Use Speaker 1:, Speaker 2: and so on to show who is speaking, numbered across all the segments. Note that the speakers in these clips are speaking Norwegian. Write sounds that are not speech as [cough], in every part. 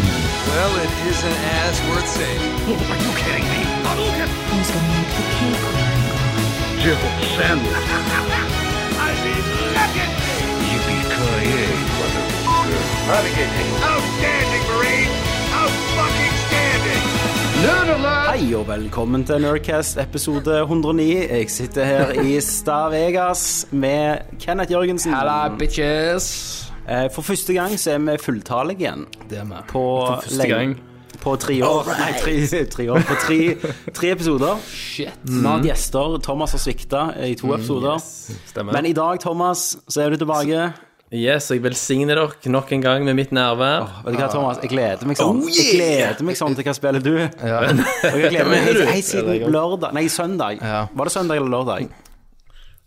Speaker 1: Well, it isn't as worth saving.
Speaker 2: Hei og velkommen til Nerdcast episode 109. Jeg sitter her i Star Vegas med Kenneth Jørgensen.
Speaker 3: Hella, bitches!
Speaker 2: Eh, For første gang så er vi fulltallige igjen.
Speaker 3: Det er meg.
Speaker 2: På
Speaker 3: For første
Speaker 2: lenge-
Speaker 3: gang.
Speaker 2: På tre år. Nei, tre, tre år. På tre, tre episoder.
Speaker 3: Shit. Mm,
Speaker 2: Vi har hatt gjester. Thomas har svikta i to episoder.
Speaker 4: Stemmer.
Speaker 2: Men i dag, Thomas, så er du tilbake.
Speaker 4: yes, jeg velsigner dere nok en gang med mitt nærvær.
Speaker 2: Vet du hva, Thomas? Jeg gleder meg sånn. Jeg gleder meg sånn til hva spiller du? [laughs] Og jeg gleder meg
Speaker 4: Hva mener du?
Speaker 2: helt- helt siden lørdag Nei, søndag.
Speaker 3: Ja.
Speaker 2: Var det søndag eller lørdag?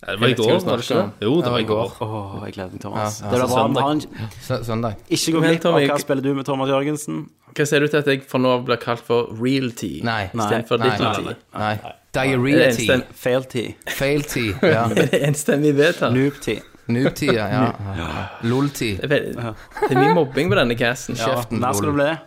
Speaker 4: det var i
Speaker 3: skal
Speaker 4: går,
Speaker 3: vi
Speaker 4: var det ikke
Speaker 3: snakke?
Speaker 4: det? Jo, det var i går.
Speaker 2: Åh, jeg gleder meg, Thomas.
Speaker 3: Ja, ja.
Speaker 2: det blir
Speaker 4: Så
Speaker 2: bra.
Speaker 4: søndag.
Speaker 2: Vi har en
Speaker 3: Sø- Søndag.
Speaker 2: Ikke gå
Speaker 4: Kom igjen,
Speaker 2: glipp av
Speaker 4: Tommy.
Speaker 2: hva spiller du med Thomas Jørgensen.
Speaker 4: Hva ser det ut til at jeg fra nå av blir kalt for realty?
Speaker 3: Nei.
Speaker 4: Istedenfor
Speaker 3: Nei.
Speaker 4: dignity.
Speaker 3: Nei.
Speaker 4: Er det
Speaker 3: Diarrhea tea.
Speaker 4: enstemmig-
Speaker 2: Failtid.
Speaker 3: Fail tea. Ja.
Speaker 4: er det enstemmig vedtatt?
Speaker 2: Noobtid.
Speaker 3: Noob tea, ja. Lol tea.
Speaker 4: Det er vel- det er mye mobbing på denne casten.
Speaker 3: Kjeften
Speaker 2: Der skal
Speaker 3: lol.
Speaker 2: du bli.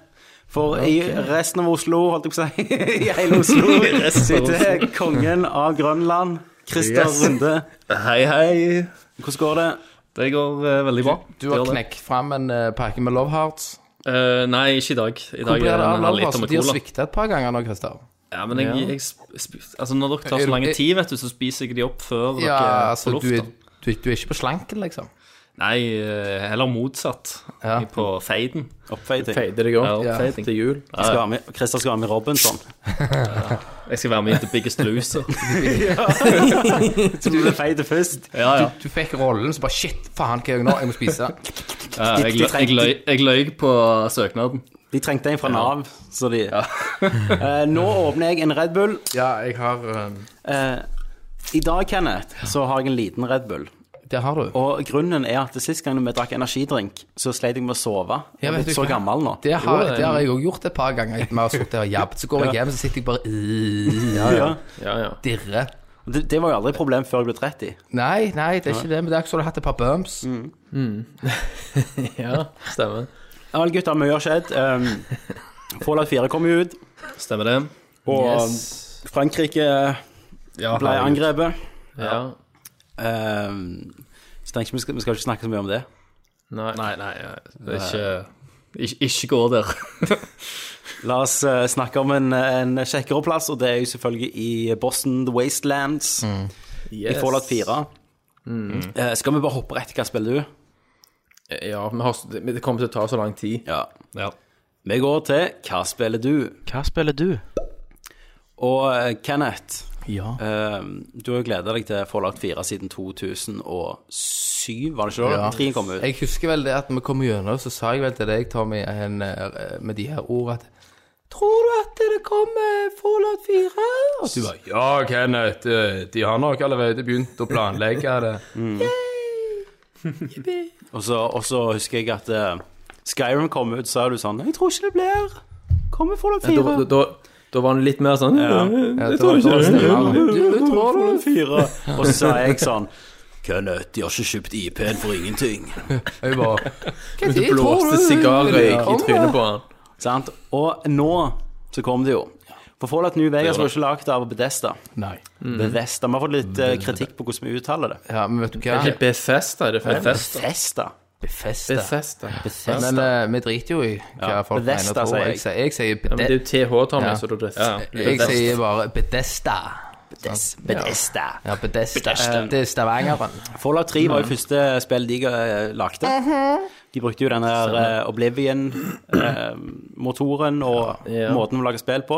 Speaker 2: For i resten av Oslo, holdt jeg på å si, [laughs] i hele Oslo, sitter kongen av Grønland, Christer
Speaker 4: Yes.
Speaker 2: Runde.
Speaker 4: Hei, hei.
Speaker 2: Hvordan går det?
Speaker 4: Det går eh, veldig bra.
Speaker 3: Du har
Speaker 4: Gjør det.
Speaker 3: knekt fram en eh, pakke med Love Hearts.
Speaker 4: Eh, nei, ikke i dag. I
Speaker 3: Hvor
Speaker 4: dag er
Speaker 3: blir det
Speaker 4: det
Speaker 3: av
Speaker 4: en halv
Speaker 3: Love
Speaker 4: liter
Speaker 3: Hearts?
Speaker 4: med
Speaker 3: De har
Speaker 4: cola.
Speaker 3: svikta et par ganger nå, Christer.
Speaker 4: Ja, men jeg, jeg sp- sp- altså, når dere tar så lang tid, vet du, så spiser jeg de opp før dere
Speaker 3: Ja,
Speaker 4: får
Speaker 3: altså,
Speaker 4: luft.
Speaker 3: du er,
Speaker 4: da.
Speaker 3: du, er- du er ikke på slanken, liksom.
Speaker 4: Nei, eh, heller motsatt.
Speaker 3: Ja.
Speaker 4: Jeg er På feiden.
Speaker 2: Oppfeiting.
Speaker 4: Feider deg òg.
Speaker 3: Ja.
Speaker 4: Til jul.
Speaker 2: Skal ha med- Christer skal ha med Robinson.
Speaker 4: Jeg skal være med i The Biggest Loser.
Speaker 2: Så du ble feit først.
Speaker 4: Ja, ja.
Speaker 3: Du fikk rollen, så bare shit, faen, hva gjør jeg nå? Jeg må spise.
Speaker 4: Ja, Jeg, løy- jeg, løy- jeg løy på søknaden.
Speaker 2: De trengte en fra Nav, så de [laughs] Eh, Nå åpner jeg en Red Bull.
Speaker 3: Ja, jeg har eh,
Speaker 2: Eh, I dag, Kenneth, så har jeg en liten Red Bull.
Speaker 3: Det har du.
Speaker 2: Og grunnen er at sist gang vi drakk energidrink, så sleit jeg med å sove. Jeg er
Speaker 3: vet
Speaker 2: blitt
Speaker 3: du
Speaker 2: så
Speaker 3: hva?
Speaker 2: gammel nå.
Speaker 3: Det har,
Speaker 4: Jo, det-
Speaker 3: det har jeg òg gjort et par ganger. etter Vi har sittet og jabbet. Så går jeg hjem, så sitter jeg bare øh, [laughs]
Speaker 2: Ja.
Speaker 4: Ja, ja.
Speaker 3: dirre.
Speaker 2: Det, det var jo aldri et problem før jeg ble 30.
Speaker 3: Nei, nei, det er ikke det. Men det er ikke så du har hatt et par bumps.
Speaker 5: Mm.
Speaker 4: ja stemmer.
Speaker 2: Ja, vel, gutter, mye har skjedd. Um, Fallout 4 kom jo ut,
Speaker 4: Stemmer det.
Speaker 2: og
Speaker 4: Yes.
Speaker 2: Frankrike
Speaker 4: Ja,
Speaker 2: ble
Speaker 4: herregud.
Speaker 2: angrepet.
Speaker 4: Ja.
Speaker 2: Um, så tenker jeg ikke vi skal, vi skal ikke snakke så mye om det.
Speaker 4: Nei, nei, nei, det er ikke Ikke, ikke gå der.
Speaker 2: La oss eh, snakke om en, en kjekkere plass, og det er jo selvfølgelig i Boston, The Wastelands, i Fallout 4. Eh, skal vi bare hoppe rett i hva spiller du?
Speaker 5: Ja, men har, men det kommer til å ta så lang tid.
Speaker 2: Ja.
Speaker 4: Ja.
Speaker 2: Vi går til Hva spiller du? Hva spiller du? Og eh, Kenneth,
Speaker 5: Ja.
Speaker 2: eh, du har jo gleda deg til Fallout 4 siden 2007, var det ikke da?
Speaker 3: Ja.
Speaker 2: Trien kom ut.
Speaker 3: Jeg husker vel det at vi kom gjennom, så sa jeg vel til deg, Tommy, en, eh, med de her ordene at Tror du at det kommer Fallout 4? Og du bare
Speaker 5: Ja, Kenneth, eh, de har nok allerede begynt å planlegge
Speaker 3: [laughs]
Speaker 5: det.
Speaker 2: Og, så, og så husker jeg at eh, Skyrim kom ut, så er du sånn Jeg tror ikke det blir Kommer Fallout 4?
Speaker 4: Da, da, da, da var han litt mer sånn
Speaker 3: ja, det var, det var stemmer. Du, du tror du?
Speaker 2: Fallout 4. Og så sa jeg sånn Kenneth, de har ikke kjøpt IP-en for ingenting.
Speaker 3: Jeg bare Hva tid tror
Speaker 4: Blåste
Speaker 3: du det
Speaker 4: sigarrøyk i
Speaker 3: kommer?
Speaker 4: trynet på han.
Speaker 2: Sant? Og nå så kom det jo. For Fallout New Vegas var ikke lagd av Bedesta.
Speaker 3: Nei.
Speaker 2: Bethesda. Vi har fått litt eh, kritikk på hvordan vi uttaler det.
Speaker 3: Ja, men vet du hva?
Speaker 4: Ikke Bethesda, er det feil?
Speaker 2: Bethesda.
Speaker 3: Befeste.
Speaker 4: Bethesda.
Speaker 3: Men eh, vi driter jo i hva
Speaker 2: Ja,
Speaker 3: folk mener.
Speaker 2: Bethesda,
Speaker 3: og tror.
Speaker 2: sier jeg.
Speaker 3: Jeg sier, jeg sier
Speaker 4: Ja, men det er jo TH, Tommy,
Speaker 3: Ja.
Speaker 4: så da det
Speaker 5: Ja.
Speaker 3: Jeg sier bare Bedesta.
Speaker 2: Des- Bethesda.
Speaker 3: Ja, Bedesta. Eh, Det er Stavangeren.
Speaker 2: Fallout 3 var jo første spill de eh, lagde. De brukte jo den her eh, Oblivion-motoren og
Speaker 4: Ja.
Speaker 2: måten å lage spill på.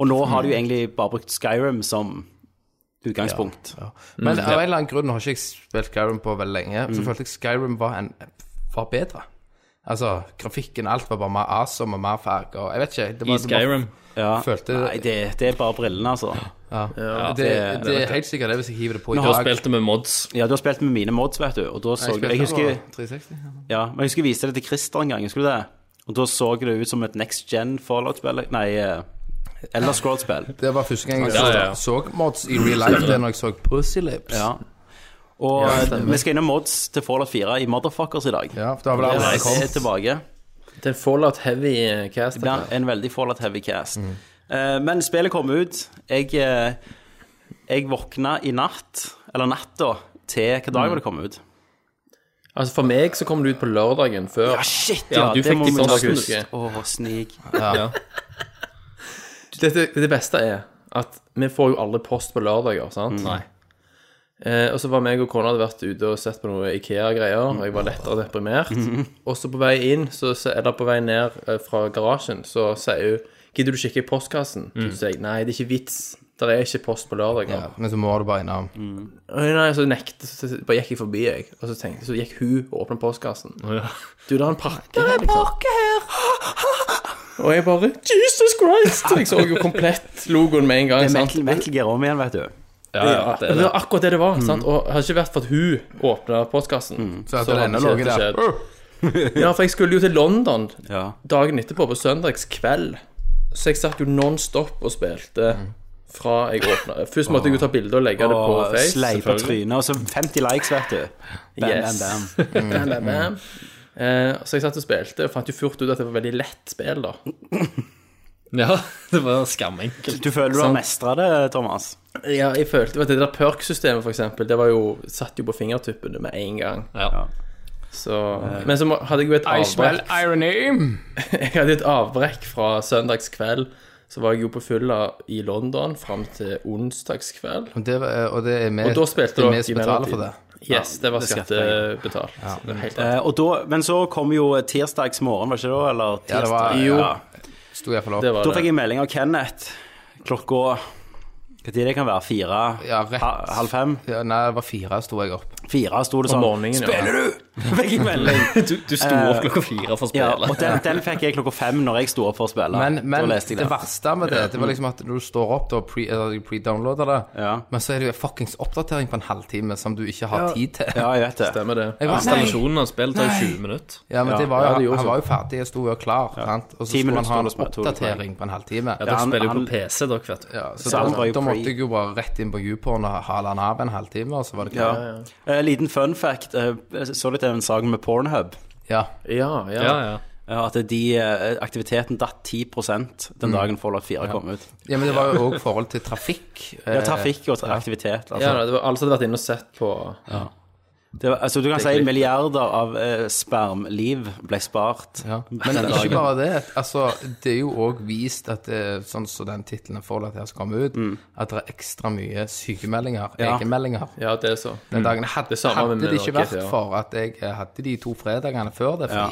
Speaker 2: Og nå har de jo egentlig bare brukt Skyrim som utgangspunkt.
Speaker 3: Men av en eller annen grunn har ikke jeg spilt Skyrim på veldig lenge. Så følte jeg Skyrim var, en, var bedre. Altså, grafikken, alt var bare mer awesome og mer farger. Jeg vet ikke. Det
Speaker 4: I
Speaker 3: var,
Speaker 4: Skyrim.
Speaker 2: Ja.
Speaker 3: Følte-
Speaker 2: Nei, det, det er bare brillene, altså.
Speaker 3: Det, var, det, det, det er helt sikkert det hvis jeg hiver det på i
Speaker 4: Da
Speaker 3: dag.
Speaker 4: spilte vi mods.
Speaker 2: Ja, du har spilt med mine mods, vet du. Og da så
Speaker 3: Jeg
Speaker 2: jeg,
Speaker 3: spilte
Speaker 2: jeg
Speaker 3: på
Speaker 2: husker
Speaker 3: 360.
Speaker 2: Ja, men jeg husker jeg viste det til Christer en gang, husker du det? Og da så det ut som et next gen Fallout-spill, nei, eh, Elder
Speaker 3: [laughs]
Speaker 2: Scrolls-spill.
Speaker 3: Det var første gang jeg
Speaker 4: Ja,
Speaker 3: så,
Speaker 4: ja, ja.
Speaker 3: så mods i real life. Det er når jeg så Pussy Lips.
Speaker 2: Ja. Og eh, vi skal innom mods til Fallout 4 i Motherfuckers i dag.
Speaker 3: Ja, for da var det
Speaker 2: Det
Speaker 3: allerede
Speaker 2: er
Speaker 3: kommet.
Speaker 2: tilbake.
Speaker 4: Det er en Fallout Heavy cast.
Speaker 2: Det blir en veldig Fallout Heavy Cast.
Speaker 3: Mm.
Speaker 2: Eh, men spillet kom ut. Jeg, eh, jeg våkna i natt, eller natta, til hvilken dag var
Speaker 3: Mm.
Speaker 2: det kom ut?
Speaker 4: Altså For meg så kom det ut på lørdagen før.
Speaker 2: Shit,
Speaker 4: Ja, du fikk det i
Speaker 2: ta
Speaker 4: søndag,
Speaker 2: snus.
Speaker 4: husker jeg.
Speaker 2: Åh, snik.
Speaker 4: Det, det, det beste er at vi får jo aldri post på lørdager, sant?
Speaker 6: Nei.
Speaker 4: Eh, og så var meg og kona hadde vært ute og sett på noe Ikea-greier, og jeg var lettere deprimert. Og så på vei inn, så, så, eller på vei ned eh, fra garasjen, så sier hun Gidder du kikke i postkassen? Så sier jeg nei, det er ikke vits. Der er ikke post på lørdager.
Speaker 3: Ja, men så må du bare innom.
Speaker 4: Oi, Nei, så nekte, så så bare gikk jeg forbi, jeg. Og så tenkte så gikk hun og åpnet postkassen. Du, det er en pakke her, liksom. Og jeg bare Jesus Christ! Så Jeg så jo komplett logoen med en gang.
Speaker 2: Det er
Speaker 4: sant?
Speaker 2: Metal, metal Gear om igjen, vet du.
Speaker 4: Ja, det, Mm. var akkurat det det var. sant? Og hadde ikke vært for at hun åpna postkassen
Speaker 3: Så hadde
Speaker 4: så
Speaker 3: det ennå
Speaker 4: hadde
Speaker 3: ligget
Speaker 4: ikke
Speaker 3: der.
Speaker 4: skjedd. Ja, for jeg skulle jo til London
Speaker 2: Ja.
Speaker 4: dagen etterpå, på søndagskveld. Så jeg satt jo non stop og spilte fra jeg åpna. Først måtte jeg jo ta bilde og legge det på
Speaker 2: Og
Speaker 4: Face.
Speaker 2: sleipa
Speaker 4: selvfølgelig.
Speaker 2: trynet, og så 50 likes, vet du. Bam,
Speaker 4: Yes.
Speaker 2: bam, bam.
Speaker 4: Bam, bam, bam. Eh, så jeg satt og spilte, og fant jo fort ut at det var veldig lett spill, da.
Speaker 6: Ja, det var skamenkelt.
Speaker 2: Du føler du har mestra det, Thomas?
Speaker 4: Ja, jeg følte vet, du, Det der perk-systemet, for eksempel, det var jo, satt jo på fingertuppene med en gang.
Speaker 6: Ja.
Speaker 4: Så, men så må- hadde jeg jo et avbrekk
Speaker 3: Uh, irony.
Speaker 4: [laughs] Jeg hadde et avbrekk fra søndagskveld. Så var jeg jo på fylla i London fram til onsdagskveld.
Speaker 3: Og det, var- eh, og det er vi
Speaker 4: Og da spilte
Speaker 3: det er
Speaker 4: dere
Speaker 3: vi som betaler
Speaker 4: mellomtiden.
Speaker 3: for det.
Speaker 4: Yes, det var
Speaker 2: det skal
Speaker 4: skattebetalt. Det er helt rett.
Speaker 2: Eh, og da, men så kom jo tirsdagsmorgen, var det ikke det? Eller tirsdag?
Speaker 3: Ja, det var
Speaker 4: Jo.
Speaker 3: ja, Sto iallfall opp.
Speaker 4: Det var
Speaker 2: Da fikk
Speaker 4: det.
Speaker 2: jeg melding av Kenneth klokka Hva tid det kan være? Fire?
Speaker 3: Ja, rett.
Speaker 2: Ha- Halv fem?
Speaker 3: Ja, nei, det var fire sto jeg opp.
Speaker 2: Fire sto det sånn.
Speaker 4: morgenen, ja.
Speaker 2: Spiller du?! [laughs] fikk jeg melding. Eh,
Speaker 6: Du, du sto opp klokka fire for å
Speaker 2: Ja,
Speaker 6: spille.
Speaker 2: og den, den fikk jeg klokka fem når jeg sto opp for å spille.
Speaker 3: Men, men
Speaker 2: da leste jeg
Speaker 3: det
Speaker 2: den.
Speaker 3: verste med det, det var liksom at når du står opp, da pre- eller jeg pre-downloader det,
Speaker 2: Ja.
Speaker 3: men så er det jo en fuckings oppdatering på en halvtime som du ikke har tid til.
Speaker 2: Ja, jeg vet det.
Speaker 4: Stemmer det.
Speaker 3: Jeg var, nei.
Speaker 6: Installasjonen av spill tar jo 20 minutter.
Speaker 3: Ja, men det var
Speaker 4: Ja, det
Speaker 3: jo,
Speaker 4: gjorde
Speaker 3: han
Speaker 4: sånn.
Speaker 3: var jo ferdig og sto jo klar, sant? og så
Speaker 2: Ti
Speaker 3: skulle han
Speaker 2: minutter
Speaker 3: ha
Speaker 2: sto
Speaker 3: en
Speaker 2: det på, to
Speaker 3: oppdatering på en halvtime.
Speaker 6: Ja, Dere
Speaker 2: han-
Speaker 6: spiller jo
Speaker 2: han-
Speaker 6: på PC, dere, vet du.
Speaker 3: Ja, så
Speaker 2: Så han var
Speaker 3: da,
Speaker 2: jo
Speaker 3: da
Speaker 2: pre-
Speaker 3: måtte jeg jo bare rett inn på YouPorn og hale han av en halvtime, og så var det
Speaker 2: Ja.
Speaker 3: klart.
Speaker 2: Eh, liten fun fact. eh, jeg så litt av en sak med Pornhub.
Speaker 3: Ja.
Speaker 4: Ja, ja.
Speaker 6: Ja, ja.
Speaker 2: eh, at de, eh, aktiviteten datt 10 den dagen Fallout 4 kom ut.
Speaker 3: ja, men det var jo òg forhold til trafikk.
Speaker 2: Ja, trafikk og tra- aktivitet. Altså.
Speaker 4: ja da, det var, alle som hadde vært inne og sett på
Speaker 2: Det var, altså, du kan si milliarder av eh, spermliv ble spart.
Speaker 3: Ja. Men
Speaker 2: Den
Speaker 3: ikke
Speaker 2: dagen.
Speaker 3: bare det. Altså, det er jo òg vist at det, sånn som den tittelen Fallout her skal komme ut, at det er ekstra mye sykemeldinger,
Speaker 2: Mm. Ja. Mm.
Speaker 3: egenmeldinger.
Speaker 4: Ja, det er så.
Speaker 3: Den dagen hadde,
Speaker 4: Det samme
Speaker 3: hadde
Speaker 4: med
Speaker 3: det ikke
Speaker 4: Norge,
Speaker 3: vært
Speaker 4: ja.
Speaker 3: for at jeg eh, hadde de to fredagene før det fri,
Speaker 2: Ja.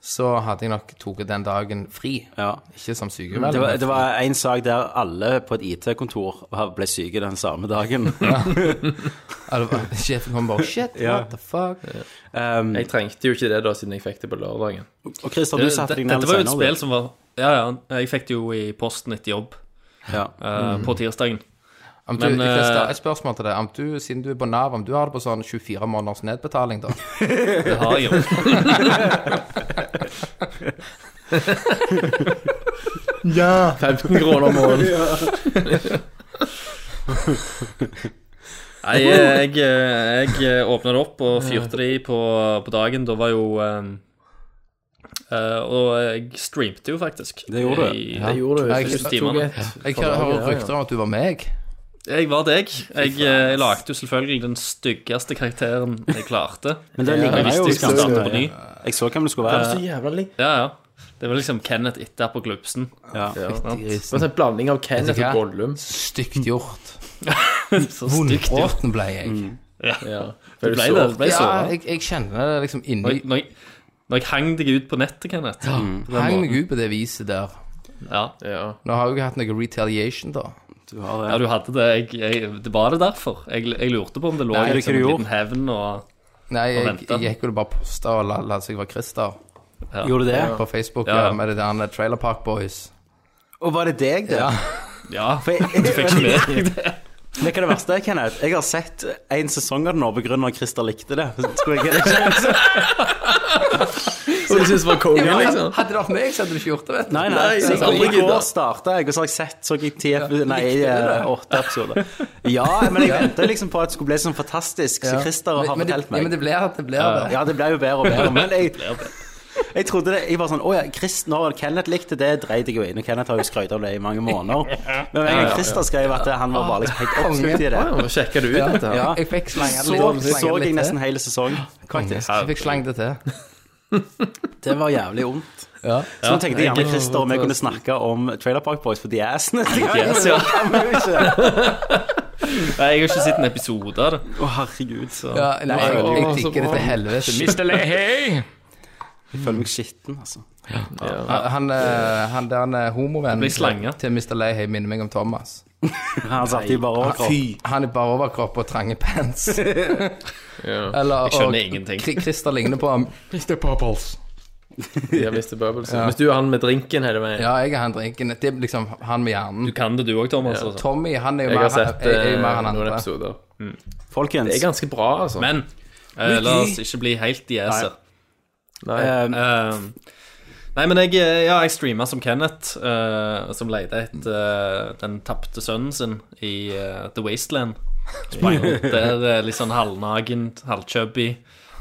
Speaker 3: så hadde jeg nok tatt den dagen fri.
Speaker 2: Ja. Mm,
Speaker 3: Ikke som
Speaker 2: Det
Speaker 3: sykemelding.
Speaker 2: var,
Speaker 3: men
Speaker 2: det
Speaker 3: fri.
Speaker 2: var en sak der alle på et IT-kontor ble syke den samme dagen.
Speaker 3: Ja, det var- Sjefen kom bare Shit, what the fuck?
Speaker 2: Um,
Speaker 4: Jeg trengte jo ikke det da, siden jeg fikk det på lørdagen.
Speaker 2: og Christer, du
Speaker 6: Det-
Speaker 2: satte
Speaker 6: Dette
Speaker 2: deg ned
Speaker 6: var jo et
Speaker 2: litt
Speaker 6: spill
Speaker 2: senere.
Speaker 6: som var Ja, ja. Jeg fikk det jo i posten etter jobb
Speaker 2: du. Ja.
Speaker 6: eh, på tirsdagen.
Speaker 3: Om du,
Speaker 6: Men,
Speaker 3: Christer,
Speaker 6: eh,
Speaker 3: et spørsmål til deg. Om du, siden du er på Nav, om du har det på sånn 24 måneders nedbetaling, da?
Speaker 6: Det har jeg [laughs] jo.
Speaker 4: Ja! 15 kroner måneden.
Speaker 6: Nei, jeg, jeg, jeg åpna det eh, opp og fyrte det i på, på dagen. Da var jo eh, eh, Og jeg streamte jo faktisk.
Speaker 2: Det gjorde du.
Speaker 6: I,
Speaker 4: Det gjorde du.
Speaker 3: Nei, jeg
Speaker 4: Jeg
Speaker 3: tok
Speaker 4: tok
Speaker 6: et
Speaker 4: et
Speaker 3: Jeg hører rykter om at du var meg.
Speaker 6: Jeg var deg. Jeg, eh, lagde jo selvfølgelig den styggeste karakteren jeg klarte.
Speaker 2: Men det ligner
Speaker 6: Jeg
Speaker 2: jo
Speaker 6: visste jeg skulle
Speaker 2: ganske-
Speaker 6: starte på ny.
Speaker 2: Jeg så hvem det skulle
Speaker 4: Så
Speaker 2: være.
Speaker 4: jævla lik.
Speaker 6: Ja, ja. Det var liksom Kenneth etter på glupsen.
Speaker 2: Ja.
Speaker 4: Det var en sånn blanding av Kenneth og
Speaker 3: Vet du hva?
Speaker 4: Gollum.
Speaker 3: Stygt
Speaker 6: Mm.
Speaker 3: gjort.
Speaker 6: [laughs] Så stygt. jo.
Speaker 3: Vondbråten ble jeg.
Speaker 4: Ja.
Speaker 6: Du ble det. Du Mm. ble
Speaker 3: Ja,
Speaker 6: såret.
Speaker 3: jeg, jeg kjenner det liksom
Speaker 6: Når
Speaker 3: inni
Speaker 6: jeg- Når jeg- når jeg hang deg ut på nettet, Kenneth
Speaker 3: Hang meg ut på det viset der.
Speaker 6: Ja,
Speaker 4: Ja.
Speaker 3: Nå har jeg jo hatt noe retaliation, da.
Speaker 2: Du har
Speaker 6: ja
Speaker 2: det.
Speaker 6: du hadde det. Jeg, jeg, det var det derfor. Jeg, jeg lurte på om det lå
Speaker 2: Nei,
Speaker 6: i
Speaker 2: det
Speaker 6: liksom,
Speaker 2: kunne
Speaker 6: en
Speaker 2: du
Speaker 6: liten hevn og
Speaker 3: Nei, jeg,
Speaker 6: vente.
Speaker 3: jeg gikk jo bare posta og la, la seg være Christer
Speaker 2: Gjorde du det?
Speaker 3: på Facebook
Speaker 6: Ja, ja.
Speaker 3: ja, med det der Trailer Park Boys.
Speaker 2: Og var det deg, det?
Speaker 6: Ja,
Speaker 2: [laughs] For jeg,
Speaker 6: du fikk ikke med deg det.
Speaker 2: Vet du hva [laughs] det verste er, Kenneth? Jeg har sett en sesong av den nå på grunn av at Christer likte det. Så tror jeg det ikke.
Speaker 4: Så du synes det var konge, liksom?
Speaker 3: Hadde det vært meg, så hadde du ikke gjort det, vet du.
Speaker 2: Nei, nei, så
Speaker 4: aldri
Speaker 2: jeg- I
Speaker 4: gidda.
Speaker 2: går starta jeg, og så har jeg sett så jeg ti episoder Nei, eh, åtte episoder. Ja, men jeg venta liksom på at det skulle bli sånn fantastisk, så Christer har
Speaker 3: men, men, det,
Speaker 2: fortalt
Speaker 3: ja, men
Speaker 2: meg.
Speaker 3: det blir det. blir det.
Speaker 2: Ja, det ble jo bedre og bedre, men jeg Jeg trodde det, jeg var sånn, åja, Chris, når Kenneth likte det, dreit jeg jo inn, og Kenneth har jo skrøyt av det i mange måneder. Men en gang Christer skrev at han var bare liksom helt oppslukt i det.
Speaker 6: Sjekker du ut dette? her?
Speaker 2: Ja.
Speaker 3: Jeg fikk slanget
Speaker 2: Så så jeg nesten hele sesong, faktisk.
Speaker 3: Jeg fikk slanget det til.
Speaker 2: Det var jævlig ondt. Så nå tenkte jeg gjerne Christer om jeg kunne snakke om Trailer Park Boys for The Ass neste gang.
Speaker 4: Yes, ja.
Speaker 2: Men det kan vi jo ikke.
Speaker 4: Nei, jeg har ikke sett en episode av det.
Speaker 2: Å, herregud, så
Speaker 3: Ja, nei, jeg, jeg,
Speaker 5: Å, så
Speaker 3: digger det
Speaker 5: bra.
Speaker 3: til helvete.
Speaker 5: Mr. Lehei!
Speaker 2: jeg føler meg skitten, altså.
Speaker 3: Han, han, eh, han der han er homovennen
Speaker 4: Blir slange.
Speaker 3: til Mr. Leihei minner meg om Thomas.
Speaker 2: Han satt i bare overkropp.
Speaker 3: Fy. Han er bare overkropp og trange pants. Eller,
Speaker 4: Jeg skjønner
Speaker 3: og
Speaker 4: ingenting.
Speaker 3: Kri- Christer ligner på ham.
Speaker 6: Ja, Mr. Bubbles. Hvis du er han med drinken hele veien
Speaker 3: Ja, jeg er han drinken. Det er liksom han med hjernen.
Speaker 4: Du kan det, du òg, Thomas. Altså.
Speaker 3: Tommy, han er jo
Speaker 6: Jeg
Speaker 3: mer,
Speaker 6: har sett
Speaker 3: er, er jo
Speaker 6: eh,
Speaker 3: mer han
Speaker 6: noen
Speaker 3: andre.
Speaker 6: episoder.
Speaker 2: [laughs] Folkens,
Speaker 6: Det er ganske bra, altså.
Speaker 4: Men eh, la oss ikke bli helt i æser.
Speaker 6: Nei.
Speaker 2: eh,
Speaker 4: Um, nei, men jeg, eh, ja, jeg streama som Kenneth, eh, som leide etter eh, den tapte sønnen sin i eh, The Wasteland.
Speaker 3: [laughs]
Speaker 4: Der eh, litt sånn halvnagen, halvchubby,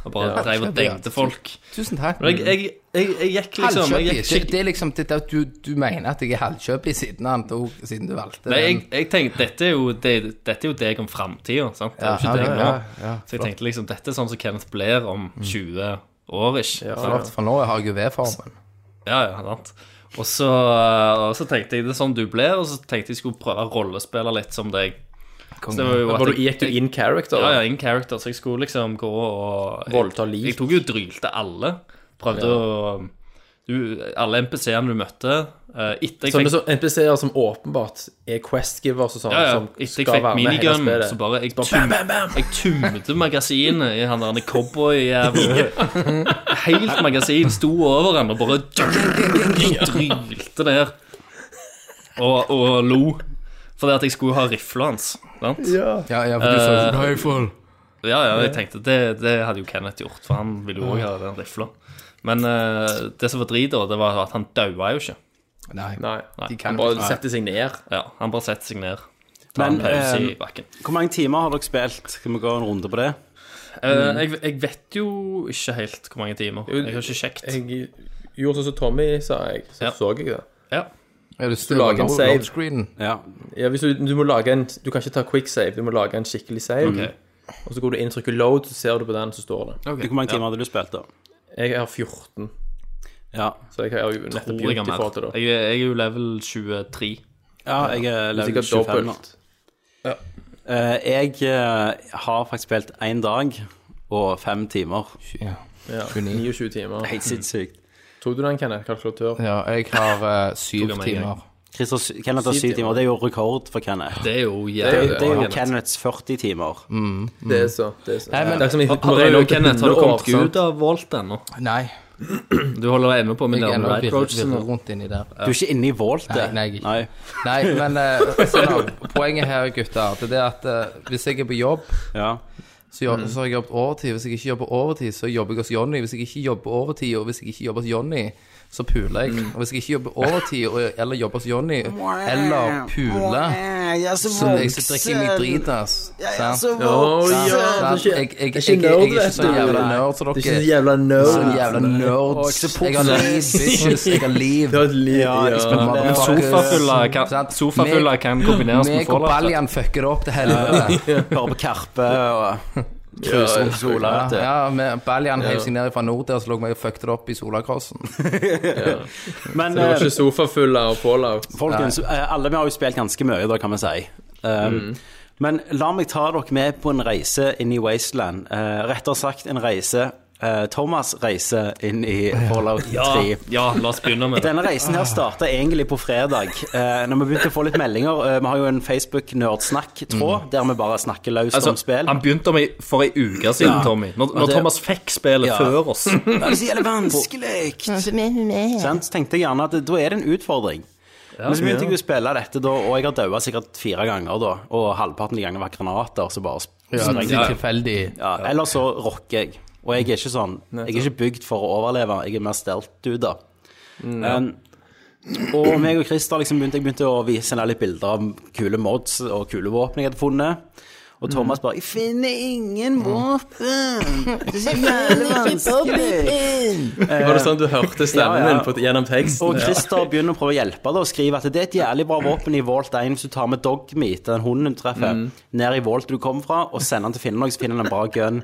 Speaker 4: og bare
Speaker 6: Ja,
Speaker 4: drev og
Speaker 3: chubby, ja.
Speaker 4: dengte folk.
Speaker 3: Tusen takk.
Speaker 4: Men jeg, jeg, jeg, jeg gikk liksom jeg
Speaker 3: Halvkjøpig.
Speaker 4: gikk
Speaker 3: Det,
Speaker 4: skikk-
Speaker 3: det er liksom det, at du, du mener at jeg er halvkjøpig siden han tok Siden du valgte
Speaker 4: Nei, jeg,
Speaker 3: den.
Speaker 4: jeg tenkte dette er jo, det, dette er jo deg om framtida, sant? Det er jo
Speaker 3: Ja,
Speaker 4: ikke
Speaker 3: ok,
Speaker 4: det nå.
Speaker 3: ja, Mm. ja,
Speaker 4: Så jeg tenkte liksom dette er sånn som Kenneth blir om 20 år, ish. Ja,
Speaker 3: Klart, For nå har jeg jo V-formen.
Speaker 4: Ja, ja, sant. Og så, og så tenkte jeg det er sånn du ble, og så tenkte jeg skulle prøve å rollespille litt som deg. Så det var jo at
Speaker 6: Var du,
Speaker 4: jeg,
Speaker 6: gikk du in character?
Speaker 4: ja, ja, in character, så jeg skulle liksom gå og
Speaker 6: Voldta liv.
Speaker 4: Jeg, jeg tok jo og drylte alle. Prøvde å du, Alle NPC-ene du møtte. eh, etter jeg
Speaker 6: Sånne
Speaker 4: fikk,
Speaker 6: som NPC-er som åpenbart er quest-givers og sånn,
Speaker 4: ja, ja,
Speaker 6: som
Speaker 4: etter jeg fikk minigun, så bare Jeg, tum,
Speaker 6: bam, bam, bam.
Speaker 4: jeg tumte magasinet i han der
Speaker 6: [laughs]
Speaker 4: cowboyjævelen. Helt magasin sto over han og bare drylte ned. Og, og lo. Fordi at jeg skulle ha rifla hans. Sant?
Speaker 3: Ja, ja, for du sa jo
Speaker 4: Ja, ja, jeg tenkte det, det hadde jo Kenneth gjort, for han ville jo òg ha den rifla. Men eh, det som var drit, da, det var at han daua jo ikke.
Speaker 3: Nei.
Speaker 6: Nei,
Speaker 4: Nei,
Speaker 6: de kan bare sette seg ned.
Speaker 4: Ja, Han bare setter seg ned. Tar
Speaker 2: Men,
Speaker 4: en pause
Speaker 2: eh,
Speaker 4: i bakken.
Speaker 2: hvor mange timer har dere spilt? Skal vi gå en runde på det?
Speaker 4: Eh, jeg, jeg vet jo ikke helt hvor mange timer. Jeg har ikke sjekket.
Speaker 6: Jeg gjorde sånn som Tommy sa, jeg. Så
Speaker 4: Ja.
Speaker 6: så jeg det.
Speaker 4: Ja.
Speaker 3: Ja, du
Speaker 6: lager
Speaker 3: styrer
Speaker 6: en save.
Speaker 3: loadscreenen.
Speaker 2: Ja.
Speaker 6: Ja, hvis du, du må lage en Du kan ikke ta quick save, du må lage en skikkelig save.
Speaker 4: Ok.
Speaker 6: Og så går du inn og trykker load, så ser du på den, så står det.
Speaker 2: Hvor mange timer hadde du spilt, da?
Speaker 6: Jeg har 14,
Speaker 2: Ja,
Speaker 6: så jeg har jo nettopp
Speaker 4: Tror
Speaker 6: begynt
Speaker 4: jeg,
Speaker 6: i
Speaker 4: har mer.
Speaker 6: forhold til det.
Speaker 4: jeg, er- jeg er jo level 23.
Speaker 2: ja jeg er level
Speaker 6: Sikkert
Speaker 2: 25 nå.
Speaker 6: dobbelt.
Speaker 2: Eh, jeg eh, har faktisk spilt én dag og fem timer.
Speaker 3: Ja.
Speaker 6: Ja,
Speaker 3: 29.
Speaker 6: 29 timer.
Speaker 2: Helt sinnssykt.
Speaker 6: Tok du den, Kenneth? Kalkulatør?
Speaker 3: ja, jeg har eh, syv
Speaker 4: Tok jeg meg en
Speaker 3: timer.
Speaker 2: Christer s- Kenneth har syv timer. Det er jo rekord for Kenneth.
Speaker 4: Det er jo
Speaker 2: Det,
Speaker 4: jævlig
Speaker 2: det er jo Kenneths 40 timer.
Speaker 6: Det er så. Det er så.
Speaker 3: men-
Speaker 6: det er som jeg
Speaker 4: Har du, Kenneth, har du kommet
Speaker 6: sant?
Speaker 4: ut av Volt ennå?
Speaker 3: Nei.
Speaker 4: Du holder ennå på med
Speaker 3: Jeg er
Speaker 4: den
Speaker 3: nå
Speaker 4: Right
Speaker 3: virrer
Speaker 4: Roachen?
Speaker 3: virrer rundt inni der.
Speaker 2: Du er ikke inne i Vault, det.
Speaker 3: Nei, nei, jeg er ikke.
Speaker 2: Nei.
Speaker 3: Nei, men eh, altså, da, poenget her, gutter, det er at eh, hvis jeg er på jobb
Speaker 2: Ja.
Speaker 3: så, jobb,
Speaker 4: Mm.
Speaker 3: så har jeg jobbet overtid. Hvis jeg ikke jobber overtid, så jobber jeg hos Jonny. Hvis jeg ikke jobber overtid, og hvis jeg ikke jobber hos Jonny, så puler jeg.
Speaker 4: Mm.
Speaker 3: Og hvis jeg ikke jobber overtid, og, eller jobber hos Jonny, eller puler, så
Speaker 4: Mm.
Speaker 3: jeg så drikker jeg meg drit, ass. Sant?
Speaker 6: Å, ja,
Speaker 3: Sant?
Speaker 6: det er
Speaker 3: Jeg,
Speaker 6: ikke-
Speaker 3: jeg, jeg,
Speaker 6: det er
Speaker 3: jeg, jeg,
Speaker 6: ikke nerd,
Speaker 3: er ikke så
Speaker 6: vet du.
Speaker 3: jævla nerd som
Speaker 6: Det er ikke
Speaker 3: dere.
Speaker 6: så jævla nerd.
Speaker 3: Så jævla nerds.
Speaker 4: [laughs]
Speaker 3: Jeg har liv, bitches. Jeg har
Speaker 2: [laughs]
Speaker 3: liv.
Speaker 6: Det er et liv, ja.
Speaker 3: Men
Speaker 4: Sofafulla kan,
Speaker 3: Sant?
Speaker 4: sofafulla
Speaker 3: Meg-
Speaker 4: kan kombineres med
Speaker 3: Meg og
Speaker 4: Fallout.
Speaker 3: Baljan fucker det opp til helvete.
Speaker 2: Hører på Karpe og cruiser rundt sola. vet du.
Speaker 3: Ja, men Baljan heiv seg ned fra nord der, så lå meg og fucket det opp i Solakrossen.
Speaker 2: Men
Speaker 6: Det var
Speaker 2: eh,
Speaker 6: ikke sofafulla og fallout.
Speaker 2: Folkens, eh, alle vi har jo spilt ganske mye, da kan vi si. Um, Men la meg ta dere med på en reise inn i Wasteland. Eh, rettere sagt en reise eh, Thomas reiser inn i Fallout 3.
Speaker 4: Ja, ja, la oss begynne
Speaker 2: [laughs]
Speaker 4: med det.
Speaker 2: Denne reisen her starta egentlig på fredag, eh, når vi begynte å få litt meldinger. Eh, vi har jo en Facebook-nerdsnakk-tråd der vi bare snakker løst
Speaker 4: Altså,
Speaker 2: om spill.
Speaker 4: han begynte om i, for ei uke siden,
Speaker 2: Ja.
Speaker 4: Tommy. Når,
Speaker 2: Og
Speaker 4: når
Speaker 2: det-
Speaker 4: Thomas fikk spillet
Speaker 2: Ja.
Speaker 4: før oss.
Speaker 2: Ja, [laughs] Det er så jævlig vanskelig! Sant? Så tenkte jeg gjerne at da er det en utfordring. Men så begynte jeg jo å spille dette, da, og jeg har daua sikkert fire ganger, da. Og halvparten av gangene var granater, så bare
Speaker 3: Ja,
Speaker 2: sprengte
Speaker 3: det er tilfeldig.
Speaker 2: Ja, eller så rocker jeg. Og jeg er ikke sånn. Jeg er ikke bygd for å overleve, jeg er mer stelt-dude. Um, og meg og Christer liksom begynte, jeg begynte å vise henne litt bilder av kule mods og kule våpen jeg hadde funnet. Og Thomas bare 'Jeg finner ingen [laughs] våpen'. Det er så jævlig vanskelig.
Speaker 6: Var det sånn du hørte stemmen
Speaker 2: Ja, ja.
Speaker 6: min på, gjennom teksten?
Speaker 2: Og Christer begynner å prøve å hjelpe deg og skrive at det er et jævlig bra våpen i Volt 1 hvis du tar med Dogmeat, den hunden du treffer,
Speaker 4: Mm.
Speaker 2: ned i Volt du kom fra, og sender den til Finland, og så finner han en bra gun.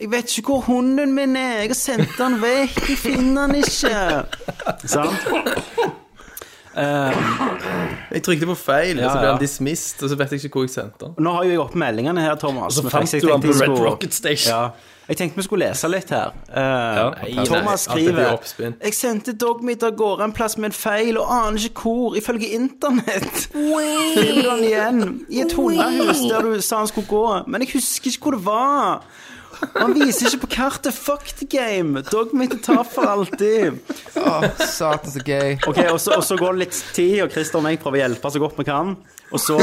Speaker 2: Jeg vet ikke hvor hunden min er, jeg har sendt den vekk, jeg finner den ikke. Sant?
Speaker 6: Jeg trykte på feil, og
Speaker 2: Ja,
Speaker 6: så ble
Speaker 2: ja.
Speaker 6: han dismissed, og så vet jeg ikke hvor jeg sendte den.
Speaker 2: Nå har jo jeg oppe meldingene her, Thomas.
Speaker 4: Så
Speaker 2: men
Speaker 4: fant
Speaker 2: faktisk, jeg
Speaker 4: du han
Speaker 2: tenkte
Speaker 4: på
Speaker 2: jeg
Speaker 4: Red
Speaker 2: skulle-
Speaker 4: Rocket Station.
Speaker 2: Ja. Jeg tenkte vi skulle lese litt her. Eh,
Speaker 4: nei,
Speaker 2: Thomas
Speaker 6: nei, alt det blir
Speaker 2: skriver
Speaker 6: oppspinn.
Speaker 2: Jeg sendte Dogmeat av gårde en plass med en feil og aner ikke hvor, ifølge internett. Finner den igjen i et hundehus der du sa han skulle gå, men jeg husker ikke hvor det var. Og Han viser ikke på kartet. Fuck the game. Dogmeat er tapt for alltid.
Speaker 3: Satan, så gøy.
Speaker 2: Ok, og så, og så går det litt tid, og Christer og jeg prøver å hjelpe så godt vi kan. Og så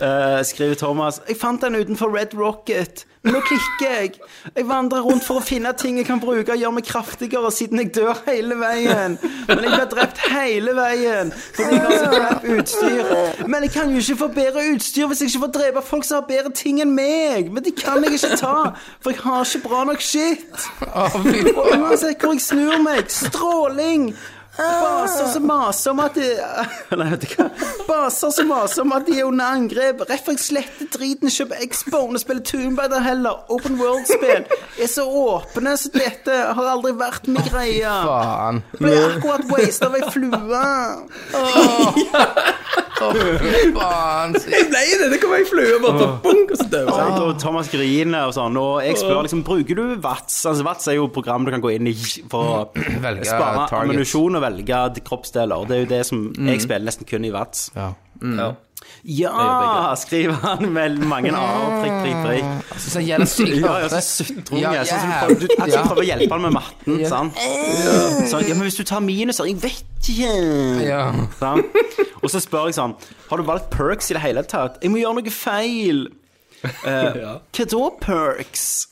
Speaker 2: eh, skriver Thomas Jeg fant den utenfor Red Rocket. Men nå klikker jeg. Jeg vandrer rundt for å finne ting jeg kan bruke og gjøre meg kraftigere, siden jeg dør hele veien. Men jeg blir drept hele veien fordi jeg har så crap utstyr. Men jeg kan jo ikke få bedre utstyr hvis jeg ikke får drepe folk som har bedre ting enn meg. Men de kan jeg ikke ta, for jeg har ikke bra nok shit. Og uansett hvor jeg snur meg, stråling! Baser som maser om at de [laughs] Nei, vet du hva. Baser som maser om at de er under angrep. Ref jeg sletter driten, kjøper X-Bone og spiller Toonbider heller. Open World-spill. Er så åpne som dette. Har aldri vært min greie.
Speaker 3: Faen.
Speaker 2: Ble akkurat wastet av ei flue.
Speaker 3: Faen. så-
Speaker 6: Nei, det, det kom ei flue bare fra bunk, og så døde jeg.
Speaker 2: Og Thomas griner og sånn. Og jeg spør liksom Bruker du VATS? Altså VATS er jo et program du kan gå inn i for å
Speaker 3: Velge
Speaker 2: spare
Speaker 3: target.
Speaker 2: ammunisjon og velge kroppsdeler. Det er jo det som jeg spiller nesten kun i VATS.
Speaker 3: Ja.
Speaker 4: Ja.
Speaker 2: Ja, skriver han med mange a-er, prikk, prikk, prikk.
Speaker 3: Så han gjelder sykt
Speaker 2: Ja, ja,
Speaker 3: ofte.
Speaker 2: så sutring.
Speaker 3: Ja,
Speaker 2: jeg, Sånn som
Speaker 3: jævlig.
Speaker 2: prøver- du- at du
Speaker 3: Ja.
Speaker 2: prøver å hjelpe han med matten,
Speaker 3: Ja.
Speaker 2: sant? Så, ja, men hvis du tar minuser Jeg vet ikke.
Speaker 3: Ja.
Speaker 2: Sant? Og så spør jeg sånn Har du valgt perks i det hele tatt? Jeg må gjøre noe feil. Eh, Hva da, perks?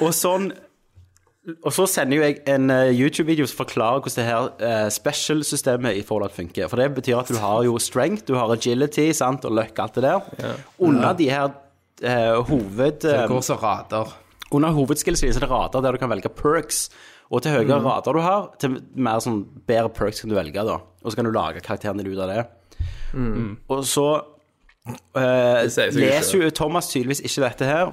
Speaker 2: og sånn og så sender jo jeg en eh, YouTube-video som forklarer hvordan det her eh, special-systemet i Fallout funker. For det betyr at du har jo strength, du har agility sant, og luck, alt det der. Under de her eh, hoved... eh,
Speaker 3: Går så rader.
Speaker 2: under hovedskills er det rader der du kan velge perks. Og til
Speaker 6: Mhm.
Speaker 2: høyere rader du har, til mer sånn bedre perks kan du velge, da. Og så kan du lage karakteren din ut av det. Mm. Og så eh,
Speaker 6: Mhm. sier seg jo
Speaker 2: leser
Speaker 6: selv.
Speaker 2: jo Thomas tydeligvis ikke dette her.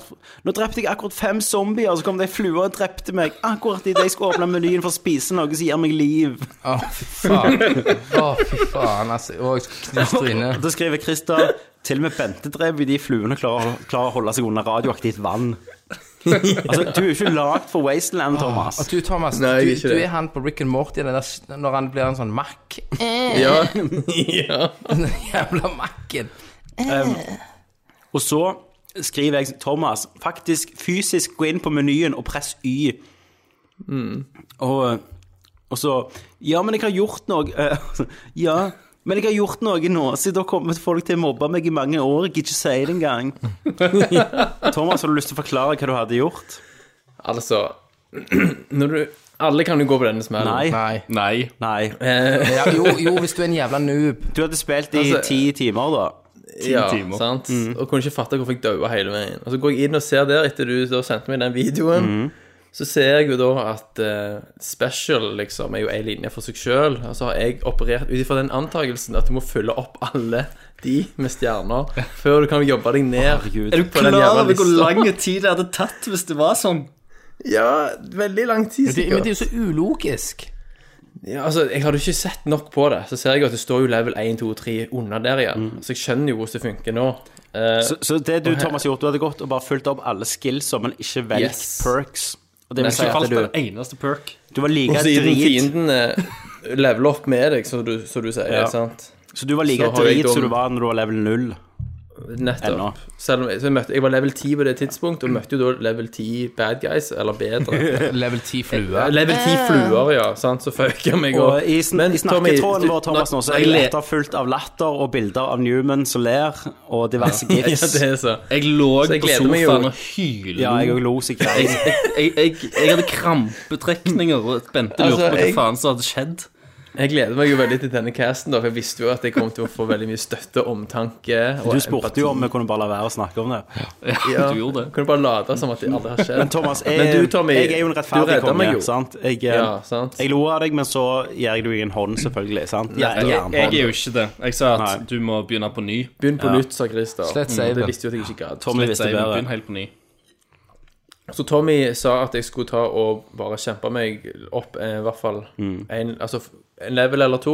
Speaker 2: Nå drepte jeg akkurat fem zombier, og så kom det ei flue og drepte meg akkurat idet jeg skulle åpne menyen for å spise noe som gir meg liv.
Speaker 3: Å, fy faen. Å, fy faen, altså. Å, jeg skulle knust
Speaker 2: Og
Speaker 3: trynet.
Speaker 2: Da skriver Christer til og med Bente drev jo de fluene klarer, klarer å holde seg under radioaktivt vann.
Speaker 6: [laughs]
Speaker 2: altså, du er jo ikke lagd for Wasteland, Thomas.
Speaker 3: Ah, Og du, Thomas,
Speaker 6: Nei, jeg er
Speaker 3: du, du
Speaker 6: ikke det.
Speaker 3: er han på Rick and Morty den der, s- når han blir en sånn Mac. [laughs]
Speaker 6: Ja. ja.
Speaker 3: Den jævla Mac-en.
Speaker 2: Ehm, Og så skriver jeg Thomas faktisk fysisk gå inn på menyen og press Y. Og, og så Ja, men jeg har gjort noe eh, [laughs] Ja, men jeg har gjort noe nå, siden det har kommet folk til å mobbe meg i mange år. Jeg gidder ikke si det engang. Thomas, har du lyst til å forklare hva du hadde gjort?
Speaker 6: Altså [clears throat] Når du Alle kan jo gå på denne smellen.
Speaker 2: Nei.
Speaker 3: Nei.
Speaker 4: Nei.
Speaker 2: Nei.
Speaker 3: Ja, jo, jo, hvis du er en jævla noob.
Speaker 2: Du hadde spilt i
Speaker 6: Altså-
Speaker 2: ti timer, da.
Speaker 6: ja,
Speaker 4: timer.
Speaker 6: Sant?
Speaker 3: Mm.
Speaker 6: Og kunne ikke fatte hvorfor jeg daua hele veien. Og så går jeg inn og ser der, etter du da sendte meg den videoen,
Speaker 3: Mm.
Speaker 6: så ser jeg jo da at eh, special liksom er jo ei linje for seg sjøl. Og så har jeg operert ut ifra den antakelsen at du må fylle opp alle de med
Speaker 3: [laughs]
Speaker 6: stjerner før du kan jobbe deg ned.
Speaker 2: Herregud.
Speaker 4: Er du
Speaker 6: på den
Speaker 4: klar
Speaker 6: jævla
Speaker 4: over hvor
Speaker 6: lista?
Speaker 4: lang tid det hadde tatt hvis det var sånn?
Speaker 6: Ja, veldig lang tid,
Speaker 3: Det, men
Speaker 6: sikkert.
Speaker 3: det er jo så ulogisk.
Speaker 6: Ja, altså, Jeg hadde ikke sett nok på det. Så ser jeg jo at det står jo level 1, 2, 3 under der igjen.
Speaker 3: Mm.
Speaker 6: Så jeg skjønner jo hvordan det funker nå. Eh,
Speaker 2: Så, så det du, Thomas, har gjort, du hadde gått og bare fulgt opp alle skillsa, men ikke velgt
Speaker 6: Yes.
Speaker 2: perks. Og det vil si
Speaker 4: Ikke
Speaker 2: at
Speaker 4: falt
Speaker 2: du,
Speaker 4: den eneste perk.
Speaker 2: du var like
Speaker 6: og siden
Speaker 2: drit
Speaker 6: fienden eh, leveler opp med deg, som du, som du sier.
Speaker 2: Ja.
Speaker 6: sant?
Speaker 2: Så du var like
Speaker 6: Så har jeg
Speaker 2: drit som
Speaker 6: dom-
Speaker 2: du var når du var level 0. Ennå.
Speaker 6: Nettopp. Selv om jeg, så jeg, møtte, jeg var level 10 på det tidspunkt, og møtte jo da level 10 bad guys, eller bedre.
Speaker 3: Level 10
Speaker 6: [laughs] Ja,
Speaker 3: flue.
Speaker 6: level 10 fluer, ja. sant? Så fuck jeg meg
Speaker 2: Og
Speaker 6: opp.
Speaker 2: i, sn
Speaker 6: Men,
Speaker 2: i snakketråden
Speaker 6: Tommy,
Speaker 2: vår,
Speaker 6: du-
Speaker 2: Thomas, nå, så er
Speaker 4: jeg le-
Speaker 2: leter fullt av latter og bilder av Newman som ler, og diverse
Speaker 6: [laughs] Ja,
Speaker 2: gifs.
Speaker 6: [laughs] det er så.
Speaker 4: Jeg lå
Speaker 6: Så jeg
Speaker 4: på
Speaker 6: gleder meg jo.
Speaker 4: sofaen og hylte.
Speaker 2: Ja, jeg òg lo sikkert.
Speaker 4: jeg, jeg, jeg, jeg hadde krampetrekninger, og Bente lurte
Speaker 6: Altså,
Speaker 4: på hva
Speaker 6: jeg-
Speaker 4: faen som hadde skjedd.
Speaker 6: Jeg gleder meg jo veldig til denne casten, da, for jeg visste jo at jeg kom til å få veldig mye støtte, omtanke og
Speaker 2: Du spurte jo om vi kunne bare la være å snakke om det.
Speaker 4: Ja,
Speaker 6: Ja.
Speaker 4: du gjorde det.
Speaker 6: Kan du bare late som at det aldri har skjedd?
Speaker 2: Men Thomas, jeg,
Speaker 6: Men du, Tommy,
Speaker 2: jeg er jo en
Speaker 6: du
Speaker 2: rettferdig
Speaker 6: redder
Speaker 2: konge.
Speaker 6: meg jo.
Speaker 2: Sant? Jeg, eh,
Speaker 6: Ja, sant?
Speaker 2: jeg lo av deg, men så gir jeg deg en hånd, selvfølgelig. Sant? Ja,
Speaker 4: Jeg,
Speaker 2: jernhånd.
Speaker 4: jeg er jo ikke det. Jeg sa at
Speaker 2: Nei.
Speaker 4: du må begynne på ny.
Speaker 6: Begynn på nytt, sa Christer.
Speaker 3: Slett
Speaker 6: Mm,
Speaker 3: save.
Speaker 6: Det visste jo at jeg ikke gadd.
Speaker 2: Tommy
Speaker 4: Litt
Speaker 2: visste
Speaker 4: seiv, men
Speaker 2: bedre.
Speaker 4: Begynn helt på ny.
Speaker 6: Så Tommy sa at jeg skulle ta og bare kjempe meg opp eh, i hvert fall
Speaker 2: Mm.
Speaker 6: en, altså, f- en level eller to,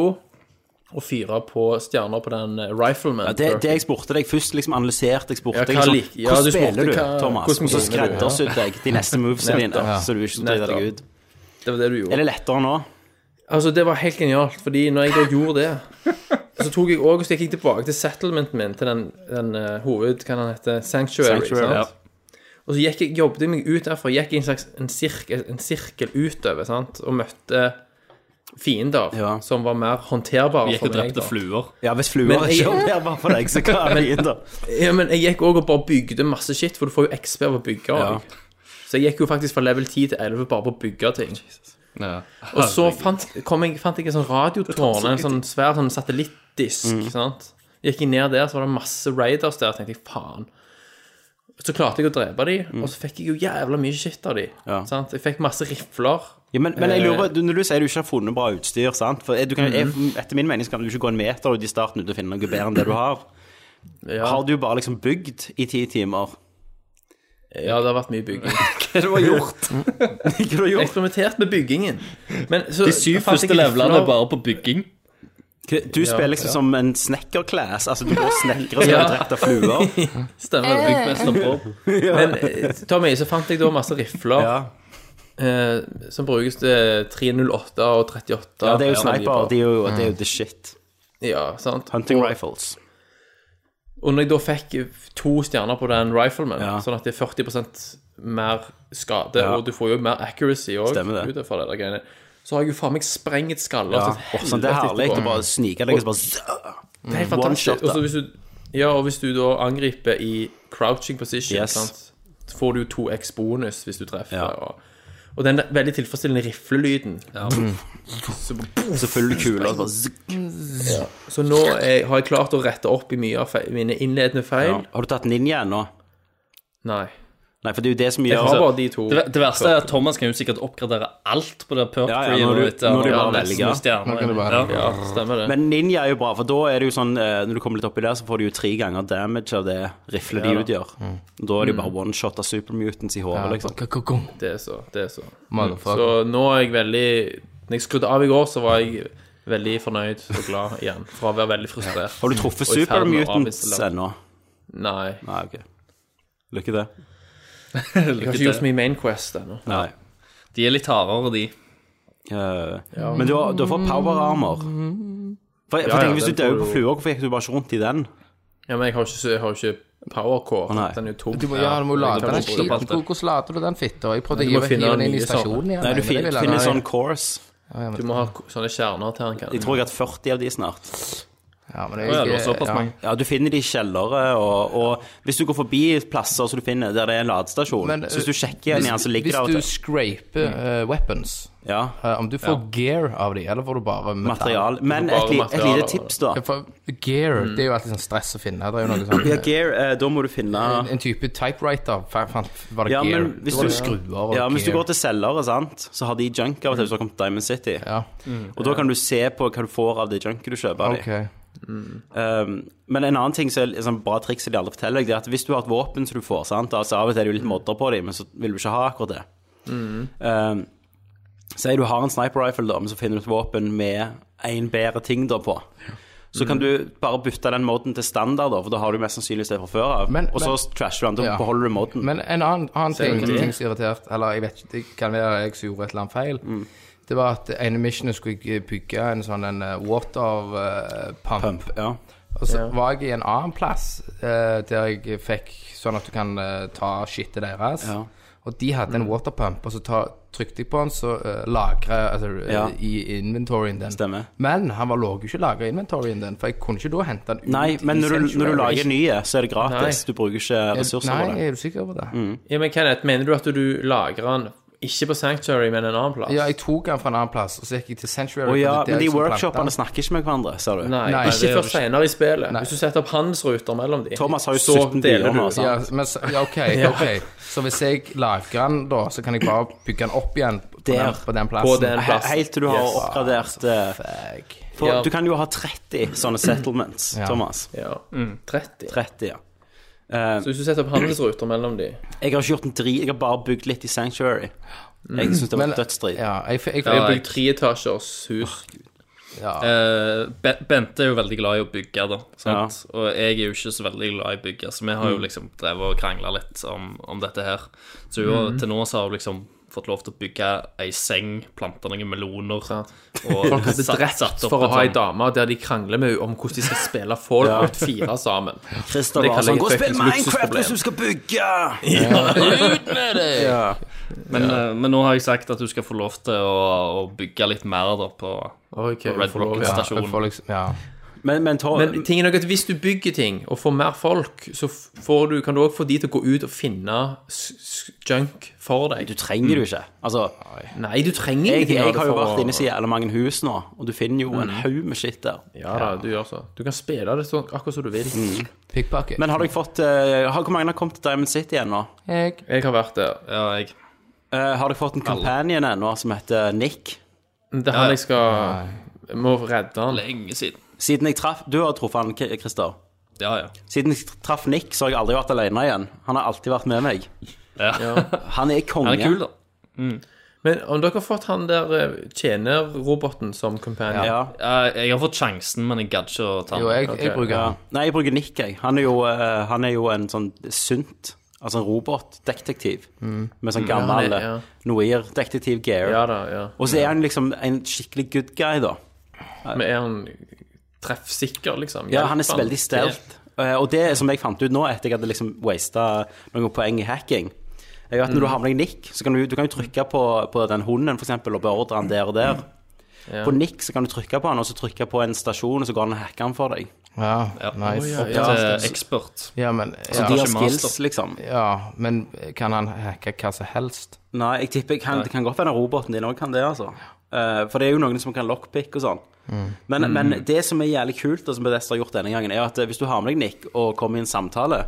Speaker 6: og fyre på stjerner på den eh, rifleman.
Speaker 2: Ja, det, det jeg spurte deg først, liksom analyserte jeg spurte
Speaker 6: Ja,
Speaker 2: deg
Speaker 6: hva
Speaker 2: sånn,
Speaker 6: lik- ja,
Speaker 2: Hvordan
Speaker 6: du spurte
Speaker 2: spiller du,
Speaker 6: hva-
Speaker 2: Thomas?
Speaker 6: hvordan
Speaker 2: Og så
Speaker 6: spiller du, ja.
Speaker 2: skreddersydde jeg de neste movesene dine,
Speaker 6: [laughs] Nettopp.
Speaker 2: så du ikke driter deg ut.
Speaker 6: det var det du gjorde.
Speaker 2: Er det lettere nå?
Speaker 6: Altså, det var helt genialt, fordi når jeg da gjorde det, så tok jeg også, så gikk jeg tilbake til settlementen min, til den, den eh, hoved, hva den heter, Sanctuary,
Speaker 2: Sanctuary,
Speaker 6: sant? Og så gikk jeg, jobbet jeg meg ut derfra, gikk i en slags en sirkel, en sirkel utover, sant? Og møtte fiender
Speaker 2: Ja.
Speaker 6: som var mer håndterbare
Speaker 4: Vi gikk
Speaker 6: for
Speaker 4: og
Speaker 6: meg.
Speaker 4: drepte
Speaker 6: da.
Speaker 4: fluer.
Speaker 2: Ja, hvis
Speaker 6: Men
Speaker 2: fluer
Speaker 6: jeg-
Speaker 2: ikke [laughs] er der bare for deg, så hva er det da?
Speaker 6: Ja, men jeg gikk også og bare bygde masse shit, for du får jo XP av å bygge.
Speaker 2: Ja.
Speaker 6: også. Så jeg gikk jo faktisk fra level 10 til 11 bare på å bygge ting.
Speaker 4: Ja.
Speaker 6: Og så fant, kom jeg, fant jeg en sånn radiotårn, en sånn svær sånn satellittdisk.
Speaker 4: Mm.
Speaker 6: sant? Gikk jeg ned der, så var det masse raiders der. tenkte jeg, faen. Så klarte jeg å drepe de,
Speaker 4: Mm.
Speaker 6: og så fikk jeg jo jævla mye shit av de.
Speaker 2: Ja.
Speaker 6: sant? Jeg fikk masse rifler.
Speaker 2: Ja, men, men
Speaker 6: Eh.
Speaker 2: jeg lurer, du, når du sier du ikke har funnet bra utstyr, sant? For du kan, jeg,
Speaker 6: Mhm.
Speaker 2: etter min mening så kan du ikke gå en meter ut i starten uten å finne noe bedre enn det du har.
Speaker 6: Ja,
Speaker 2: Har du bare liksom bygd i ti
Speaker 6: [laughs]
Speaker 2: timer?
Speaker 6: ja det har vært mye bygging.
Speaker 4: Hva du har gjort?
Speaker 2: Ikke du har gjort?
Speaker 6: Eksperimentert med byggingen. Men så
Speaker 4: De syv
Speaker 6: fant jeg
Speaker 4: første levelene
Speaker 6: rifler.
Speaker 4: er bare på bygging.
Speaker 2: Du spiller liksom
Speaker 6: ja.
Speaker 2: som en snekkerklass. Altså, du går og snekrer
Speaker 6: [laughs]
Speaker 2: og skal drepe fluer.
Speaker 6: Stemmer.
Speaker 4: Byggmesteren Bob.
Speaker 6: Men eh, Tommy, så fant jeg da masse rifler
Speaker 2: Ja.
Speaker 6: eh, som brukes til 308 og 38.
Speaker 2: ja, det er jo
Speaker 6: flere
Speaker 2: sniper.
Speaker 6: kaliber.
Speaker 2: Det er jo, det er
Speaker 6: Mm.
Speaker 2: jo the shit.
Speaker 6: Ja, sant.
Speaker 2: Hunting rifles.
Speaker 6: Og når jeg da fikk to stjerner på den rifleman,
Speaker 2: Ja.
Speaker 6: sånn at det er 40 mer skade,
Speaker 2: Ja.
Speaker 6: og du får jo mer accuracy òg,
Speaker 2: Stemmer det.
Speaker 6: utenfor det der greiene, så har jeg jo faen meg sprengt skaller.
Speaker 2: Ja.
Speaker 6: til helvete
Speaker 2: Sånn, det er herlig å
Speaker 6: etterpå.
Speaker 2: bare snike deg og så bare zzzz.
Speaker 6: Det er helt
Speaker 2: One
Speaker 6: fantastisk.
Speaker 2: shot, da.
Speaker 6: Og så hvis du, ja, og hvis du da angriper i crouching position,
Speaker 2: Yes.
Speaker 6: sant? så får du 2x bonus hvis du treffer.
Speaker 2: Ja.
Speaker 6: Og, og den der veldig tilfredsstillende riflelyden.
Speaker 2: Så full kule og så bare zzz.
Speaker 6: Så nå er, har jeg klart å rette opp i mye av feil, mine innledende feil.
Speaker 2: ja. Har du tatt ninja ennå?
Speaker 6: Nei.
Speaker 2: Nei, for det er jo altså, det som
Speaker 6: Jeg
Speaker 2: gjør
Speaker 6: har bare de to.
Speaker 4: Det, det verste er at Thomas kan jo sikkert oppgradere alt på det perk
Speaker 2: Ja, ja,
Speaker 4: tree nå
Speaker 2: når du-
Speaker 4: etter
Speaker 2: når du
Speaker 4: han har
Speaker 2: bare
Speaker 4: nesten
Speaker 2: velger.
Speaker 4: noen stjerner.
Speaker 3: Nå kan du bare-
Speaker 4: Ja.
Speaker 6: Ja, stemmer det.
Speaker 2: Men ninja er jo bra, for da er det jo sånn eh, Når du kommer litt oppi der, så får du jo tre ganger damage av det riflet de utgjør.
Speaker 3: Mm.
Speaker 2: Da Mm. er det jo bare one shot av supermutants i hodet, liksom.
Speaker 3: Ka-ka-kong.
Speaker 6: det er så. Det er så. Så
Speaker 3: Motherfucker.
Speaker 6: nå er jeg veldig Når jeg skrudde av i går, så var jeg veldig fornøyd og glad igjen. Fra å være veldig frustrert.
Speaker 2: Har du truffet
Speaker 6: Og i ferd med å
Speaker 2: supermutants
Speaker 6: avvise det.
Speaker 2: ennå?
Speaker 6: Nei.
Speaker 2: Nei, OK. Lykke til.
Speaker 6: Jeg har ikke gjort så mye Main Quest ennå.
Speaker 2: Nei.
Speaker 4: De er litt hardere, de.
Speaker 2: Eh, Men du har, du har fått power armor. For, for
Speaker 6: Ja,
Speaker 2: tenk,
Speaker 6: ja,
Speaker 2: Hvis
Speaker 6: den
Speaker 2: du dør
Speaker 6: får
Speaker 2: på
Speaker 6: du-
Speaker 2: fluer, hvorfor gikk du bare ikke rundt i den?
Speaker 6: Ja, men jeg har jo ikke, jeg har jo ikke powercore.
Speaker 2: Å, nei.
Speaker 6: den er jo tom.
Speaker 3: Du må, ja, du må lade den skiten.
Speaker 4: alt det.
Speaker 3: Hvor- Hvordan lader du den fitta? Jeg prøvde å
Speaker 6: Du må
Speaker 3: hive
Speaker 6: finne
Speaker 3: hive den inn i
Speaker 6: nye
Speaker 3: stasjonen igjen.
Speaker 2: sånn. Nei,
Speaker 3: men
Speaker 2: du fin,
Speaker 3: det vil jeg
Speaker 2: finner
Speaker 3: ha.
Speaker 2: sånn course.
Speaker 6: Du må ha k- sånne kjerner til den. Kan.
Speaker 2: Jeg tror jeg har hatt 40 av de snart.
Speaker 3: Ja, men
Speaker 4: Å, ja,
Speaker 3: jeg,
Speaker 4: det var såpass
Speaker 3: ja.
Speaker 4: mange.
Speaker 2: Ja, sånn- Du finner de i kjellere, og, og hvis du går forbi plasser som du finner der det er en ladestasjon
Speaker 3: Men,
Speaker 2: Så eh, hvis du sjekker en
Speaker 3: Hvis,
Speaker 2: igjen, så ligger
Speaker 3: hvis
Speaker 2: det av
Speaker 3: du
Speaker 2: og til
Speaker 3: scraper eh, weapons,
Speaker 2: ja,
Speaker 3: eh, om du får gear av de, eller får du bare metall?
Speaker 2: material. Men
Speaker 6: bare
Speaker 2: et, li, et
Speaker 6: materialer,
Speaker 2: lite tips, da.
Speaker 3: Ja, for Gear,
Speaker 2: Mm.
Speaker 3: det er jo alltid sånn stress å finne. Det er jo noe
Speaker 2: Ja,
Speaker 3: sånn
Speaker 2: gear, eh, da må du finne
Speaker 3: en, en type typewriter. fa- fa- Var det
Speaker 2: Ja,
Speaker 3: gear?
Speaker 2: men hvis
Speaker 3: var
Speaker 2: du-
Speaker 3: det skruer og
Speaker 2: Ja, men hvis du
Speaker 3: gear.
Speaker 2: går til selgere, sant, så har de junk av og til hvis du har kommet til Diamond City.
Speaker 3: Ja,
Speaker 2: Og da kan du se på hva du får av det junket du kjøper av de.
Speaker 3: ok.
Speaker 2: Um, men en annen ting som er et sånn bra triks som de aldri forteller deg, det er at hvis du har et våpen som du får sant? Altså Av og til er det jo litt modder på dem, men så vil du ikke ha akkurat det. Um, Si du har en sniper rifle, da, men så finner du et våpen med en bedre ting da på. Så kan du bare bytte den moden til standard, da, for da har du mest sannsynligvis det fra før av.
Speaker 3: Men-
Speaker 2: Og så trasher du den, da
Speaker 3: Ja.
Speaker 2: beholder du moden.
Speaker 3: Men en annen, annen ting, ting som irriterte Eller jeg vet ikke, det kan være jeg som gjorde et eller annet feil.
Speaker 2: Mm.
Speaker 3: Det var at en av missionene skulle jeg bygge en sånn en eh, water eh, pump.
Speaker 2: Pump, ja.
Speaker 3: Og så var jeg i en annen plass eh, der jeg fikk sånn at du kan eh, ta shitet deres.
Speaker 2: Ja. Mm.
Speaker 3: Og de hadde en waterpump, og så ta, trykte jeg på den, så uh, lagret altså, eh,
Speaker 2: Ja.
Speaker 3: i inventoryen den.
Speaker 2: Stemmer.
Speaker 3: Men han var lå jo ikke lagra i inventoryen den, for jeg kunne ikke da hente den ut.
Speaker 2: Nei, men
Speaker 3: i
Speaker 2: når du, når du
Speaker 3: Sanctuary.
Speaker 2: lager nye, så er det gratis. Du bruker ikke ressurser
Speaker 3: Nei,
Speaker 2: på det. Mm.
Speaker 3: er du sikker på det?
Speaker 6: Ja, men Kenneth, mener du at du lagrer den Ikke på Sanctuary, men en annen plass.
Speaker 3: Ja, jeg tok den fra en annen plass, og så gikk jeg til Sanctuary.
Speaker 2: Å ja,
Speaker 3: for det er liksom der
Speaker 2: men de
Speaker 3: jeg som plantet
Speaker 2: workshopene
Speaker 3: den.
Speaker 2: snakker ikke med hverandre, ser du.
Speaker 6: Nei,
Speaker 3: Nei,
Speaker 4: det
Speaker 6: ikke
Speaker 4: gjør
Speaker 6: før
Speaker 4: du ikke.
Speaker 6: senere i spillet.
Speaker 3: Nei.
Speaker 6: Hvis du setter opp handelsruter mellom dem,
Speaker 2: Thomas har jo
Speaker 6: så
Speaker 2: 17
Speaker 6: deler du.
Speaker 2: byer nå, altså. sant?
Speaker 3: Ja, men, så- ja,
Speaker 2: [laughs]
Speaker 3: OK. ok Så hvis jeg lager den, da, så kan jeg bare bygge den opp igjen på,
Speaker 2: Der.
Speaker 3: den, på den
Speaker 6: På
Speaker 3: plassen?
Speaker 6: den
Speaker 2: He-
Speaker 6: plassen. Ah,
Speaker 2: Helt til du har oppgradert eh,
Speaker 3: Fuck.
Speaker 2: For
Speaker 6: Ja.
Speaker 2: du kan jo ha 30 sånne settlements,
Speaker 3: Ja.
Speaker 2: Thomas.
Speaker 6: Ja. 30.
Speaker 2: 30, ja. Eh,
Speaker 6: Så hvis du setter opp handelsruter mellom dem
Speaker 2: jeg har ikke gjort en drit, jeg har bare bygd litt i Sanctuary.
Speaker 6: Mm.
Speaker 2: Jeg syns det var
Speaker 3: Men-
Speaker 2: dødsstrid.
Speaker 3: Ja, jeg, jeg, jeg,
Speaker 6: Jeg har
Speaker 3: jeg,
Speaker 6: bygd treetasjers hus.
Speaker 3: ja.
Speaker 4: Eh, Be- Bente er jo veldig glad i å bygge, da. Sant? Og jeg er jo ikke så veldig glad i å bygge, så vi har jo liksom drevet og krangla litt om, om dette her. Så jo, til nå så har hun liksom fått lov til å bygge ei seng, plante noen meloner og
Speaker 3: altså.
Speaker 6: Folk hadde drept for å ha ei dame der de krangler med henne om hvordan de skal spille Fallout
Speaker 3: [laughs]
Speaker 6: 4 sammen.
Speaker 2: Christer
Speaker 6: Det
Speaker 2: var
Speaker 6: kaller jeg
Speaker 2: sånn 'Gå og spill
Speaker 6: fuckings
Speaker 2: Minecraft
Speaker 6: luksusproblem.»
Speaker 2: hvis du skal bygge!'
Speaker 4: Men, eh, men nå har jeg sagt at hun skal få lov til å, å bygge litt mer da på
Speaker 6: Ok,
Speaker 4: Red
Speaker 6: vi får lov,
Speaker 4: Rocket
Speaker 6: ja.
Speaker 4: Stasjon.
Speaker 3: jeg får liksom, ja.
Speaker 2: Men, men, ta,
Speaker 6: Men tingen er nok at hvis du bygger ting og får mer folk, så f- får du, kan du òg få de til å gå ut og finne s- s- junk for
Speaker 2: du
Speaker 6: deg.
Speaker 2: trenger det jo ikke. Altså,
Speaker 6: Nei, du trenger
Speaker 2: jeg,
Speaker 6: ingenting av
Speaker 2: jeg
Speaker 6: det
Speaker 2: har jo
Speaker 6: for å- Mm.
Speaker 2: vært inne i så jævlig mange hus nå, og du finner jo en haug med shit der.
Speaker 6: Ja da, du gjør så. Du kan spille det sånn akkurat som du vil.
Speaker 2: Mm.
Speaker 3: Pickpocket.
Speaker 2: Men har dere fått eh, har, Hvor mange har kommet til Diamond City ennå?
Speaker 3: jeg
Speaker 6: Jeg har vært der.
Speaker 4: Ja, jeg
Speaker 2: Eh, har dere fått en companion ennå som heter Nick?
Speaker 6: Det er han jeg skal jeg Må redde han.
Speaker 4: Lenge siden.
Speaker 2: Siden jeg traff Du har truffet han, K- Christer.
Speaker 4: Ja, ja.
Speaker 2: Siden jeg traff Nick, så har jeg aldri vært alene igjen. Han har alltid vært med meg.
Speaker 4: ja.
Speaker 2: Han er konge.
Speaker 4: Han er kul, da.
Speaker 6: Men om dere har fått han der eh, tjenerroboten som companion
Speaker 2: Ja.
Speaker 4: Eh, Jeg har fått sjansen, men jeg gadd ikke å ta
Speaker 3: Jo,
Speaker 4: den.
Speaker 3: jeg, jeg bruker
Speaker 2: Ja.
Speaker 3: den.
Speaker 2: Nei, jeg bruker Nick, jeg. Han er jo, eh, han er jo en sånn synt. Altså en robotdetektiv med sånn gammel
Speaker 6: han er-
Speaker 2: ja,
Speaker 6: ja.
Speaker 2: Noir-detektiv gear.
Speaker 6: Ja da, ja.
Speaker 2: Og så er han liksom en skikkelig good guy, da.
Speaker 6: Men er han treffsikker, liksom?
Speaker 2: Ja, han
Speaker 6: Hjelper
Speaker 2: er veldig stealth. Eh, Og det som jeg fant ut nå, etter jeg hadde liksom wasta noen poeng i hacking er jo at Når du har med deg Nick, så kan du, du kan jo trykke på, på den hunden for eksempel, og beordre han der og der. På Nick så kan du trykke på han, og så trykke på en stasjon, og så går han og hacker han for deg.
Speaker 3: Ja,
Speaker 4: Ja.
Speaker 3: nice.
Speaker 4: Opp til expert.
Speaker 3: Ja, men
Speaker 2: Så
Speaker 3: ja,
Speaker 2: de har
Speaker 4: ikke master.
Speaker 2: skills, liksom.
Speaker 3: ja, men kan han hacke hva som helst?
Speaker 2: Nei, jeg tipper jeg kan, det kan godt være roboten din òg kan det, altså. Eh, for det er jo noen som kan lockpick og sånn.
Speaker 3: Mm.
Speaker 2: Men, men det som er jævlig kult, og som Bedest har gjort denne gangen, er at eh, hvis du har med deg Nick og kommer i en samtale,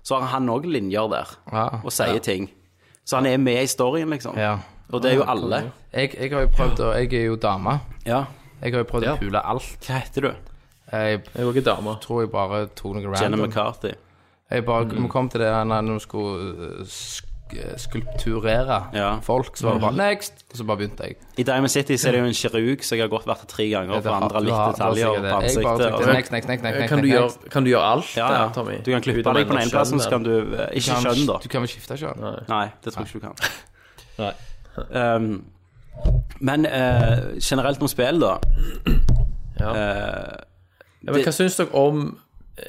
Speaker 2: så har han òg linjer der
Speaker 3: Ja.
Speaker 2: og sier ting. Så han er med i storyen, liksom.
Speaker 3: Ja.
Speaker 2: Og det er jo alle.
Speaker 3: Jeg, jeg har jo prøvd, å- jeg er jo dame.
Speaker 2: Ja.
Speaker 3: Jeg har jo prøvd
Speaker 4: Ja.
Speaker 3: å pule alt.
Speaker 2: Hva heter du?
Speaker 3: Jeg
Speaker 6: Jeg er jo ikke dame.
Speaker 3: tror jeg bare tok noe
Speaker 2: Jenna
Speaker 3: random.
Speaker 2: McCarthy.
Speaker 3: Jeg bare vi kom til det der når vi skulle uh, sk skulpturere
Speaker 2: Ja.
Speaker 3: folk, så var det bare next! Og så bare begynte jeg.
Speaker 2: I Diamond City så er det jo en kirurg som jeg har gått vært til tre ganger og forandra litt detaljer på
Speaker 3: Jeg bare
Speaker 2: ansiktet.
Speaker 3: trykte
Speaker 2: og- sånn.
Speaker 3: next, next, next, next,
Speaker 6: Kan du,
Speaker 3: next,
Speaker 6: gjøre, kan du gjøre alt
Speaker 2: Ja,
Speaker 6: der,
Speaker 2: ja.
Speaker 6: Tommy?
Speaker 2: Du kan klippe deg på den ene plassen, så kan du eh, Ikke
Speaker 3: next.
Speaker 2: skjønn, da.
Speaker 3: Du kan vel skifte kjønn?
Speaker 2: Nei, det tror jeg ikke du kan. Um, men eh, generelt om spill, da.
Speaker 6: Ja.
Speaker 2: Eh,
Speaker 6: Ja, men hva syns dere om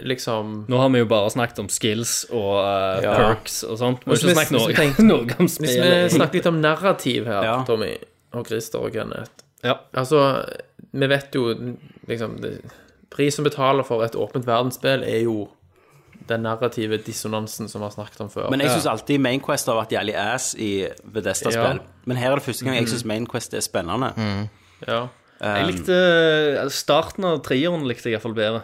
Speaker 6: liksom
Speaker 4: Nå har vi jo bare snakket om skills og eh,
Speaker 2: Ja.
Speaker 4: perks og sånt. Må
Speaker 6: Hvis
Speaker 4: ikke
Speaker 6: vi-
Speaker 4: snakke
Speaker 6: hvis vi
Speaker 4: noe, [laughs]
Speaker 6: tenker-
Speaker 4: noe om
Speaker 6: Hvis vi
Speaker 4: spillet.
Speaker 6: snakker litt om narrativ her,
Speaker 2: Ja.
Speaker 6: Tommy og Christer og Kenneth
Speaker 4: Ja.
Speaker 6: Altså, vi vet jo liksom det, Prisen betaler for et åpent verdensspill er jo den narrative dissonansen som vi har snakket om før.
Speaker 2: men jeg syns alltid Mainquest har vært jævlig ass i Vedesta-spill.
Speaker 6: Ja.
Speaker 2: Men her er det første gang jeg syns Mainquest er spennende.
Speaker 6: ja.
Speaker 4: Jeg likte eh, Starten av treeren likte jeg iallfall bedre.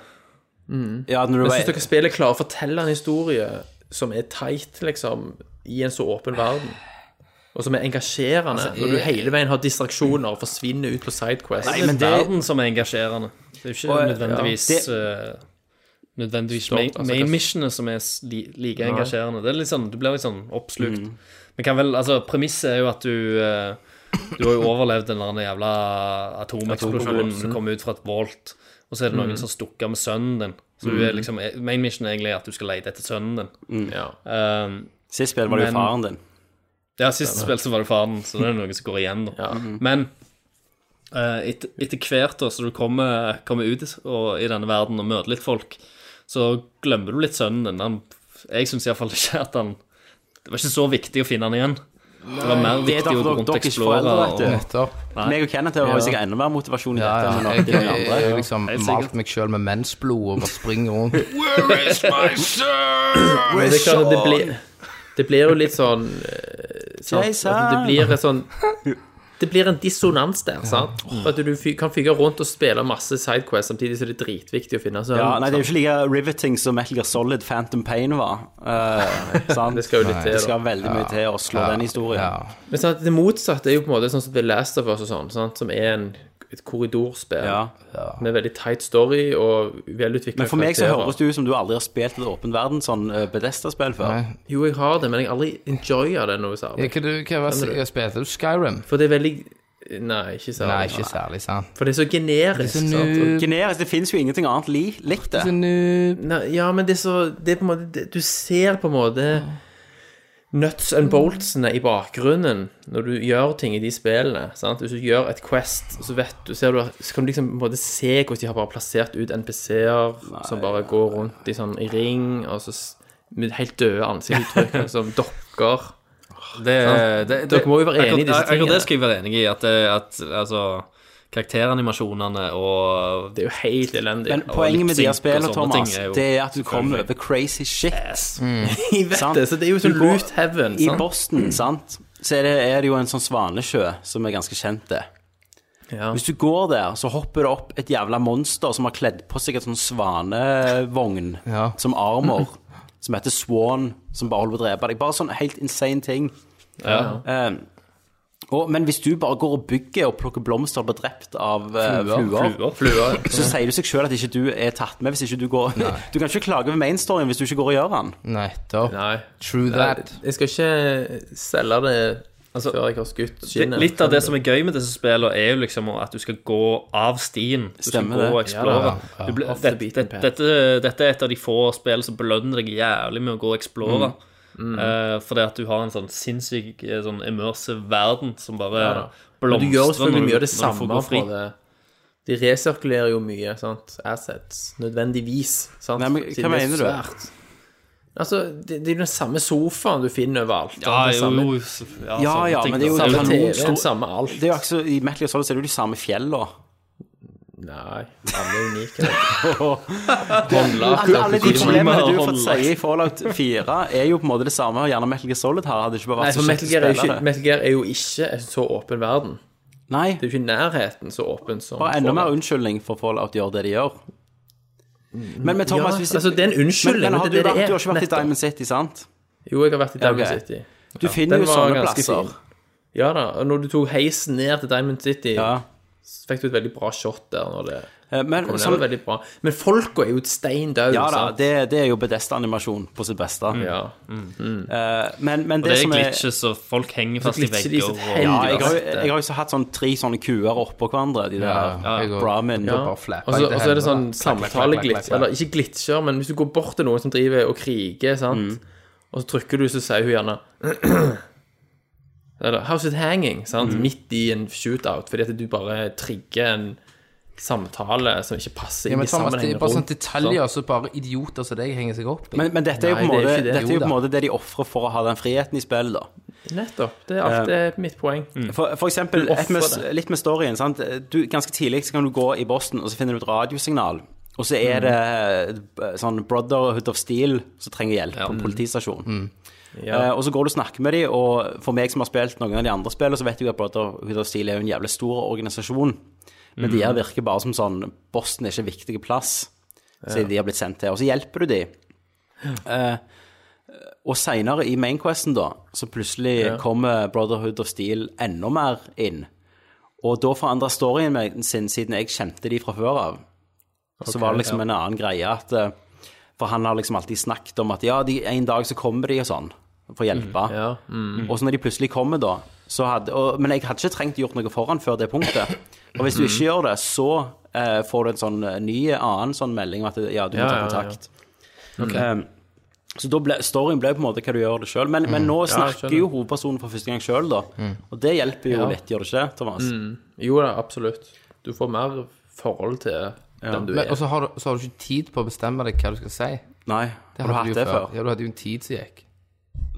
Speaker 2: Ja, når du
Speaker 6: Jeg
Speaker 2: var,
Speaker 6: syns dere spillet klarer å fortelle en historie som er tight, liksom, i en så åpen verden. Og som er engasjerende,
Speaker 4: Altså,
Speaker 6: når du hele veien har distraksjoner og forsvinner ut på sidequest.
Speaker 4: Nei, men det er verden som er engasjerende. Det er jo ikke
Speaker 2: Og, ja,
Speaker 4: nødvendigvis
Speaker 2: det-
Speaker 4: eh, Nødvendigvis
Speaker 6: Stort,
Speaker 4: main,
Speaker 6: altså,
Speaker 4: main
Speaker 6: hva-
Speaker 4: missionet som er s- li, like engasjerende. Det er litt sånn, Du blir litt sånn oppslukt. Men kan vel, altså, Premisset er jo at du eh, Du har jo overlevd den der jævla atomeksplosjonen. Du kom ut fra et volt, og så er det noen som stukker med sønnen din. Så du er liksom, Main mission er egentlig at du skal lete etter sønnen din.
Speaker 6: Ja.
Speaker 4: Um,
Speaker 2: sist spill var det jo
Speaker 4: Men-
Speaker 2: faren din.
Speaker 4: ja, sist spill så var det faren, så det er noe som går igjen, da. Men eh, etter, etter hvert da, så du kommer, kommer ut og, i denne verden og møter litt folk, så glemmer du litt sønnen din. Han, jeg syns iallfall ikke at han Det var ikke så viktig å finne han igjen. Det var mer
Speaker 2: Det er
Speaker 4: viktig å gå
Speaker 2: derfor
Speaker 4: rundt
Speaker 2: dere
Speaker 4: og
Speaker 2: ikke er
Speaker 4: eksplore.
Speaker 2: foreldre, vet
Speaker 4: Og,
Speaker 2: du.
Speaker 3: Nettopp.
Speaker 2: Meg og Kenneth har jo sikkert enda mer motivasjon i
Speaker 3: Ja,
Speaker 2: dette.
Speaker 3: ja. Jeg,
Speaker 2: men nok til
Speaker 3: jeg,
Speaker 2: noen
Speaker 3: jeg,
Speaker 2: andre.
Speaker 3: har liksom malt meg sjøl med mensblod og bare springer rundt. [laughs]
Speaker 6: Men det, er klart at det, blir, det blir jo litt sånn eh, sant? At Det blir et sånn Det blir en dissonans der, sant? For at du fy- kan fyke rundt og spille masse sidequests samtidig så er det dritviktig å finne søvn.
Speaker 2: Ja, nei, Det er jo ikke like riveting som Metal Gear Solid Phantom Pain var. eh, sant?
Speaker 6: Det skal jo litt til,
Speaker 2: Det skal veldig mye til å slå den historien.
Speaker 6: da. Men sant, det motsatte er jo på en måte sånn som The Last of Us og sånn, sant? som er en, et korridorspill
Speaker 2: Ja.
Speaker 6: med veldig tight story og velutvikla
Speaker 2: Men for meg så høres det ut som du aldri har spilt et åpen verden sånn eh, Bethesda-spill før.
Speaker 6: Jo, jeg har det, men jeg har aldri enjoya det noe særlig.
Speaker 3: Hva, du- hva, hva, hva spilte du? Skyrim?
Speaker 6: For det er veldig Nei, ikke særlig.
Speaker 3: Nei, ikke særlig, sant?
Speaker 6: For det er så generisk.
Speaker 3: Så
Speaker 6: sant? Og-
Speaker 3: noob,
Speaker 2: Generisk, det fins jo ingenting annet li likt det.
Speaker 3: så noob.
Speaker 6: Nei, ja, men det er så det er på en måte, det, Du ser på en måte nuts and boltsene i bakgrunnen når du gjør ting i de spillene. Sant? Hvis du gjør et Quest, så, vet du, ser du, så kan du liksom på en måte se hvordan de har bare plassert ut NPC-er som bare går rundt i, sånn, i ring, og så s- med helt døde ansiktsuttrykk, som dokker.
Speaker 4: Det, det,
Speaker 6: Sant?
Speaker 4: det,
Speaker 6: Dere må jo være enig i disse
Speaker 4: akkurat- Akkurat
Speaker 6: tingene.
Speaker 4: det skal jeg være enig i. At, eh, at altså, karakteranimasjonene og
Speaker 6: Det er jo helt elendig.
Speaker 2: Men
Speaker 4: og
Speaker 2: poenget med de her
Speaker 4: lip-sync og
Speaker 2: spillene,
Speaker 4: sånne
Speaker 2: Thomas,
Speaker 4: ting er jo-
Speaker 2: det er at du kommer over crazy shit. [laughs]
Speaker 6: Mm. Jeg vet
Speaker 2: sant?
Speaker 6: det, så det er jo sånn
Speaker 2: Du går-
Speaker 6: loot heaven.
Speaker 2: I
Speaker 6: sant?
Speaker 2: Boston, sant, så er det, er det jo en sånn svanesjø som er ganske kjent, det.
Speaker 6: Ja.
Speaker 2: Hvis du går der, så hopper det opp et jævla monster som har kledd på seg et sånn svanevogn
Speaker 3: Ja.
Speaker 2: som armor, som heter Swan, som bare holder på å drepe deg. Bare sånn helt insane ting. Eh, og, men hvis du bare går og bygger og plukker blomster og blir drept av eh, fluer,
Speaker 4: Fluer. fluer.
Speaker 2: så sier du seg sjøl at ikke du er tatt med hvis ikke du går [laughs] Du kan ikke klage over mainstoryen hvis du ikke går og gjør den.
Speaker 3: Nettopp.
Speaker 6: Nei.
Speaker 3: True that.
Speaker 6: Jeg skal ikke selge det før jeg har skutt skinnet.
Speaker 4: Litt av det som er gøy med disse spillene, er jo liksom at du skal gå av stien. Du skal
Speaker 2: Stemmer
Speaker 4: gå
Speaker 2: det.
Speaker 4: og explore. Du blir-
Speaker 6: Off the
Speaker 4: det-
Speaker 6: beaten
Speaker 4: det-
Speaker 6: path.
Speaker 4: Dette, dette er et av de få spillene som belønner deg jævlig med å gå og explore.
Speaker 6: Mm.
Speaker 4: Eh, fordi at du har en sånn sinnssyk eh, sånn immersive verden som bare
Speaker 6: da. Men
Speaker 4: blomstrer
Speaker 6: du gjør selvfølgelig mye av det
Speaker 4: når du får
Speaker 6: samme
Speaker 4: gå fri.
Speaker 6: fra det. De resirkulerer jo mye sant? assets, nødvendigvis. Sant?
Speaker 2: Nei, men hva
Speaker 6: Siden det er
Speaker 2: mener du?
Speaker 6: svært. Altså, det, det er jo den samme sofaen du finner overalt.
Speaker 4: Ja,
Speaker 6: sant? Det
Speaker 4: jo,
Speaker 6: samme,
Speaker 4: jo, s- ja,
Speaker 2: Ja,
Speaker 4: sånne
Speaker 2: ja,
Speaker 4: ting,
Speaker 2: men det er jo-
Speaker 4: da.
Speaker 2: det er
Speaker 6: samme
Speaker 2: jo-
Speaker 6: TV,
Speaker 2: stor-
Speaker 6: samme alt.
Speaker 2: Det er jo ikke så, I Metal Gear Solid så er det jo de samme fjellene.
Speaker 6: Nei, alle er unike.
Speaker 2: Alle, alle de
Speaker 4: Kojima
Speaker 2: problemene du har
Speaker 4: og
Speaker 2: fått
Speaker 4: Holland.
Speaker 2: si i Fallout 4, er jo på en måte det samme. og Gjerne Metal Gear Solid her hadde ikke bare
Speaker 6: Nei,
Speaker 2: vært
Speaker 6: for
Speaker 2: så
Speaker 6: Metal
Speaker 2: kjekt å
Speaker 6: Gear, er jo
Speaker 2: spille
Speaker 6: ikke,
Speaker 2: det.
Speaker 6: Metal Gear er jo ikke en så åpen verden.
Speaker 2: Nei,
Speaker 6: Det er jo ikke i nærheten så åpen som
Speaker 2: bare enda
Speaker 6: Fallout.
Speaker 2: mer unnskyldning for Fallout gjør det de gjør. Men, men Thomas,
Speaker 6: Ja,
Speaker 2: hvis
Speaker 6: altså, det er en unnskyldning,
Speaker 2: Men, men har
Speaker 6: det
Speaker 2: du,
Speaker 6: er det det
Speaker 2: vært-
Speaker 6: er,
Speaker 2: du har ikke vært
Speaker 6: nettopp.
Speaker 2: i Diamond City, sant?
Speaker 6: Jo, jeg har vært i Diamond
Speaker 2: ok.
Speaker 6: City.
Speaker 2: Du finner
Speaker 6: Den
Speaker 2: jo
Speaker 6: var
Speaker 2: sånne
Speaker 6: ganske
Speaker 2: plasser.
Speaker 6: fin. Ja da. Og når du tok heisen ned til Diamond City,
Speaker 2: Ja.
Speaker 6: så fikk du et veldig bra shot der. Når det
Speaker 2: Eh, Men,
Speaker 6: kom ned, det
Speaker 2: sånn,
Speaker 6: var veldig bra. Men folka er jo et stein døde.
Speaker 2: ja da,
Speaker 6: sant? Mm.
Speaker 2: det, det er jo Bedesta-animasjon på sitt beste.
Speaker 6: ja.
Speaker 3: Mm.
Speaker 2: Eh, Men, men
Speaker 4: Det
Speaker 2: det,
Speaker 4: er
Speaker 2: som er
Speaker 4: glitches, og folk henger fast i
Speaker 6: glitcher de
Speaker 4: vegger.
Speaker 6: sitt
Speaker 4: og-
Speaker 6: helvete.
Speaker 2: ja, jeg, har, jo- jeg har jo så hatt sånn tre sånne kuer oppå hverandre, de der
Speaker 3: Ja, jeg går-
Speaker 2: Brahmin.
Speaker 3: bare
Speaker 6: Og
Speaker 3: flapper
Speaker 6: så
Speaker 3: jeg til
Speaker 6: og så er det sånn
Speaker 3: helvete. Klakk, klakk, klakk, klakk,
Speaker 6: samtaleglitch
Speaker 3: klakk.
Speaker 6: Eller ikke glitcher, men hvis du går bort til noen som driver og kriger,
Speaker 3: Mm.
Speaker 6: sant? og så trykker du, så sier hun gjerne [clears throat] Eller How's it hanging? Sant?
Speaker 3: Mm.
Speaker 6: Midt i en shootout, fordi at du bare trigger en samtale som ikke passer
Speaker 3: Ja,
Speaker 6: inn
Speaker 3: men
Speaker 6: i
Speaker 3: Thomas, det er
Speaker 6: sammenhengen
Speaker 3: bare sånn
Speaker 6: rundt.
Speaker 3: detaljer som bare idioter som deg henger seg opp i.
Speaker 2: Men, men dette er jo
Speaker 6: Nei,
Speaker 2: på en
Speaker 6: det er
Speaker 2: måte
Speaker 6: ikke det.
Speaker 2: det, dette er
Speaker 6: Jo
Speaker 2: jo på en
Speaker 6: da.
Speaker 2: måte det de ofrer for å ha den friheten i spillet, da.
Speaker 6: Nettopp. Det er alt det er mitt poeng.
Speaker 2: For, for eksempel,
Speaker 6: Mm. Du offrer
Speaker 2: et med,
Speaker 6: det.
Speaker 2: litt med storyen. Sant? Du, ganske tidlig så kan du gå i Boston, og så finner du et radiosignal. Og så
Speaker 6: Mm.
Speaker 2: er det eh, sånn Brotherhood of Steel som trenger hjelp
Speaker 6: Mm.
Speaker 2: på en politistasjon. Eh, og så går du og snakker med dem, og for meg som har spilt noen av de andre spillene, så vet jeg jo at Brotherhood of Steel er jo en jævlig stor organisasjon. Men de her
Speaker 6: Mm.
Speaker 2: virker bare som sånn Boston er ikke en viktig plass, så de har blitt sendt til. Og så hjelper du dem. Og seinere i Mainquesten, da, så plutselig kommer Brotherhood of Steel enda mer inn. Og da forandra storyen meg sin, siden jeg kjente de fra før av. så var det liksom en annen greie at eh, For han har liksom alltid snakket om at ja, de, en dag så kommer de og sånn, for å hjelpe.
Speaker 6: Mm, Ja.
Speaker 2: Og så når de plutselig kommer, da så hadde, og, Men jeg hadde ikke trengt å gjort noe foran før det punktet. Og hvis du
Speaker 6: Mm.
Speaker 2: ikke gjør det, så eh, får du en sånn eh, ny annen sånn melding om at ja, du må
Speaker 6: Ja,
Speaker 2: ta
Speaker 6: ja, ja.
Speaker 2: kontakt. Eh, så da ble, storyen ble på en måte hva du gjør det sjøl. Men, men nå snakker jo hovedpersonen for første gang sjøl, da. Og det hjelper jo litt, gjør det ikke, Thomas?
Speaker 6: Jo da, absolutt. Du får mer forhold til den du
Speaker 3: Men-
Speaker 6: er.
Speaker 3: Og så har, du- så har du ikke tid på å bestemme deg hva du skal si.
Speaker 2: Nei. har du hatt
Speaker 3: jo
Speaker 2: det før?
Speaker 3: Ja, du hadde jo en tid som gikk.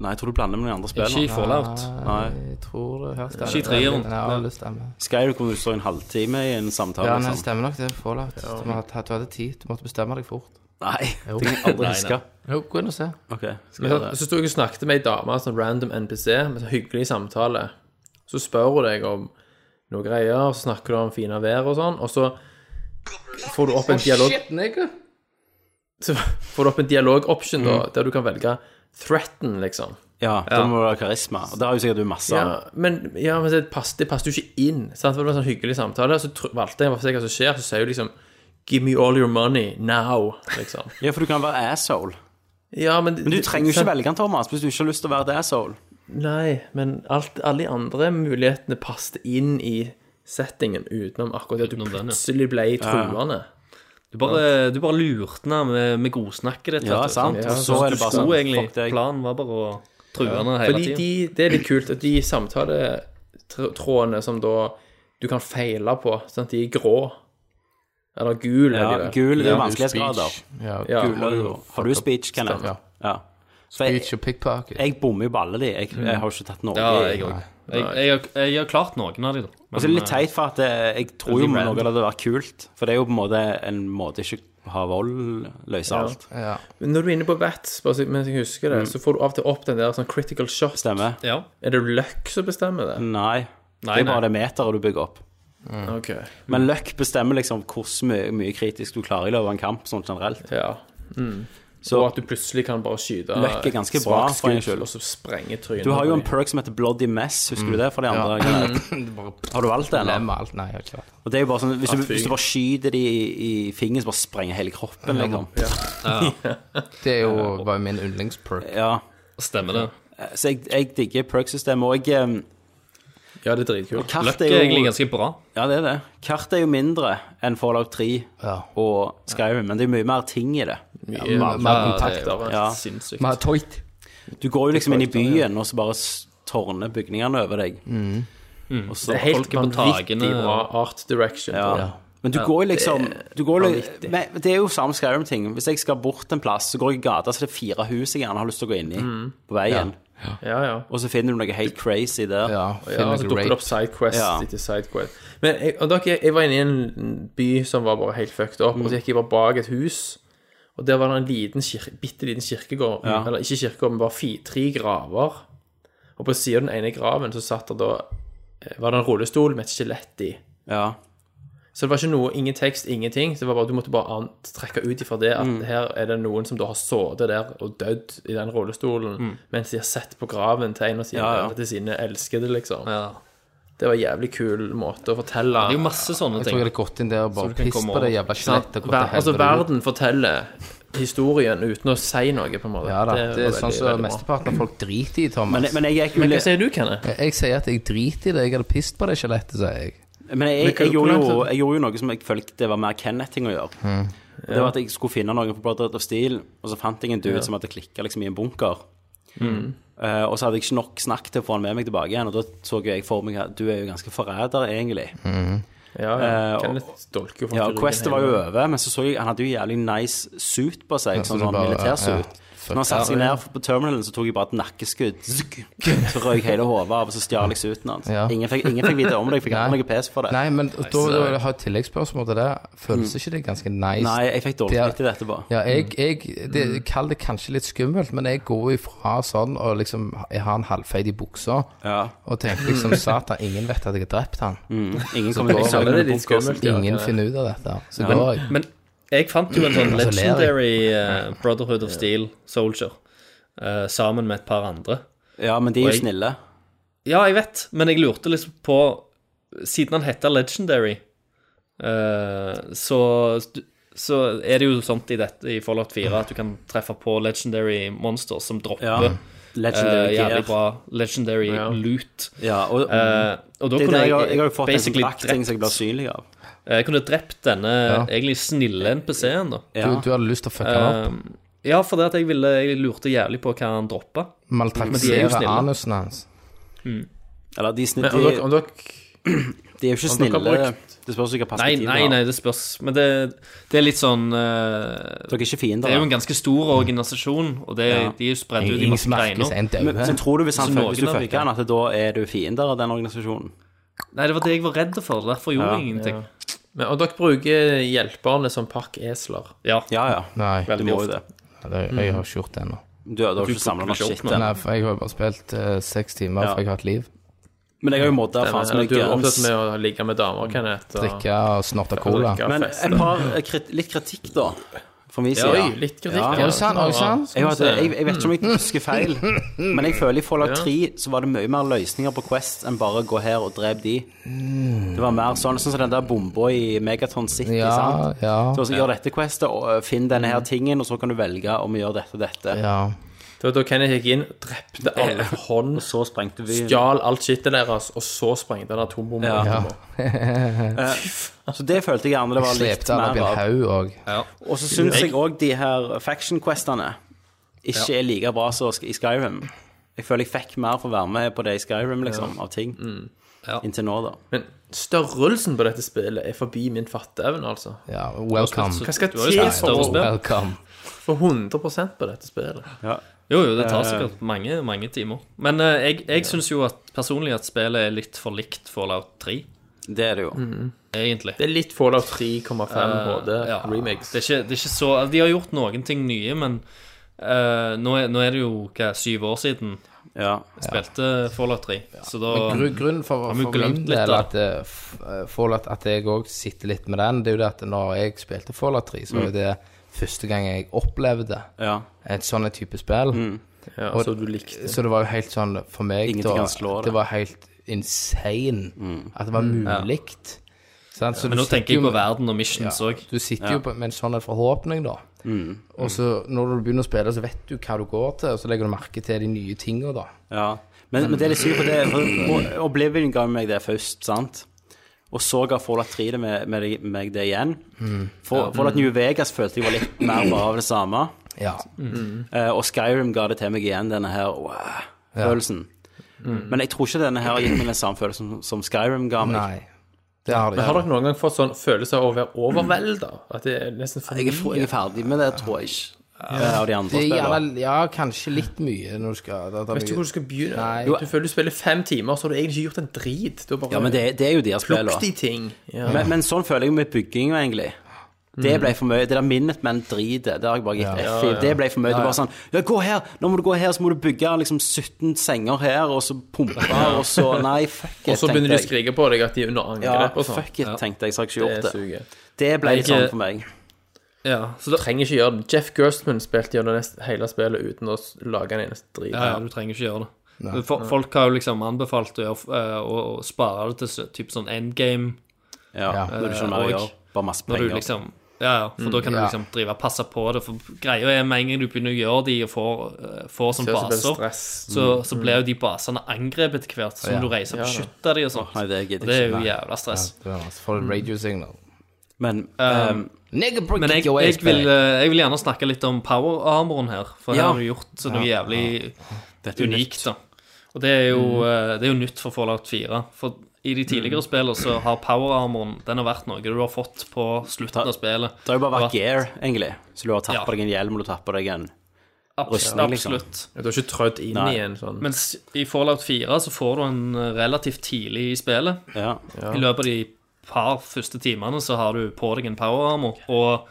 Speaker 2: Nei, jeg tror du blander med noen andre
Speaker 4: Ikke i
Speaker 2: spill. nå.
Speaker 4: Fallout.
Speaker 2: Nei.
Speaker 3: Jeg tror det her stemmer.
Speaker 4: Ikke i treeren.
Speaker 3: Ja, det stemmer.
Speaker 2: Skyrim kommer du stå i en halvtime i en samtale.
Speaker 3: Ja,
Speaker 2: og
Speaker 3: nei, det
Speaker 2: sånn.
Speaker 3: stemmer nok det. Fallout. Du, må ha- du hadde tid. Du måtte bestemme deg fort.
Speaker 2: Nei, det kan jeg aldri huske.
Speaker 3: Jo, gå inn og se.
Speaker 2: Ok, skal
Speaker 6: Men
Speaker 2: jeg gjøre
Speaker 6: så,
Speaker 2: det.
Speaker 6: så sto jeg og snakket med ei dame, sånn random NPC, med sånn hyggelig samtale. Så spør hun deg om noen greier, så snakker du om fine vær og sånn, og så får du opp en dialog
Speaker 3: Shit, nigga.
Speaker 6: Så får du opp en dialog-option, da,
Speaker 2: Mm.
Speaker 6: der du kan velge threaten, liksom.
Speaker 2: Ja, da må du ha karisma. Og det har jo sikkert du masse av.
Speaker 6: Ja, men, ja, men det passet pass jo ikke inn. Sant? For det var en sånn hyggelig samtale, så tr valgte jeg hva som skjer, så sier hun liksom Give me all your money now, liksom.
Speaker 2: [laughs] Ja, for du kan være asshole.
Speaker 6: Ja, men,
Speaker 2: Men du trenger jo ikke velge den, Thomas, hvis du ikke har lyst til å være et asshole.
Speaker 6: Nei, men alt, alle de andre mulighetene passet inn i settingen utenom akkurat det at du
Speaker 4: Utenom den, ja.
Speaker 6: plutselig ble truende.
Speaker 4: Du bare, du bare lurte henne med, med godsnakket ditt.
Speaker 2: Ja,
Speaker 4: vet du.
Speaker 2: sant.
Speaker 4: Sånn.
Speaker 2: Og så er det bare
Speaker 4: Skulle
Speaker 2: sånn,
Speaker 4: egentlig
Speaker 2: fuck deg.
Speaker 4: Planen var bare å true henne hele
Speaker 6: Fordi
Speaker 4: tiden.
Speaker 6: de, det er litt kult at de samtaletrådene som da du kan feile på, sant, de er grå. Eller gul,
Speaker 2: Ja,
Speaker 6: er de vel.
Speaker 2: gul det er jo
Speaker 3: Ja,
Speaker 2: vanskelighetsgrader.
Speaker 3: speech. Ja,
Speaker 6: Ja.
Speaker 2: Gul er jo- Har du speech, Kenneth?
Speaker 3: Ja.
Speaker 2: Ja. For jeg,
Speaker 3: Speech Mm. og pickpocket.
Speaker 2: jeg bommer jo på alle de. Jeg, jeg har jo ikke tatt noe.
Speaker 4: Ja, jeg òg. Jeg, jeg, har- jeg har klart noen av de, da. Men,
Speaker 2: Og så er det litt teit, for at eh, jeg tror jo
Speaker 4: Veldig
Speaker 2: noe av
Speaker 4: random.
Speaker 2: det hadde vært kult. For det er jo på en måte en måte ikke å ha vold løse alt.
Speaker 3: Ja. [clears throat]
Speaker 6: Men når du er inne på Vats, bare så- mens jeg husker
Speaker 2: Mm.
Speaker 6: det, så får du av og til opp den der sånn critical shot.
Speaker 2: Stemmer?
Speaker 4: eh, Ja.
Speaker 6: Er det luck som bestemmer det?
Speaker 2: Nei. Det
Speaker 4: Nei,
Speaker 2: er
Speaker 4: nei.
Speaker 2: bare det meteret du bygger opp.
Speaker 6: Ok.
Speaker 2: Mm.
Speaker 3: Mm.
Speaker 2: Men løkk bestemmer liksom hvor mye, mye kritisk du klarer i løpet av en kamp, sånn generelt.
Speaker 6: Ja.
Speaker 2: Så
Speaker 6: Og at du plutselig kan bare skyte
Speaker 2: Luck er ganske
Speaker 6: et
Speaker 2: bra,
Speaker 6: svakt
Speaker 2: for en
Speaker 6: skudd,
Speaker 2: skyld.
Speaker 6: Og så sprenge trynet.
Speaker 2: du har jo en
Speaker 6: på
Speaker 2: perk som heter Bloody Mess, husker du det fra de andre?
Speaker 3: Mm.
Speaker 2: Kenneth? Har du valgt det? eller?
Speaker 3: Lem alt. Nei, jeg har ikke vært
Speaker 2: Og det er jo bare sånn, hvis du, hvis du bare skyter de i, i fingeren, så bare sprenger hele kroppen, liksom.
Speaker 3: Det er jo, var jo min yndlingsperk.
Speaker 2: Ja.
Speaker 4: Stemmer det.
Speaker 2: Så jeg, jeg digger perk-systemet, og jeg eh,
Speaker 6: deg. Ja, det er dritkult.
Speaker 2: Kart
Speaker 4: Løkk
Speaker 2: er
Speaker 4: er egentlig
Speaker 2: jo
Speaker 4: ganske bra.
Speaker 2: Ja, det er det. Kart er jo mindre enn Fallout 3
Speaker 3: Ja.
Speaker 2: og Skyrim, men det er mye mer ting i det.
Speaker 6: Mye
Speaker 3: mer
Speaker 6: kontakter.
Speaker 2: Ja.
Speaker 6: Sinnssykt.
Speaker 3: Vi har tøyt.
Speaker 2: Du går jo liksom inn i byen, og så bare s- tårner bygningene over deg. Og så
Speaker 6: Det er helt
Speaker 4: Folk er på
Speaker 6: vanvittig
Speaker 4: takene.
Speaker 6: bra art direction.
Speaker 2: Ja.
Speaker 6: Ja.
Speaker 2: Men du går jo liksom du går jo, men Det er jo samme Skyrim-ting. Hvis jeg skal bort en plass, så går jeg i gata, så det er fire hus jeg gjerne har lyst til å gå inn i på veien.
Speaker 6: ja, ja.
Speaker 2: Og så finner du noe helt crazy der.
Speaker 3: Ja,
Speaker 6: Ja,
Speaker 3: finner
Speaker 6: så
Speaker 3: jeg
Speaker 6: dukker det opp
Speaker 3: rape.
Speaker 6: sidequest
Speaker 2: Ja.
Speaker 6: etter sidequest. Men jeg, og dere, jeg var inne i en by som var bare helt fucked
Speaker 2: Mm.
Speaker 6: up, og så gikk jeg bare bak et hus. Og der var det en liten kirke, bitte liten kirkegård,
Speaker 2: Ja.
Speaker 6: eller ikke kirkegård, men bare fi, tre graver. Og på siden av den ene graven så satt det da eh, var det en rullestol med et skjelett i.
Speaker 2: Ja.
Speaker 6: Så det var ikke noe, ingen tekst, ingenting. Så det var bare, Du måtte bare an- trekke ut ifra det at her er det noen som da har sittet der og dødd i den rullestolen mens de har sett på graven til en av sine,
Speaker 2: Ja, ja.
Speaker 6: til sine elskede, liksom.
Speaker 4: Ja.
Speaker 6: Det var en jævlig kul måte å fortelle
Speaker 4: Det er jo masse sånne ting.
Speaker 3: Jeg tror jeg hadde gått inn der og bare
Speaker 4: du kan
Speaker 3: pisset
Speaker 4: komme
Speaker 3: på det
Speaker 4: over.
Speaker 3: jævla
Speaker 6: Sant?
Speaker 3: skjelettet. gått til
Speaker 6: Ver, Altså,
Speaker 3: helvete.
Speaker 6: verden forteller historien uten å si noe, på en måte.
Speaker 3: Ja da. Det
Speaker 6: var
Speaker 3: er sånn
Speaker 6: veldig,
Speaker 3: som
Speaker 6: veldig bra.
Speaker 3: mesteparten av folk driter i, Thomas.
Speaker 2: Men, men jeg gikk jo
Speaker 6: Hva
Speaker 2: litt
Speaker 6: sier du, Kenneth?
Speaker 3: Jeg- Jeg sier at jeg driter i det. Jeg hadde pisset på det skjelettet, sier jeg.
Speaker 2: Men jeg, jeg,
Speaker 6: hva- hvor
Speaker 2: gjorde
Speaker 6: langt
Speaker 2: jo,
Speaker 6: er det?
Speaker 2: jeg gjorde jo noe som jeg følte var mer Kenneth-ting å gjøre.
Speaker 3: Mm.
Speaker 2: Og Det var at jeg skulle finne noen på Brotherhood of Steel, og så fant jeg en dude som hadde klikka liksom, i en bunker.
Speaker 6: Mm.
Speaker 2: Eh, og så hadde jeg ikke nok snakk til å få han med meg tilbake igjen, og da så jo jeg for meg at du er jo ganske forræder, egentlig.
Speaker 3: Mm.
Speaker 6: Ja, ja.
Speaker 2: Eh, og-
Speaker 6: Kenneth dolker jo folk
Speaker 2: Ja,
Speaker 6: i ryggen
Speaker 2: Questet var jo
Speaker 6: hele tiden.
Speaker 2: over, men så så jeg han hadde jo jævlig nice suit på seg,
Speaker 3: så
Speaker 2: sånn,
Speaker 3: du
Speaker 2: sånn
Speaker 3: bare- ja,
Speaker 2: militærsuit.
Speaker 3: fuck.
Speaker 2: Når han satte seg ned på terminalen, så tok jeg bare et nakkeskudd. Zuk! Så røyk hele hodet av, og så stjal jeg suiten hans.
Speaker 3: Ja.
Speaker 2: Ingen, fikk, ingen fikk vite om det, jeg fikk
Speaker 3: Nei.
Speaker 2: aldri noe pes for det.
Speaker 3: Nei, men da da har jeg et tilleggsspørsmål til det.
Speaker 4: Mm.
Speaker 3: Føles ikke det ganske nice?
Speaker 2: Nei, jeg fikk dårlig
Speaker 3: Det er-
Speaker 2: samvittighet etterpå.
Speaker 3: Ja, jeg, jeg
Speaker 4: Mm.
Speaker 3: det, kall det kanskje litt skummelt, men jeg går ifra sånn og liksom Jeg har en halvfeit i buksa
Speaker 2: Ja.
Speaker 3: og
Speaker 4: [laughs]
Speaker 3: tenker liksom Satan, ingen vet at jeg har drept han.
Speaker 4: Mm.
Speaker 2: Mm. Ingen kommer til å
Speaker 6: Jeg
Speaker 2: savne
Speaker 6: kjenner
Speaker 2: det
Speaker 6: det er litt skummelt. ja,
Speaker 3: Ingen
Speaker 6: Kenneth.
Speaker 3: finner ut av dette. her. Så
Speaker 2: Ja.
Speaker 3: går jeg.
Speaker 4: Men jeg fant jo en sånn
Speaker 3: Altså, ler jeg.
Speaker 4: legendary eh, Brotherhood of Steel Soldier eh, sammen med et par andre.
Speaker 2: Ja, men de er
Speaker 4: Og
Speaker 2: jo
Speaker 4: jeg-
Speaker 2: snille.
Speaker 4: Ja, jeg vet, men jeg lurte liksom på Siden han heter Legendary, eh, så, så er det jo sånt i, dette, i Fallout 4 at du kan treffe på legendary monsters som dropper
Speaker 2: Ja.
Speaker 4: eh,
Speaker 2: Legendary
Speaker 4: jævlig
Speaker 2: Gear.
Speaker 4: bra legendary loot.
Speaker 2: Ja, og
Speaker 4: Eh, og da
Speaker 2: det er
Speaker 4: kunne
Speaker 2: der jeg,
Speaker 4: jeg,
Speaker 2: har- jeg har jo fått en
Speaker 4: basically
Speaker 2: kontrakt-ting som jeg blir
Speaker 4: drept, eh,
Speaker 2: synlig av.
Speaker 4: jeg kunne drept denne
Speaker 3: Ja.
Speaker 4: egentlig snille NPC-en, da.
Speaker 2: Ja.
Speaker 3: Du, du hadde lyst til å fucke han opp?
Speaker 4: Eh, ja, for det at jeg, ville, jeg lurte jævlig på hva han droppa. Eh, men de er jo
Speaker 3: Maltraktere
Speaker 4: snille.
Speaker 3: anusen hans?
Speaker 2: Eller de, er snill,
Speaker 6: Men om dere,
Speaker 2: de,
Speaker 6: om dere
Speaker 2: de er jo ikke
Speaker 6: om dere har
Speaker 2: snille. Det spørs hvilket
Speaker 4: Nei,
Speaker 2: perspektiv du
Speaker 4: nei, nei,
Speaker 2: har.
Speaker 4: det spørs. Men det, det er litt sånn eh,
Speaker 2: Dere
Speaker 4: Det
Speaker 2: er ikke
Speaker 4: er jo
Speaker 2: fiender.
Speaker 4: en
Speaker 2: da.
Speaker 4: ganske stor organisasjon, og det, de er jo spredt ut i
Speaker 3: Mm. Ingen
Speaker 4: masse
Speaker 3: som merkes,
Speaker 4: greiner.
Speaker 3: en
Speaker 2: Men, men
Speaker 3: daue.
Speaker 2: tror du hvis, han,
Speaker 4: Så
Speaker 2: føl- hvis du
Speaker 4: noen av de
Speaker 2: fucker han, at da er du fiender av den organisasjonen?
Speaker 4: Nei, det var det jeg var redd for. Derfor gjorde jeg ingenting.
Speaker 6: Men, og dere bruker hjelperne som pakkesler.
Speaker 4: Ja.
Speaker 2: Ja, ja.
Speaker 3: Nei,
Speaker 2: Du må jo det.
Speaker 3: det, jeg har ikke gjort det ennå.
Speaker 2: Du, du har ikke samla nok
Speaker 4: plukker
Speaker 2: shit
Speaker 4: ikke opp noe.
Speaker 2: ennå.
Speaker 3: Nei, for jeg har jo bare spilt eh, seks timer,
Speaker 2: Ja.
Speaker 3: for jeg har hatt liv.
Speaker 2: Men jeg har jo modda faen så
Speaker 6: Eller
Speaker 2: mye
Speaker 6: Du er
Speaker 2: guns.
Speaker 6: opptatt med å ligge med damer, Kenneth. Og
Speaker 3: Drikke og snorte cola.
Speaker 6: drikke
Speaker 2: Men
Speaker 6: fest.
Speaker 2: et par, eh, krit, litt kritikk, da, fra min side.
Speaker 6: Oi, litt kritikk.
Speaker 2: Ja.
Speaker 3: Er det sant? Er det sant?
Speaker 2: Jeg, vet- jeg, jeg vet ikke om
Speaker 3: Mm.
Speaker 2: jeg husker feil, men jeg føler i Fallout 3 så var det mye mer løsninger på Quest enn bare gå her og drep de. Det var mer sånn sånn som den der bomba i Megaton City.
Speaker 3: Ja,
Speaker 2: sant?
Speaker 3: ja,
Speaker 2: Så, så gjør dette questet, og ø, finn denne her tingen, og så kan du velge om å gjøre dette og dette.
Speaker 3: ja.
Speaker 6: Det var da Kenneth gikk inn, drepte alle for hånd,
Speaker 2: Og så sprengte vi
Speaker 6: stjal alt skittet deres, og så sprengte han atombomben.
Speaker 2: Ja.
Speaker 6: Ja.
Speaker 2: Så det følte jeg gjerne det var litt
Speaker 3: Slepte alle opp i
Speaker 2: mer
Speaker 3: en
Speaker 2: av.
Speaker 3: haug òg.
Speaker 2: Og så syns jeg òg de her faction-questene ikke er like bra som i Skyrim. Jeg føler jeg fikk mer for å være med på det i Skyrim, liksom, av ting.
Speaker 3: Mm.
Speaker 4: Ja.
Speaker 2: Inntil nå, da.
Speaker 6: Men størrelsen på dette spillet er forbi min fatteevne, altså.
Speaker 3: Ja, welcome.
Speaker 6: Hva skal
Speaker 4: Du har jo
Speaker 6: til
Speaker 4: spilt større
Speaker 6: for å
Speaker 4: spill.
Speaker 3: Welcome.
Speaker 6: få 100 på dette spillet?
Speaker 4: Jo, jo, det tar sikkert mange, mange timer. Men eh, jeg, jeg syns jo at personlig at spillet er litt for likt Fallout 3,
Speaker 2: Det er det jo.
Speaker 3: Mm.
Speaker 4: egentlig.
Speaker 6: Det er litt Fallout 3,5 HD
Speaker 4: Eh, ja.
Speaker 6: remakes.
Speaker 4: Det er, ikke, det er ikke så altså, De har gjort noen ting nye, men eh, nå, er, nå er det jo hva, syv år siden
Speaker 2: Ja.
Speaker 4: jeg spilte Fallout 3, så da
Speaker 3: Gru- Grunnen for,
Speaker 4: Har vi
Speaker 3: for
Speaker 4: glemt
Speaker 3: min
Speaker 4: litt,
Speaker 3: del
Speaker 4: da?
Speaker 3: at, eh, f- eh, Fallout, at jeg òg sitter litt med den, det er jo det at når jeg spilte Fallout 3, så var
Speaker 2: Mm.
Speaker 3: jo det første gang jeg opplevde
Speaker 2: ja.
Speaker 3: et sånn type spill.
Speaker 2: Mm.
Speaker 6: Ja,
Speaker 3: og-
Speaker 6: så du likte
Speaker 3: Så det var jo helt sånn for meg
Speaker 2: Ingenting
Speaker 3: da,
Speaker 2: kan slå Mm. det.
Speaker 3: det. var helt insane at det var mulig. Sant? Så
Speaker 4: Mm. Men nå
Speaker 3: du sitter
Speaker 4: tenker
Speaker 3: jo
Speaker 4: jeg på
Speaker 3: med-
Speaker 4: verden og missions òg.
Speaker 3: Du sitter jo på, med en sånn en forhåpning, da.
Speaker 2: Mm.
Speaker 3: Og så når du begynner å spille, så vet du hva du går til, og så legger du merke til de nye tinga, da.
Speaker 2: ja. Men, men det er litt sykt, for det for Oblivion ga meg det først, sant? Og så ga Fallout 3 det med, med, meg det igjen.
Speaker 3: Mm.
Speaker 2: For, Fallout New Vegas følte jeg var litt mer bare av det samme.
Speaker 3: Ja.
Speaker 4: Mm.
Speaker 2: Eh, og Skyrim ga det til meg igjen, denne her wow, følelsen. Men jeg tror ikke denne her har gitt meg den samme følelsen som Skyrim ga meg.
Speaker 3: Nei. Det har de.
Speaker 6: Har dere noen gang fått sånn følelse av å være overvelda? At det er nesten for
Speaker 2: Jeg er, jeg er ferdig med det, tror jeg ikke. eh, Av de andre
Speaker 3: Det er
Speaker 2: spillene.
Speaker 3: gjerne, ja, kanskje litt mye når du skal det, det er
Speaker 6: Vet ikke
Speaker 3: mye-
Speaker 6: hvor du skal begynne.
Speaker 3: Nei.
Speaker 6: Du føler du spiller fem timer, så har du egentlig ikke gjort en drit. Du har bare
Speaker 2: Ja, men det, det er jo de her spillene.
Speaker 6: plukket i ting. Ja.
Speaker 2: Men, men sånn føler jeg med bygging, egentlig. Det ble for mye. Det der minnet men driter. Det har jeg bare gitt F i. Det ble for mye. Det var sånn Ja, gå her! Nå må du gå her, så må du bygge liksom 17 senger her, og så pumpe, og så Nei, fuck it,
Speaker 6: og så begynner de å
Speaker 2: tenkte jeg.
Speaker 6: skrike på deg at de er under
Speaker 2: Ja,
Speaker 6: angrep og sånn.
Speaker 2: fuck it, tenkte jeg, så har jeg ikke
Speaker 6: Det
Speaker 2: gjort det.
Speaker 6: suger.
Speaker 2: Det ble
Speaker 4: Jeg-
Speaker 2: sånn for meg.
Speaker 4: Ja, så
Speaker 6: Du
Speaker 4: da,
Speaker 6: trenger ikke gjøre det. Jeff Gerstman spilte gjennom nest- hele spillet uten å s- lage en eneste drit.
Speaker 4: ja, ja, du trenger ikke gjøre det. For, folk har jo liksom anbefalt å, gjøre, eh, å, å spare det til så- typ sånn endgame,
Speaker 2: Ja, Når du skjønner hva
Speaker 4: Eh,
Speaker 2: jeg
Speaker 4: og-
Speaker 2: gjør. Bare masse
Speaker 4: når du
Speaker 2: penger.
Speaker 4: liksom ja, ja, for da kan du
Speaker 3: ja.
Speaker 4: liksom drive og passe på det. For greia er med en gang du begynner å gjøre de og får, eh, får som
Speaker 6: Det er også bare
Speaker 4: baser,
Speaker 6: stress.
Speaker 4: så, så blir jo de basene angrepet etter hvert, så må du reise og beskytte de og sånt.
Speaker 2: Nei, det gidder
Speaker 4: Og det
Speaker 2: jeg
Speaker 4: er jo
Speaker 2: ikke.
Speaker 4: jævla stress.
Speaker 3: Ja, det er masse. For radio signal.
Speaker 2: Men
Speaker 4: Um,
Speaker 2: ehm,
Speaker 3: Nigga, break
Speaker 4: Men
Speaker 3: it
Speaker 4: jeg,
Speaker 3: your
Speaker 4: jeg,
Speaker 3: ass,
Speaker 4: vil,
Speaker 3: babe.
Speaker 4: eh, jeg vil gjerne snakke litt om power armoren her, for
Speaker 2: Ja.
Speaker 4: her har du gjort noe jævlig
Speaker 2: Dette er
Speaker 4: unikt, da. Og det er, jo,
Speaker 2: Mm.
Speaker 4: eh, det er jo nytt for Fallout 4. For i de tidligere spillene så har power armoren Den har vært noe du har fått på slutten av spillet.
Speaker 2: det har jo bare vært
Speaker 4: Det
Speaker 2: gear, egentlig. Så du har tatt
Speaker 4: Ja.
Speaker 2: på deg en hjelm, og du har tatt på deg en
Speaker 4: Abs
Speaker 2: rustning, liksom.
Speaker 4: absolutt.
Speaker 6: Du har ikke trødd inn
Speaker 2: Nei.
Speaker 6: i en sånn
Speaker 4: Mens i Fallout 4 så får du en eh, relativt tidlig i spillet.
Speaker 2: Ja.
Speaker 4: I løpet av de par første timene så har du på deg en power armor, og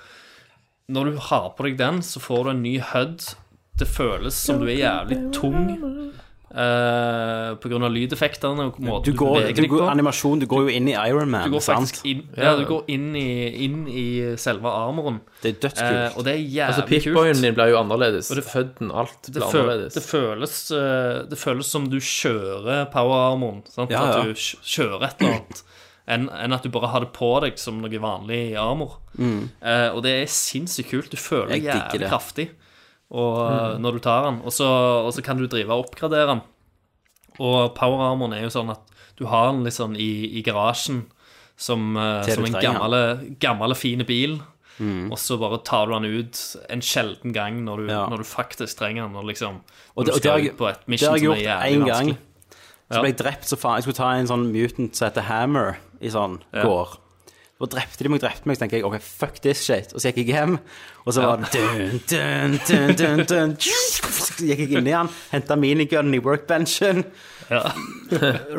Speaker 4: når du har på deg den, så får du en ny HUD. Det føles som du er jævlig tung eh, på grunn av lydeffektene og måten
Speaker 2: Du
Speaker 4: du,
Speaker 2: går,
Speaker 4: beveger
Speaker 2: du
Speaker 4: deg på.
Speaker 2: går, animasjon, du går jo inn i
Speaker 4: Du
Speaker 2: Ironman,
Speaker 4: går
Speaker 2: sant?
Speaker 4: faktisk inn, ja, du går inn, i, inn i selve armoren,
Speaker 2: Det er
Speaker 4: eh,
Speaker 2: dødskult.
Speaker 4: og det er
Speaker 6: Altså,
Speaker 4: jævlig
Speaker 6: Pip-boyen
Speaker 4: kult.
Speaker 6: din blir jo annerledes.
Speaker 4: Og det-
Speaker 6: Fødden, alt
Speaker 4: Det,
Speaker 6: blir
Speaker 4: føl,
Speaker 6: annerledes.
Speaker 4: det, føles, eh, det føles som du kjører power armoren. Sant?
Speaker 2: Ja, ja.
Speaker 4: At du kj- kjører et eller annet, enn enn at du bare har det på deg som noe vanlig armor. Eh, og det er sinnssykt kult. Du føler
Speaker 2: Mm.
Speaker 4: deg
Speaker 2: Jeg digger
Speaker 4: jævlig
Speaker 2: det. Mm.
Speaker 4: kraftig og, eh, når du tar den. Og så, og så kan du drive og oppgradere den. Og power armoren er jo sånn at du har den litt sånn i, i garasjen som, eh,
Speaker 2: Til du
Speaker 4: som en
Speaker 2: trenger
Speaker 4: gammel, gammel fin bil. Og så bare tar du den ut en sjelden gang når du,
Speaker 2: Ja,
Speaker 4: når du faktisk trenger den. Og liksom
Speaker 2: Og
Speaker 4: og du
Speaker 2: det- og det
Speaker 4: skal
Speaker 2: har jeg-
Speaker 4: ut på et
Speaker 2: Det
Speaker 4: mission
Speaker 2: har jeg
Speaker 4: som er
Speaker 2: gjort
Speaker 4: jævlig
Speaker 2: én gang.
Speaker 4: vanskelig.
Speaker 2: Så ble jeg drept så faen. Jeg skulle ta en sånn mutant som heter Hammer, i sånn
Speaker 4: Ja.
Speaker 2: gård. Da drepte de meg, drepte meg, så tenkte jeg OK, fuck this shit. Og så gikk jeg hjem, og så var det dun, dun, dun, dun, dun. Så gikk jeg inn i han, henta minigunnen i workbenchen,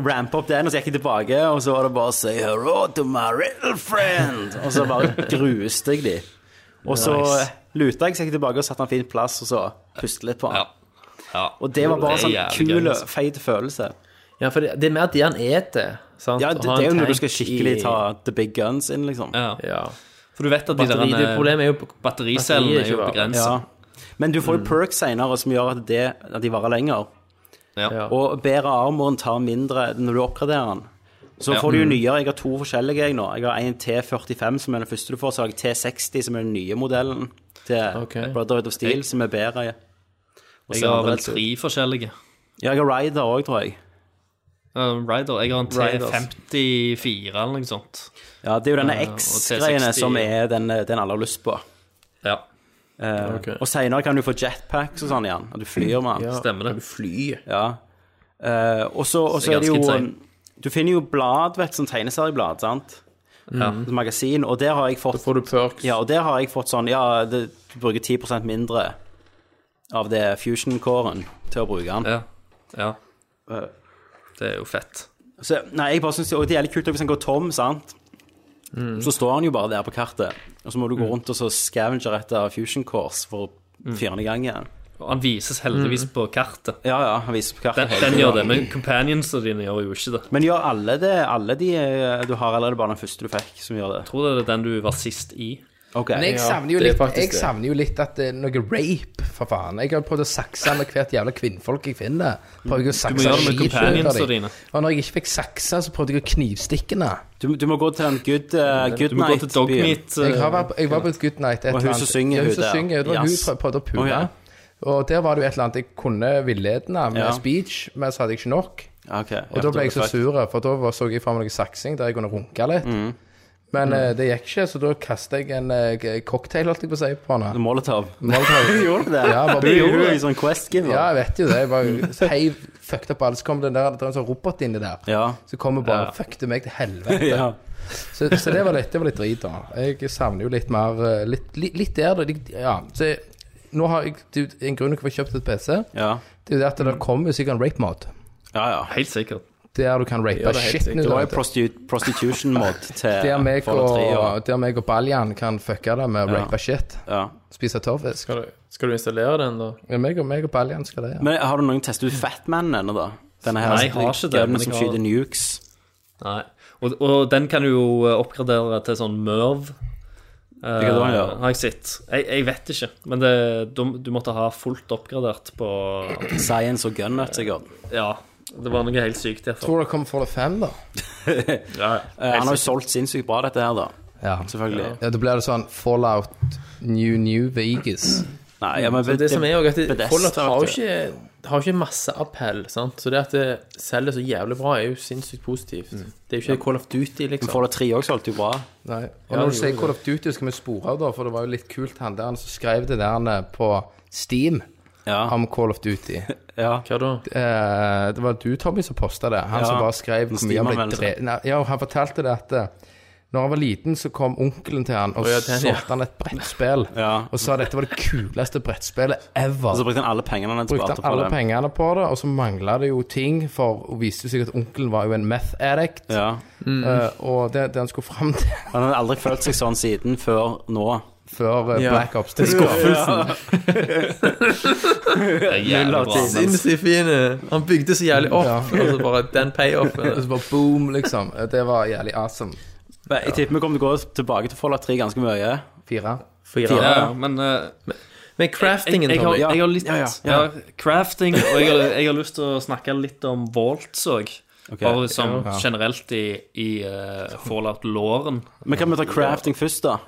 Speaker 2: ramp opp den, og så gikk jeg tilbake, og så var det bare Say hello to my little friend. Og så bare gruste jeg de. Og så
Speaker 4: Nice.
Speaker 2: luta jeg, så gikk jeg tilbake og satte en fin plass, og så pustet litt på han.
Speaker 4: Ja. Ja.
Speaker 2: Og det var bare
Speaker 4: Det er
Speaker 2: sånn
Speaker 4: jævlig gøy,
Speaker 2: kul,
Speaker 4: altså.
Speaker 2: feit følelse.
Speaker 6: Ja, for det, det er mer det han eter. Sant?
Speaker 2: Ja, det,
Speaker 6: Å ha
Speaker 2: det er
Speaker 6: en
Speaker 2: jo når du
Speaker 6: tank
Speaker 2: skal skikkelig ta the big guns inn, liksom.
Speaker 4: Ja.
Speaker 6: Ja.
Speaker 4: For du vet at de der
Speaker 6: Batteri, det problemet er jo
Speaker 4: battericellene er
Speaker 6: batteriet ikke
Speaker 4: jo
Speaker 6: varer.
Speaker 4: begrenset.
Speaker 2: Ja. Men du får jo perks senere som gjør at, det, at de varer lenger.
Speaker 4: Mm. Ja.
Speaker 2: Og bedre armoren tar mindre når du oppgraderer den. Så
Speaker 4: Ja. Mm.
Speaker 2: får du jo nyere. Jeg har to forskjellige jeg nå. Jeg har en T45 som er den første du får, så har jeg T60 som er den nye modellen til
Speaker 6: Ok.
Speaker 2: Brotherhood of Steel,
Speaker 4: Jeg-
Speaker 2: som er bedre. Ja, Og
Speaker 4: Jeg
Speaker 2: ser
Speaker 4: har vel
Speaker 2: annerledes ut.
Speaker 4: tre forskjellige.
Speaker 2: Ja, jeg har Rider òg, tror jeg.
Speaker 4: Uh, Rider. Jeg har en
Speaker 6: Riders.
Speaker 4: T54 eller noe sånt.
Speaker 2: Ja, Det er jo denne
Speaker 4: Ja, og
Speaker 2: X-greiene
Speaker 4: T60.
Speaker 2: som er den, den alle har lyst på.
Speaker 4: Ja,
Speaker 2: Eh,
Speaker 6: Ok.
Speaker 2: Og senere kan du få jetpacks og sånn igjen, og du flyr med den.
Speaker 6: Ja.
Speaker 4: stemmer det.
Speaker 6: Fly.
Speaker 2: Ja. Eh, og så og så
Speaker 4: Det er
Speaker 2: er det jo
Speaker 4: ganske
Speaker 2: um, Du finner jo blad, vet du, sånn tegneserieblad, sant?
Speaker 4: Ja.
Speaker 2: Sånn Magasin. Og der har jeg fått
Speaker 6: Får du perks.
Speaker 2: Ja, og der har jeg fått sånn Ja, det, du bruker 10 mindre av det fusion-kåren til å bruke den. Eh,
Speaker 4: Ja. ja. Det er jo fett.
Speaker 2: Så, nei, jeg bare synes det, og det er litt kult hvis han går tom, sant?
Speaker 4: Mm.
Speaker 2: Så står han jo bare der på kartet, og så må du gå rundt og så scavenger etter fusion course for
Speaker 4: Mm.
Speaker 2: å fyre den i gang igjen.
Speaker 4: Og han vises heldigvis på kartet.
Speaker 2: Ja, ja, han viser på
Speaker 4: Den,
Speaker 2: kartet. hele
Speaker 4: den
Speaker 2: tiden.
Speaker 4: gjør det, men companionsene dine gjør jo ikke det.
Speaker 2: Men gjør alle det, alle de eh, du har, eller er det bare den første du fikk, som gjør det?
Speaker 4: Jeg tror det er den du var sist i.
Speaker 2: Ok.
Speaker 3: Men jeg savner, jo
Speaker 6: det er
Speaker 3: litt, jeg
Speaker 6: faktisk det.
Speaker 3: savner jo litt at det er noe rape, for faen. Jeg har prøvd å sakse med hvert jævla kvinnfolk jeg finner. Prøver å
Speaker 4: må
Speaker 3: sakse
Speaker 4: gjøre det med
Speaker 3: skiføtter
Speaker 4: companionsa
Speaker 3: av dem.
Speaker 4: dine.
Speaker 3: Og når jeg ikke fikk saksa, så prøvde jeg å knivstikke henne.
Speaker 2: Du, du må gå til den good, uh,
Speaker 4: Du
Speaker 2: good
Speaker 4: må gå til
Speaker 2: night-byen.
Speaker 4: Dogmeat. eh,
Speaker 3: Jeg, har vært, jeg var på et good night. Et
Speaker 2: Og hun
Speaker 3: eller annet.
Speaker 2: som synger,
Speaker 3: ja,
Speaker 2: hun
Speaker 3: hun som
Speaker 2: der.
Speaker 3: synger. Det var
Speaker 2: Yes.
Speaker 3: hun prøv- prøvde å pule.
Speaker 2: Å, ja.
Speaker 3: Og der var det jo et eller annet jeg kunne villedende med
Speaker 2: Ja.
Speaker 3: speech, men så hadde jeg ikke nok.
Speaker 2: Ok,
Speaker 3: Og da ble jeg så sur, for da var- så jeg for meg noe saksing der jeg kunne runke litt. Men eh, det gikk ikke, så da kastet jeg en eh, g- cocktail, holdt jeg på å si, på henne.
Speaker 2: Molotov. [laughs]
Speaker 3: Molotov.
Speaker 2: Gjorde du det?
Speaker 3: Ja, bare-
Speaker 2: du gjorde det. Sånn quest-giver.
Speaker 3: Ja, jeg vet jo det. Jeg bare heiv fucked up alt. Så kom den der, det var en sånn robot inni der.
Speaker 2: Ja.
Speaker 3: Så kommer bare og fuckte meg til helvete.
Speaker 2: [laughs] ja.
Speaker 3: Så, så det var litt, det var litt drit, da. Jeg savner jo litt mer eh, Litt, litt, litt der, da. Litt- Ja. Så jeg- nå har jeg det er jo en grunn til hvorfor jeg kjøpte et PC.
Speaker 2: Ja,
Speaker 3: Det er jo det at det kommer sikkert en rape mod.
Speaker 2: ja. ja.
Speaker 4: Helt sikkert.
Speaker 3: Der du kan rape
Speaker 6: Ja, det er helt
Speaker 3: shit
Speaker 6: sikkert.
Speaker 3: nå.
Speaker 2: Det var
Speaker 3: da,
Speaker 2: jo
Speaker 3: vet du. [laughs]
Speaker 2: prostitu prostitution-mod til
Speaker 3: Der meg
Speaker 2: Fallout 3
Speaker 3: og, der meg og Baljan kan fucke det med å
Speaker 2: Ja.
Speaker 3: rape shit.
Speaker 2: ja.
Speaker 3: Spise tørrfisk.
Speaker 6: Skal du, skal du installere den, da?
Speaker 3: Ja, meg og, meg og Baljan skal det, ja.
Speaker 2: Men har du noen testet ut Fatman ennå, da? Denne her
Speaker 4: Nei, jeg har ikke det,
Speaker 2: gunnen
Speaker 4: men jeg
Speaker 2: som
Speaker 4: har-
Speaker 2: skyter nukes.
Speaker 4: Nei. Og, og den kan du jo eh, oppgradere til sånn Merv. Eh,
Speaker 2: kan du ha, ja.
Speaker 4: Har jeg sett. Jeg, jeg vet ikke, men det, du, du måtte ha fullt oppgradert på
Speaker 2: Science og gunnet, sikkert.
Speaker 4: Ja, det var noe helt sykt derfor.
Speaker 3: Tror det kommer Fallout 5, da.
Speaker 4: Ja,
Speaker 2: Eh, han har jo solgt sinnssykt bra, dette her, da.
Speaker 3: Ja.
Speaker 2: Selvfølgelig.
Speaker 3: Ja, da blir det sånn Fallout New New Vegas.
Speaker 2: Nei, ja, men
Speaker 6: Det, det som er jo at det-
Speaker 2: Bethesda,
Speaker 6: Fallout har jo
Speaker 2: vet du.
Speaker 6: ikke, har jo ikke masse appell, sant? Så det at det selger så jævlig bra, er jo sinnssykt positivt. Det er jo ikke Call of Duty, liksom.
Speaker 2: Fallout 3 òg solgte jo bra.
Speaker 3: Nei. Og når
Speaker 6: det
Speaker 3: du sier
Speaker 6: gjorde
Speaker 3: Call of Duty, skal vi spore av, da, for det var jo litt kult, han der han som skrev det der han, på Steam
Speaker 2: Ja.
Speaker 3: om Call of Duty.
Speaker 2: ja.
Speaker 6: Hva da?
Speaker 3: Eh, det var du, Tommy, som posta det. Han
Speaker 2: Ja.
Speaker 3: som bare skrev hvor mye han ble
Speaker 2: Steam-anmeldelse.
Speaker 3: drept Ja, og han fortalte det at eh, når han var liten, så kom onkelen til han og
Speaker 6: ja, den, ja.
Speaker 3: solgte han et brettspill.
Speaker 2: [laughs] Ja.
Speaker 3: Og sa dette var det kuleste brettspillet ever.
Speaker 2: Og så brukte han alle pengene han hadde
Speaker 3: Brukte
Speaker 2: spart
Speaker 3: han
Speaker 2: på
Speaker 3: alle
Speaker 2: det.
Speaker 3: pengene på det, og så mangla det jo ting, for det viste seg at onkelen var jo en meth addict.
Speaker 2: Ja. Mm.
Speaker 3: Eh, og det, det han skulle fram til [laughs]
Speaker 2: Han hadde aldri følt seg sånn siden før nå.
Speaker 3: før eh,
Speaker 6: Ja.
Speaker 3: Black Ops 3
Speaker 4: det er jævlig bra. Men,
Speaker 6: Sinnssykt fin. Han bygde så jævlig opp,
Speaker 3: Ja.
Speaker 6: og så bare den
Speaker 3: Og [laughs]
Speaker 6: payoffen.
Speaker 3: så bare boom, liksom. Eh, Det var jævlig awesome.
Speaker 2: [laughs] Men jeg tipper vi kommer til å gå tilbake til Fallout 3 ganske mye.
Speaker 3: Fire.
Speaker 4: ja,
Speaker 6: Fire.
Speaker 4: men eh,
Speaker 6: Men
Speaker 4: jeg,
Speaker 6: craftingen,
Speaker 4: jeg, har,
Speaker 6: Tommy.
Speaker 4: jeg har litt
Speaker 2: Ja, ja,
Speaker 4: ja, Crafting, og jeg har, jeg har lyst til å snakke litt om Vaults òg. Bare som generelt i, i eh, Fallout-låren.
Speaker 2: Men kan vi ta crafting først, da?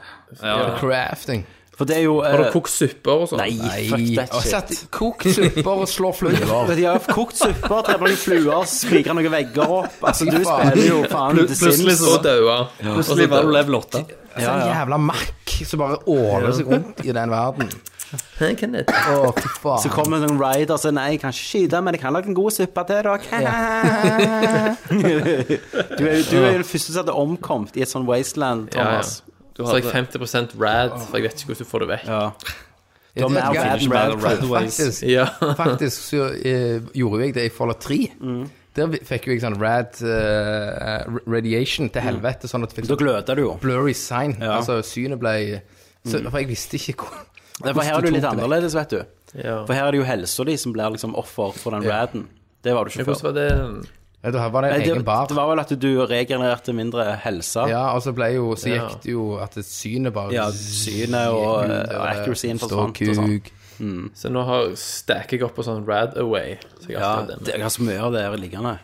Speaker 4: Ja.
Speaker 3: Crafting.
Speaker 2: For det er jo
Speaker 6: Har du
Speaker 2: eh,
Speaker 6: kokt supper og sånn?
Speaker 2: Nei, fuck that
Speaker 3: Og
Speaker 2: shit.
Speaker 3: satt kokt supper og slår fluer.
Speaker 2: Men De har kokt supper, drept noen fluer, spikra noen vegger opp. Altså, du
Speaker 3: Fy faen.
Speaker 2: spiller jo faen The
Speaker 4: plutselig
Speaker 2: Sims.
Speaker 4: så-
Speaker 6: Og daua.
Speaker 4: Plutselig var du level 8.
Speaker 3: En jævla makk som bare åler seg rundt i den verden.
Speaker 6: Hei, Kenneth.
Speaker 3: Å, fy
Speaker 2: [laughs] Så
Speaker 3: faen.
Speaker 2: kommer det en rider og sier nei, jeg kan ikke skyte, men jeg kan lage en god suppe til dere. [laughs] du er jo du er den første som hadde omkommet i et sånt wasteland, Thomas.
Speaker 6: Du har jeg 50 rad, for jeg vet ikke hvordan du får det vekk.
Speaker 2: Ja.
Speaker 3: Jeg
Speaker 2: Tom
Speaker 3: vet
Speaker 2: Alfred
Speaker 3: ikke hva-
Speaker 2: Radcliffe.
Speaker 3: Faktisk,
Speaker 6: Ja.
Speaker 3: faktisk så eh, gjorde jeg det i Fallout 3.
Speaker 2: Mm.
Speaker 3: Der vi- fikk jo jeg sånn rad eh, radiation til helvete, sånn at jeg fikk
Speaker 2: Mm. Da
Speaker 3: sånn
Speaker 2: gløder du jo.
Speaker 3: blurry sign.
Speaker 2: Ja.
Speaker 3: Altså, synet ble så, For jeg visste ikke hvor
Speaker 2: For her er du litt annerledes, vet du.
Speaker 6: ja.
Speaker 2: For her er det jo helsa di som blir liksom offer for den raden. Det var du ikke
Speaker 6: Hvordan
Speaker 2: før.
Speaker 6: var det
Speaker 3: Ja, da var det
Speaker 2: Nei,
Speaker 3: en
Speaker 2: det,
Speaker 3: egen bar.
Speaker 2: det var vel at du regenererte mindre helse. Ja,
Speaker 3: Ja, og så ble jo Så
Speaker 6: Ja.
Speaker 3: gikk det jo at det synet bare
Speaker 2: synet og,
Speaker 3: Gikk ut,
Speaker 2: eh,
Speaker 3: og det
Speaker 2: accuracyen
Speaker 3: stod
Speaker 2: forsvant og sånn.
Speaker 3: kuk.
Speaker 6: Så nå har stacker jeg opp på sånn rad away. Så jeg
Speaker 2: Ja,
Speaker 6: har alltid
Speaker 2: det
Speaker 6: det
Speaker 2: er ganske mye av det her liggende.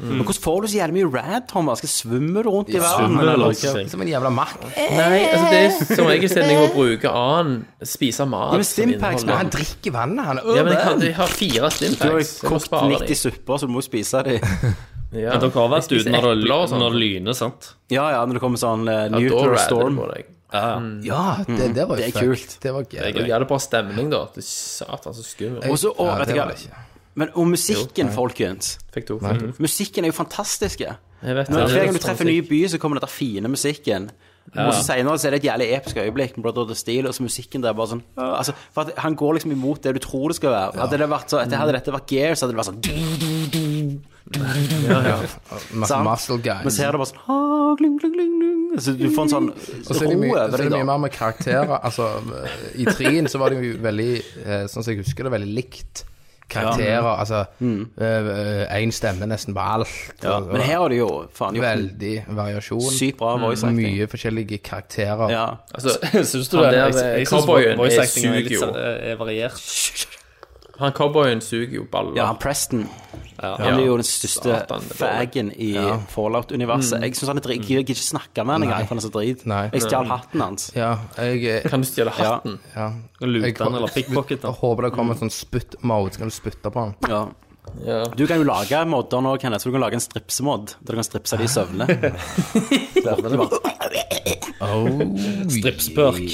Speaker 2: Men hvordan får du så jævlig mye rad, Thomas? Skal svømme du rundt i verden?
Speaker 4: Svømme eller
Speaker 2: eller?
Speaker 4: noe sånt.
Speaker 3: Som en jævla mark.
Speaker 6: Nei, altså det er som regel siden jeg må bruke annen spise mat.
Speaker 2: Ja, men
Speaker 6: som
Speaker 2: Stimpaks,
Speaker 6: inneholder-
Speaker 3: Nei, han drikker vannet, han.
Speaker 6: Ja, men jeg har, jeg har fire
Speaker 2: Du har jo
Speaker 6: Stimpacks. Jeg må
Speaker 2: kokt
Speaker 6: spare
Speaker 2: 90 supper, så du må jo spise dem.
Speaker 6: dem. Ja.
Speaker 4: Men dere har vært
Speaker 6: Jeg
Speaker 4: ute når
Speaker 6: spiser
Speaker 4: det,
Speaker 6: epler og
Speaker 4: ly-
Speaker 6: sånn.
Speaker 4: når det lyner, sant?
Speaker 2: Ja, ja, når det kommer sånn eh,
Speaker 6: Ja, da
Speaker 2: nuclear
Speaker 6: radder
Speaker 2: storm.
Speaker 6: det på deg.
Speaker 3: Ja, det, det var jo
Speaker 2: Mm, Det er
Speaker 3: fucked.
Speaker 2: kult.
Speaker 3: Det var
Speaker 6: Og
Speaker 3: gøy.
Speaker 6: Ja, det er bra stemning, da. Det er Satan, så skummelt.
Speaker 2: Og så, og,
Speaker 3: Ja,
Speaker 2: vet
Speaker 3: det
Speaker 2: du
Speaker 3: var det
Speaker 2: hva,
Speaker 3: ikke.
Speaker 2: men, og musikken, folkens.
Speaker 6: Fikk to. Altså, Fikk
Speaker 2: [laughs]
Speaker 6: to.
Speaker 2: Musikken er jo fantastisk. ja.
Speaker 6: Jeg vet
Speaker 2: Når
Speaker 6: det.
Speaker 2: hver gang du treffer en ny by, så kommer denne fine musikken. Og så senere så er det et jævlig episk øyeblikk med Brother of the Steel, og så musikken der bare sånn øh, altså, For at han går liksom imot det du tror det skal være. Hadde, det vært så, etter, hadde dette vært Gear, så hadde det vært sånn
Speaker 3: Mas-
Speaker 2: sant?
Speaker 3: Muscle guy.
Speaker 2: Men så er det bare sånn «Ah, gling, gling, gling, gling». Så du får en sånn
Speaker 3: Og så er det
Speaker 2: ro
Speaker 3: mye, så
Speaker 2: over
Speaker 3: er
Speaker 2: deg,
Speaker 3: det mye
Speaker 2: da.
Speaker 3: mer med karakterer. Altså, I trien så var det jo veldig, eh, sånn som jeg husker det, veldig likt karakterer. Altså én stemme nesten på alt.
Speaker 2: Mm. Ja,
Speaker 3: og-
Speaker 2: men her har du jo faen gjort en
Speaker 3: Veldig variasjon.
Speaker 2: sykt bra voice acting.
Speaker 3: Mye forskjellige karakterer.
Speaker 2: Ja.
Speaker 6: Altså,
Speaker 4: Syns du
Speaker 6: Han
Speaker 4: det?
Speaker 6: der, eh,
Speaker 4: Jeg, jeg, jeg syns
Speaker 6: cowboyen
Speaker 4: voice
Speaker 6: er
Speaker 4: acting er,
Speaker 6: suger
Speaker 4: litt
Speaker 6: jo.
Speaker 4: sånn, eh, er variert.
Speaker 6: han cowboyen suger jo baller.
Speaker 2: ja, han Preston.
Speaker 4: Ja.
Speaker 2: Han er jo den største
Speaker 6: Satan, det er
Speaker 2: faggen i Fallout-universet. Jeg syns han er drit. Jeg gidder ikke snakke med han engang, for han er så drit.
Speaker 3: Nei.
Speaker 2: Jeg stjal hatten hans.
Speaker 3: Ja, jeg, eh,
Speaker 6: Kan du stjele hatten?
Speaker 3: ja. Jeg-
Speaker 4: Lute han Sånn eller pickpocket
Speaker 3: jeg
Speaker 4: han.
Speaker 3: håper det kommer en sånn spytt-mode, så kan du spytte på han.
Speaker 2: Ja.
Speaker 6: Ja.
Speaker 2: Du kan jo lage modder nå, Kenneth, så du kan lage en stripsemod der du kan stripse de i søvne.
Speaker 4: Oh, Stripspørk.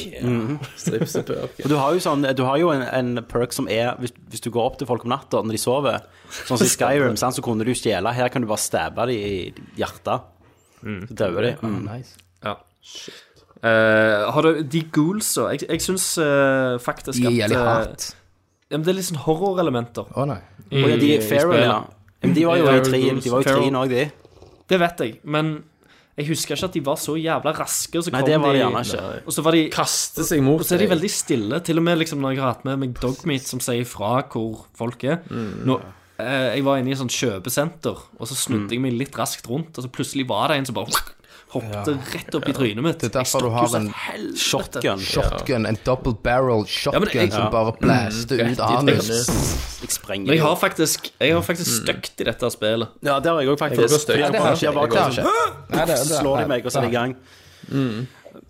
Speaker 6: Stripsepørk.
Speaker 2: Og Du har jo, sånn, du har jo en, en perk som er hvis, hvis du går opp til folk om natta når de sover, sånn som i Skyrim, sant, så kunne du stjele. Her kan du bare stabbe de i hjertet. Så dauer de. Mm.
Speaker 3: Nice.
Speaker 4: Ja. [laughs] Eh, har du de ghoulsa? Jeg, jeg syns eh, faktisk
Speaker 3: De er
Speaker 4: at
Speaker 3: jævlig
Speaker 4: eh,
Speaker 3: hardt.
Speaker 4: ja, men Det er litt sånn horrorelementer.
Speaker 3: Å nei.
Speaker 4: Mm.
Speaker 2: Og ja, de Feral, ja. Men de var jo
Speaker 4: Feral
Speaker 2: i trien, de var jo i
Speaker 4: Feral.
Speaker 2: trien òg, de.
Speaker 4: Det vet jeg, men jeg husker ikke at de var så jævla raske. Og så
Speaker 2: Nei,
Speaker 4: kom
Speaker 2: det var de
Speaker 4: de
Speaker 2: gjerne ikke.
Speaker 4: Og så var de
Speaker 6: Kaster seg mot
Speaker 4: Og så er de
Speaker 3: Eh,
Speaker 6: deg.
Speaker 4: veldig stille, til og med liksom når jeg har hatt med meg Dogmeat som sier fra hvor folk er.
Speaker 3: Mm.
Speaker 4: Nå, eh, jeg var inne i et sånt kjøpesenter, og så snudde
Speaker 3: Mm.
Speaker 4: jeg meg litt raskt rundt, og så plutselig var det en som bare hoppet rett opp i trynet mitt.
Speaker 3: Det er derfor du
Speaker 4: Jeg
Speaker 3: har
Speaker 4: stokk jo sånn,
Speaker 3: en
Speaker 4: helvete.
Speaker 2: Shotgun.
Speaker 3: Shotgun, en double barrel shotgun
Speaker 4: men jeg- Mm,
Speaker 3: som bare blaster ut anus.
Speaker 2: Jeg sprenger
Speaker 4: Men jeg
Speaker 2: de.
Speaker 4: har faktisk, jeg har faktisk
Speaker 3: Mm.
Speaker 4: støkt i dette spillet.
Speaker 2: Ja, det har jeg òg,
Speaker 6: Jeg går
Speaker 2: faktisk.
Speaker 6: og
Speaker 2: Fordi
Speaker 6: støker.
Speaker 3: Det
Speaker 2: jeg bare-
Speaker 3: har ikke
Speaker 2: jeg bare
Speaker 3: jeg. Det har ikke
Speaker 2: går
Speaker 3: jeg. Nei, det-
Speaker 2: sånn,
Speaker 3: det-
Speaker 2: Så slår de meg, og så er det i gang.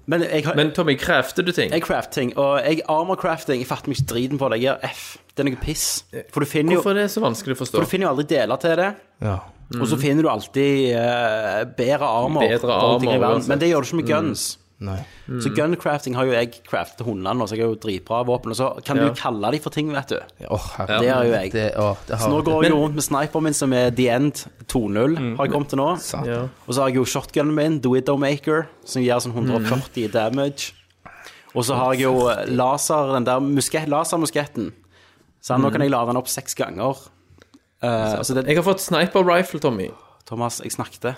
Speaker 2: Men jeg har
Speaker 6: Men Tommy, krefter du ting?
Speaker 2: Jeg craft ting, og jeg armor crafting Jeg fatter meg ikke driten på det. Jeg gir F. Det er noe piss. For du finner jo,
Speaker 6: Hvorfor er det så vanskelig å forstå?
Speaker 2: for du finner jo aldri deler til det.
Speaker 3: Ja.
Speaker 2: Og så finner du alltid eh, bedre armor.
Speaker 6: Bedre
Speaker 2: rundt omkring i
Speaker 6: armor,
Speaker 2: verden.
Speaker 6: uansett.
Speaker 2: Men det gjør du ikke med guns.
Speaker 3: Nei.
Speaker 2: Så guncrafting har jo jeg craftet til hundene, nå, så jeg har jo dritbra våpen. Og så kan du kalle dem for ting, vet du.
Speaker 3: Åh, herregud.
Speaker 2: Det har jo jeg.
Speaker 3: Det, åh, det har
Speaker 2: Så nå går jeg jo rundt med sniperen min, som er The End 2.0, har jeg kommet til nå.
Speaker 3: Satan.
Speaker 6: Ja.
Speaker 2: Og så har jeg jo shotgunen min, The Widowmaker, som gir sånn 140 damage. Og så har jeg jo laser, den der musket, lasermusketten. Så nå kan jeg lade den opp seks ganger. Eh, så det,
Speaker 6: Jeg har fått sniper rifle, Tommy.
Speaker 2: Thomas, jeg snakket.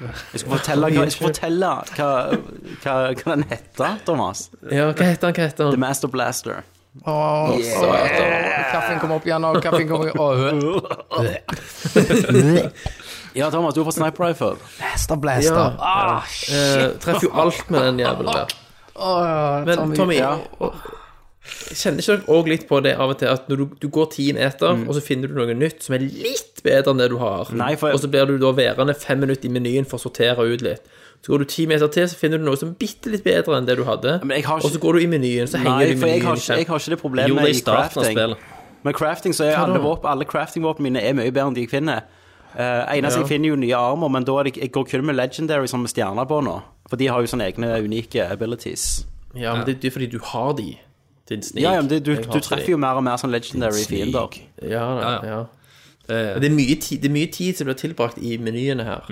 Speaker 2: Jeg skulle fortelle hva, jeg skulle fortelle hva, hva, hva den heter, Thomas.
Speaker 6: Ja, hva heter han? Hva heter
Speaker 2: The
Speaker 6: han?
Speaker 2: Master Blaster.
Speaker 3: Åh, satan. Kaffen kommer opp igjen, og kaffen kommer opp igjen.
Speaker 2: Ja, Thomas, du har fått sniper rifle.
Speaker 3: [laughs] Blaster, blaster.
Speaker 6: Ja.
Speaker 3: Ah,
Speaker 6: Eh, treffer jo alt med den jævelen der.
Speaker 3: åh,
Speaker 6: Men
Speaker 3: Tommy.
Speaker 6: Tommy,
Speaker 3: Ja.
Speaker 6: og- kjenner ikke dere òg litt på det av og til at når du, du går ti meter, og så finner du noe nytt som er litt bedre enn det du har,
Speaker 2: Mm. Nei, for-
Speaker 6: og så blir du da værende fem minutter i menyen for å sortere ut litt. Så går du ti meter til, så finner du noe som er bitte litt bedre enn det du hadde,
Speaker 2: Men jeg har ikke-
Speaker 6: og så går du i menyen, så henger
Speaker 2: Nei,
Speaker 6: du i
Speaker 2: for jeg
Speaker 6: menyen.
Speaker 2: har, ikke, jeg har ikke det
Speaker 4: Jo,
Speaker 2: problemet
Speaker 4: det er i
Speaker 2: i
Speaker 4: starten av
Speaker 2: crafting.
Speaker 4: spillet.
Speaker 2: Med crafting så er alle, våpen, alle crafting-våpen mine er mye bedre enn de jeg finner. Uh, eneste jeg finner er jo nye armer, men da er det, jeg går kun med legendary som med stjerner på nå. For de har jo sånne egne unike abilities.
Speaker 6: Ja, men det, det er fordi du har de. Din snik.
Speaker 2: Ja, ja, men det, du,
Speaker 6: Jeg
Speaker 2: du
Speaker 6: hater
Speaker 2: treffer
Speaker 6: de.
Speaker 2: jo mer og mer sånn legendary fiender.
Speaker 6: Ja, da,
Speaker 4: Ja, ja.
Speaker 6: ja.
Speaker 4: Eh,
Speaker 6: Det, er mye tid, det er mye tid som blir tilbrakt i menyene her.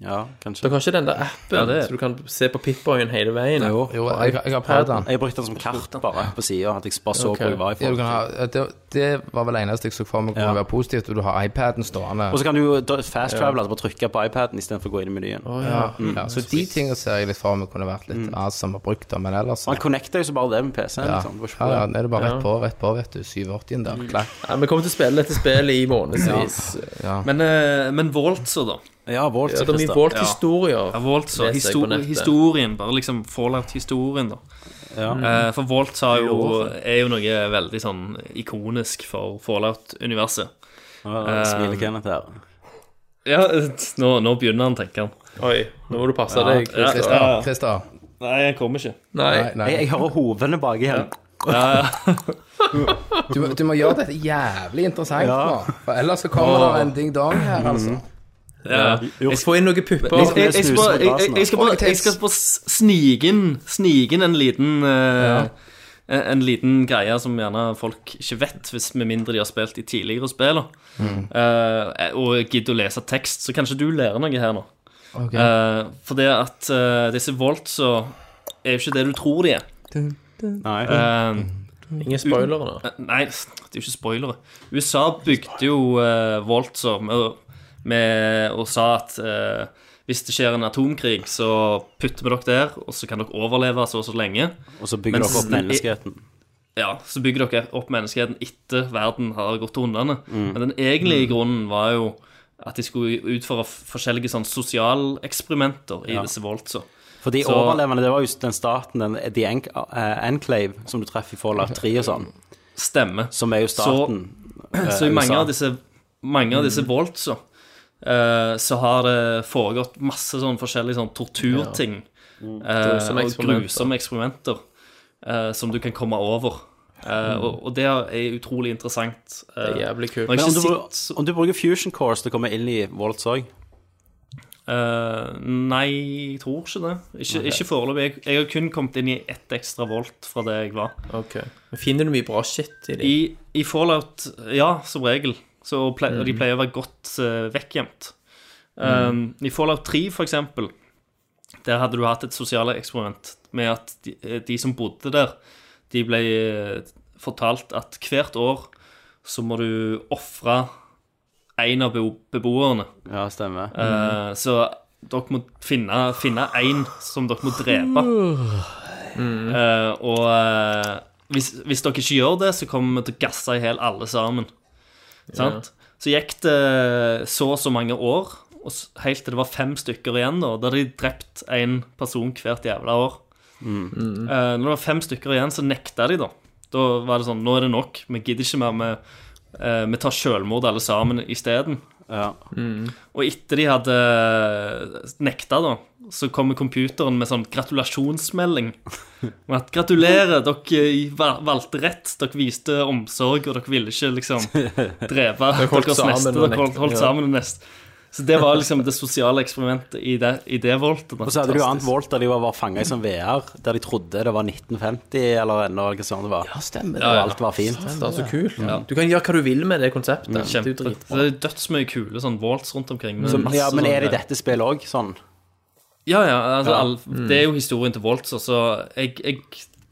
Speaker 2: Ja,
Speaker 6: Dere
Speaker 2: kanskje.
Speaker 6: har ikke den der appen,
Speaker 4: Ja, det er-
Speaker 6: så du kan se på Pip-Boyen hele veien.
Speaker 2: Jo.
Speaker 3: Jo, jeg, jeg har prøvd den.
Speaker 2: Jeg brukte den som kart bare på sida, at jeg bare så hvor jeg var i
Speaker 3: Ja, du
Speaker 2: forhold.
Speaker 3: kan ha, det, det var vel eneste jeg så for meg kunne
Speaker 2: Ja.
Speaker 3: være positivt, og du har iPaden stående.
Speaker 2: Og så kan du jo da- fast travel, altså bare trykke på iPaden istedenfor å gå inn i menyen.
Speaker 3: ja. Ja, så de tingene ser jeg litt for meg kunne vært
Speaker 2: Mm.
Speaker 3: litt awesome å bruke, da, men ellers
Speaker 2: Man connecter jo så bare det med PC-en.
Speaker 3: ja.
Speaker 2: Liksom. Det var ikke
Speaker 3: ja, ja, det
Speaker 2: problem.
Speaker 3: Mm. er det bare rett på, rett på, vet du. 87 der. Klakk.
Speaker 6: Ja, vi kommer til å spille dette spillet i månedsvis.
Speaker 4: men, eh, men Waltzer, da.
Speaker 2: ja, Vault,
Speaker 6: Ja, det er mye
Speaker 2: Christer.
Speaker 6: Volt-historier.
Speaker 4: Ja, Waltzer,
Speaker 6: Leser jeg på
Speaker 4: histor
Speaker 6: nettet.
Speaker 4: historien, bare liksom Fallout-historien, da.
Speaker 2: Ja.
Speaker 4: Eh, for Walt har jo, er jo noe veldig sånn ikonisk for Fallout-universet.
Speaker 2: Ja, Smiler Kenneth her.
Speaker 4: Ja, [laughs] nå, nå begynner han, tenker han.
Speaker 6: Oi, nå må du passe deg.
Speaker 4: Ja,
Speaker 6: Christian.
Speaker 4: ja.
Speaker 3: Christer, Christer.
Speaker 4: Nei, han kommer ikke.
Speaker 6: Nei.
Speaker 3: Nei, nei.
Speaker 2: Jeg, jeg hører hovene baki her.
Speaker 3: Du, må- du må gjøre dette jævlig interessant
Speaker 2: Ja.
Speaker 3: nå, for ellers så kommer det en ding-dong her, altså.
Speaker 4: Ja.
Speaker 6: Jeg får inn noen
Speaker 4: Jeg,
Speaker 6: pupper.
Speaker 4: jeg, jeg, skal bare- jeg, jeg, jeg, skal bare-
Speaker 3: Folketest.
Speaker 4: jeg skal bare s- snike inn snike inn en liten eh, en, en liten greie som gjerne folk ikke vet, hvis med mindre de har spilt i tidligere spill. da. Eh, og gidder å lese tekst, så kanskje du lærer noe her nå.
Speaker 3: Ok.
Speaker 4: Eh, for det at eh, disse Volt så er jo ikke det du tror de er.
Speaker 2: Nei.
Speaker 4: Eh,
Speaker 6: Ingen spoilere nå.
Speaker 4: Nei, det er jo ikke spoilere. USA bygde jo uh, Waltzer med, med og sa at eh, hvis det skjer en atomkrig, så putter vi dere der, og så kan dere overleve så og så lenge.
Speaker 2: Og så bygger
Speaker 4: Mens
Speaker 2: dere opp
Speaker 4: den-
Speaker 2: menneskeheten.
Speaker 4: Ja, Så bygger dere opp menneskeheten etter verden har gått til hundene. Men den egentlige grunnen var jo at de skulle utføre f- forskjellige sånn sosialeksperimenter i disse Waltzer.
Speaker 2: For de
Speaker 4: Så-
Speaker 2: overlevende, det var jo den staten, den, The Enc- eh, Enclave, som du treffer i Fallout 3 og sånn,
Speaker 4: Stemme.
Speaker 2: som er jo staten.
Speaker 4: [clears throat]
Speaker 6: Eh,
Speaker 2: eh,
Speaker 4: Så i mange
Speaker 2: USA.
Speaker 4: av disse, mange av
Speaker 6: Mm.
Speaker 4: disse voltsa eh, så har det foregått masse sånn forskjellige sånn torturting. eh,
Speaker 6: Mm. Grusomme
Speaker 4: og
Speaker 6: eksperimenter.
Speaker 4: grusomme eksperimenter eh, som du kan komme over. Eh, og, og det er utrolig interessant. eh,
Speaker 6: Mm. Det er jævlig
Speaker 4: når jeg
Speaker 6: kult.
Speaker 2: Men om
Speaker 4: ikke
Speaker 2: du,
Speaker 4: sitter
Speaker 2: bru- om du bruker fusion cores til å komme inn i Vaults òg
Speaker 4: eh, Nei, jeg tror ikke det. Ikke, ikke foreløpig. Jeg, jeg har kun kommet inn i ett ekstra volt fra det jeg var.
Speaker 6: Ok. Men Finner du mye bra shit i det?
Speaker 4: I, i Fallout, ja, som regel. Så ple og De pleier å være godt eh, vekkgjemt. Um, I Fallout 3, for eksempel, der hadde du hatt et sosiale eksperiment med at de, eh, de som bodde der, de ble eh, fortalt at hvert år så må du ofre én av bebo beboerne.
Speaker 2: Ja, stemmer.
Speaker 4: Eh, Så dere må finne, finne en som dere må drepe. Eh, og eh, hvis, hvis dere ikke gjør det, så kommer vi til å gasse i hjel alle sammen. Sant? Så gikk det så og så mange år, og s- helt til det var fem stykker igjen. Da da hadde de drept én person hvert jævla år. Eh, når det var fem stykker igjen, så nekta de, da. Da var det sånn Nå er det nok. Vi gidder ikke mer. Vi, eh, vi tar selvmord alle sammen isteden.
Speaker 2: Ja.
Speaker 4: Og etter de hadde nekta, da, så kommer computeren med sånn gratulasjonsmelding. Med at 'Gratulerer, dere eh, va- valgte rett. Dere viste omsorg, og dere ville ikke
Speaker 2: [laughs]
Speaker 4: liksom drepe
Speaker 6: holdt
Speaker 4: deres
Speaker 6: sammen
Speaker 4: neste.
Speaker 6: og
Speaker 4: Dere
Speaker 6: nekta,
Speaker 4: holdt, holdt
Speaker 6: ja.
Speaker 4: sammen og neste. Så det var liksom det sosiale eksperimentet i det, i det voltet. da.
Speaker 2: Og så hadde du jo annet Vault der de var fanga i sånn VR, der de trodde det var 1950 eller ennå, eller hva sånn det var.
Speaker 3: Ja, stemmer
Speaker 2: Og
Speaker 3: det.
Speaker 2: alt var fint.
Speaker 6: Det er så kult. Du kan gjøre hva du vil med det konseptet. Det er jo
Speaker 4: Kjempe,
Speaker 6: dritbra.
Speaker 4: det er dødsmye kule sånn volts rundt omkring. med masse
Speaker 2: Ja, men er
Speaker 4: sånne-
Speaker 2: det i dette spillet òg sånn?
Speaker 4: Ja, ja. Altså, all,
Speaker 2: Mm.
Speaker 4: Det er jo historien til Voltzer, så jeg, jeg,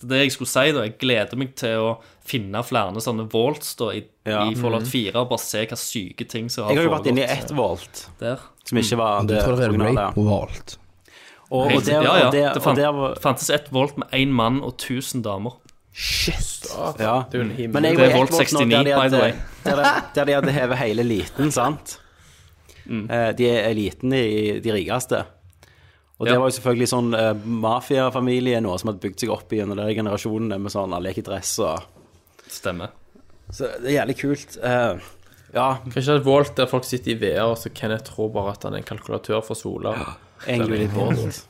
Speaker 4: det jeg skulle si, da Jeg gleder meg til å finne flere sånne Volts da i,
Speaker 2: Ja. Mm.
Speaker 4: i Fallout 4, og bare se hva syke ting som
Speaker 2: Jeg
Speaker 4: har
Speaker 2: har jo vært inne i
Speaker 4: foregått
Speaker 2: ett Vault
Speaker 4: der.
Speaker 2: som ikke var
Speaker 3: Mm. Du
Speaker 2: det
Speaker 3: tror det er
Speaker 2: originale.
Speaker 3: rape vault.
Speaker 2: Og, og
Speaker 4: Helt- ja,
Speaker 2: der,
Speaker 4: ja.
Speaker 2: og der,
Speaker 4: det
Speaker 2: og
Speaker 4: fant,
Speaker 2: der var
Speaker 4: fantes ett Volt med én mann og 1000 damer.
Speaker 2: Ja.
Speaker 6: Det er jo en himmel.
Speaker 2: Men jeg
Speaker 4: Det er
Speaker 2: var
Speaker 4: Volt
Speaker 2: helt våken nå,
Speaker 4: 69,
Speaker 2: der
Speaker 4: by
Speaker 2: de
Speaker 4: the
Speaker 2: hadde,
Speaker 4: way.
Speaker 2: der, de- der de hadde hevet hele eliten, sant? Eh, De er eliten i de rikeste. Og det
Speaker 4: Ja.
Speaker 2: var jo selvfølgelig sånn eh, mafiafamilie nå som hadde bygd seg opp gjennom de generasjonene med sånn alle gikk i dress og
Speaker 4: Stemmer.
Speaker 2: Så det er jævlig kult. Eh, ja,
Speaker 6: Kanskje det er et Volt der folk sitter i VR, og så Kenneth tror bare at han er en kalkulatør fra Sola.
Speaker 2: egentlig litt vårt.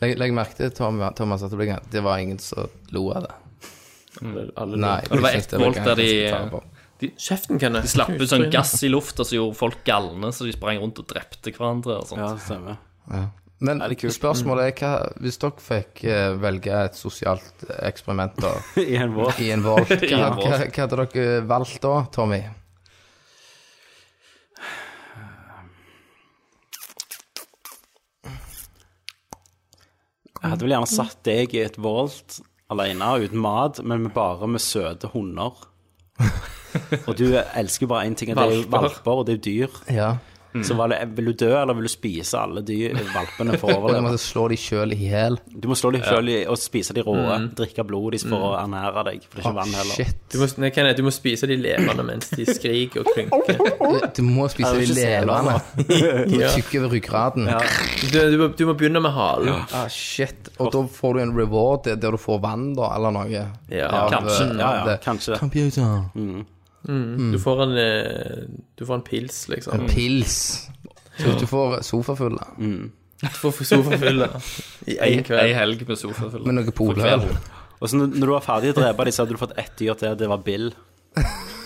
Speaker 3: Legg, legg merke til, Tom, Thomas, at det, ble, det var ingen som lo av det.
Speaker 6: Alle
Speaker 3: Nei.
Speaker 4: det var
Speaker 3: jeg synes
Speaker 4: ett
Speaker 3: var
Speaker 4: volt der de-
Speaker 3: ganske tabert.
Speaker 6: Kjeften, Kenneth.
Speaker 4: De slapp ut sånn gass i lufta som gjorde folk galne, så de sprang rundt og drepte hverandre. og sånt.
Speaker 2: Ja, det stemmer. [laughs]
Speaker 3: Men spørsmålet er hva Hvis dere fikk eh, velge et sosialt eksperiment da,
Speaker 2: i en vår.
Speaker 3: i en Vault, hva,
Speaker 4: I en
Speaker 3: hva, hva, hadde dere valgt da, Tommy?
Speaker 2: Jeg hadde vel gjerne satt deg i et vault alene uten mat, men med bare med søte [laughs] hunder. Og du elsker jo bare én ting, og det er jo
Speaker 4: Valper.
Speaker 2: valper, og det er jo dyr.
Speaker 3: Ja.
Speaker 2: Så var det, vil du dø, eller vil du spise alle dyr, valpene
Speaker 3: [laughs]
Speaker 2: for
Speaker 3: Og
Speaker 2: å
Speaker 3: de
Speaker 2: overleve?
Speaker 3: måtte slå de sjøl i hjel.
Speaker 2: Du må slå dem sjøl og spise de rå, drikke blodet deres for å ernære deg, for det er ikke vann heller.
Speaker 3: Shit.
Speaker 6: Du må, nei, Kenneth, du må spise de levende mens de skriker og klynker.
Speaker 3: Du, Eh, du må spise
Speaker 2: det er
Speaker 3: de
Speaker 2: ikke
Speaker 3: levende. De
Speaker 6: Ja.
Speaker 3: er tykke over ryggraden.
Speaker 6: Du, du, må, du må begynne med halen.
Speaker 3: Ah, shit. Og da får du en reward der- der du får vann, da, eller noe.
Speaker 6: Ja.
Speaker 3: Av,
Speaker 4: kanskje.
Speaker 3: eh,
Speaker 2: Ja,
Speaker 3: av
Speaker 2: ja,
Speaker 3: det. Mm.
Speaker 2: kanskje.
Speaker 3: Computer.
Speaker 6: Du får en eh, Du får en pils, liksom.
Speaker 3: En pils. Så du får sofafull. da.
Speaker 6: Du får sofafylle i én
Speaker 4: Ei
Speaker 6: kveld.
Speaker 4: helg med sofafyll.
Speaker 3: Med noe
Speaker 4: For
Speaker 3: poløl.
Speaker 4: kvelden.
Speaker 2: Og så når når du var ferdig å drepe dem, så hadde du fått ett dyr til, det var
Speaker 3: [laughs]
Speaker 2: Bill.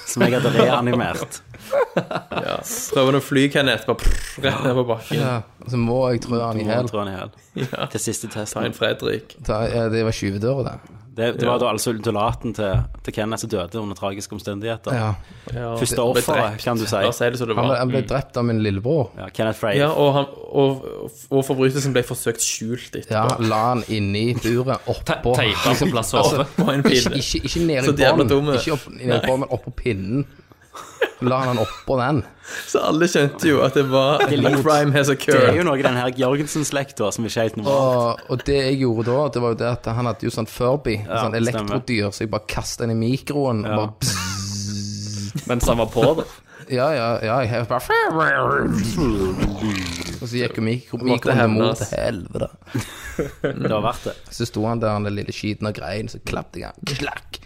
Speaker 2: Som jeg hadde reanimert.
Speaker 6: Ja. Prøver han å fly, Kenneth, bare pff, rett ned på bakken.
Speaker 3: Ja. Så må jeg trø han i
Speaker 2: Jeg
Speaker 3: hjel.
Speaker 2: tror han er hel. Til siste
Speaker 6: Ta
Speaker 2: testen.
Speaker 6: en Fredrik.
Speaker 3: Ta- ja, Det var skyvedøra, det.
Speaker 2: Det, det var da altså ultimaten til, til Kenneth som døde under tragiske omstendigheter.
Speaker 3: Ja.
Speaker 6: Ja.
Speaker 2: Første offeret, kan du si.
Speaker 6: La oss si det som det
Speaker 3: Han ble,
Speaker 6: var. Mm.
Speaker 3: han ble drept av min lillebror.
Speaker 2: Ja, Kenneth Frey.
Speaker 6: Ja, og, han, og, og forbrytelsen ble forsøkt skjult
Speaker 3: Ja,
Speaker 6: etterpå.
Speaker 3: la han inni buret, oppå
Speaker 4: Teipa på plass å
Speaker 2: [laughs]
Speaker 6: Altså,
Speaker 4: sove.
Speaker 6: og en
Speaker 3: [laughs] Ikke,
Speaker 6: pille.
Speaker 3: ikke, ikke nede
Speaker 6: Så
Speaker 3: i
Speaker 6: jævla dumme.
Speaker 3: bånn, ikke opp, ned i bånn, men oppå pinnen. La han han oppå den.
Speaker 6: Så alle skjønte jo at det var A
Speaker 2: lurt.
Speaker 6: crime has
Speaker 2: Det er jo
Speaker 6: occurred.
Speaker 2: noe i den her Jørgensen-slekta som ikke er helt normal.
Speaker 3: Og, og det jeg gjorde da, det var jo det at han hadde jo sånn Furby, sånn
Speaker 2: stemmer.
Speaker 3: elektrodyr, så jeg bare kastet den i mikroen. Og bare, pss,
Speaker 4: Mens han var på det.
Speaker 3: ja, ja, ja, jeg bare Og så gikk jo mikro, mikroen mot
Speaker 6: hevnes.
Speaker 3: helvete.
Speaker 2: Det har vært det.
Speaker 3: Så sto han der, han der lille skiten og grein, så klappte jeg han. Klakk.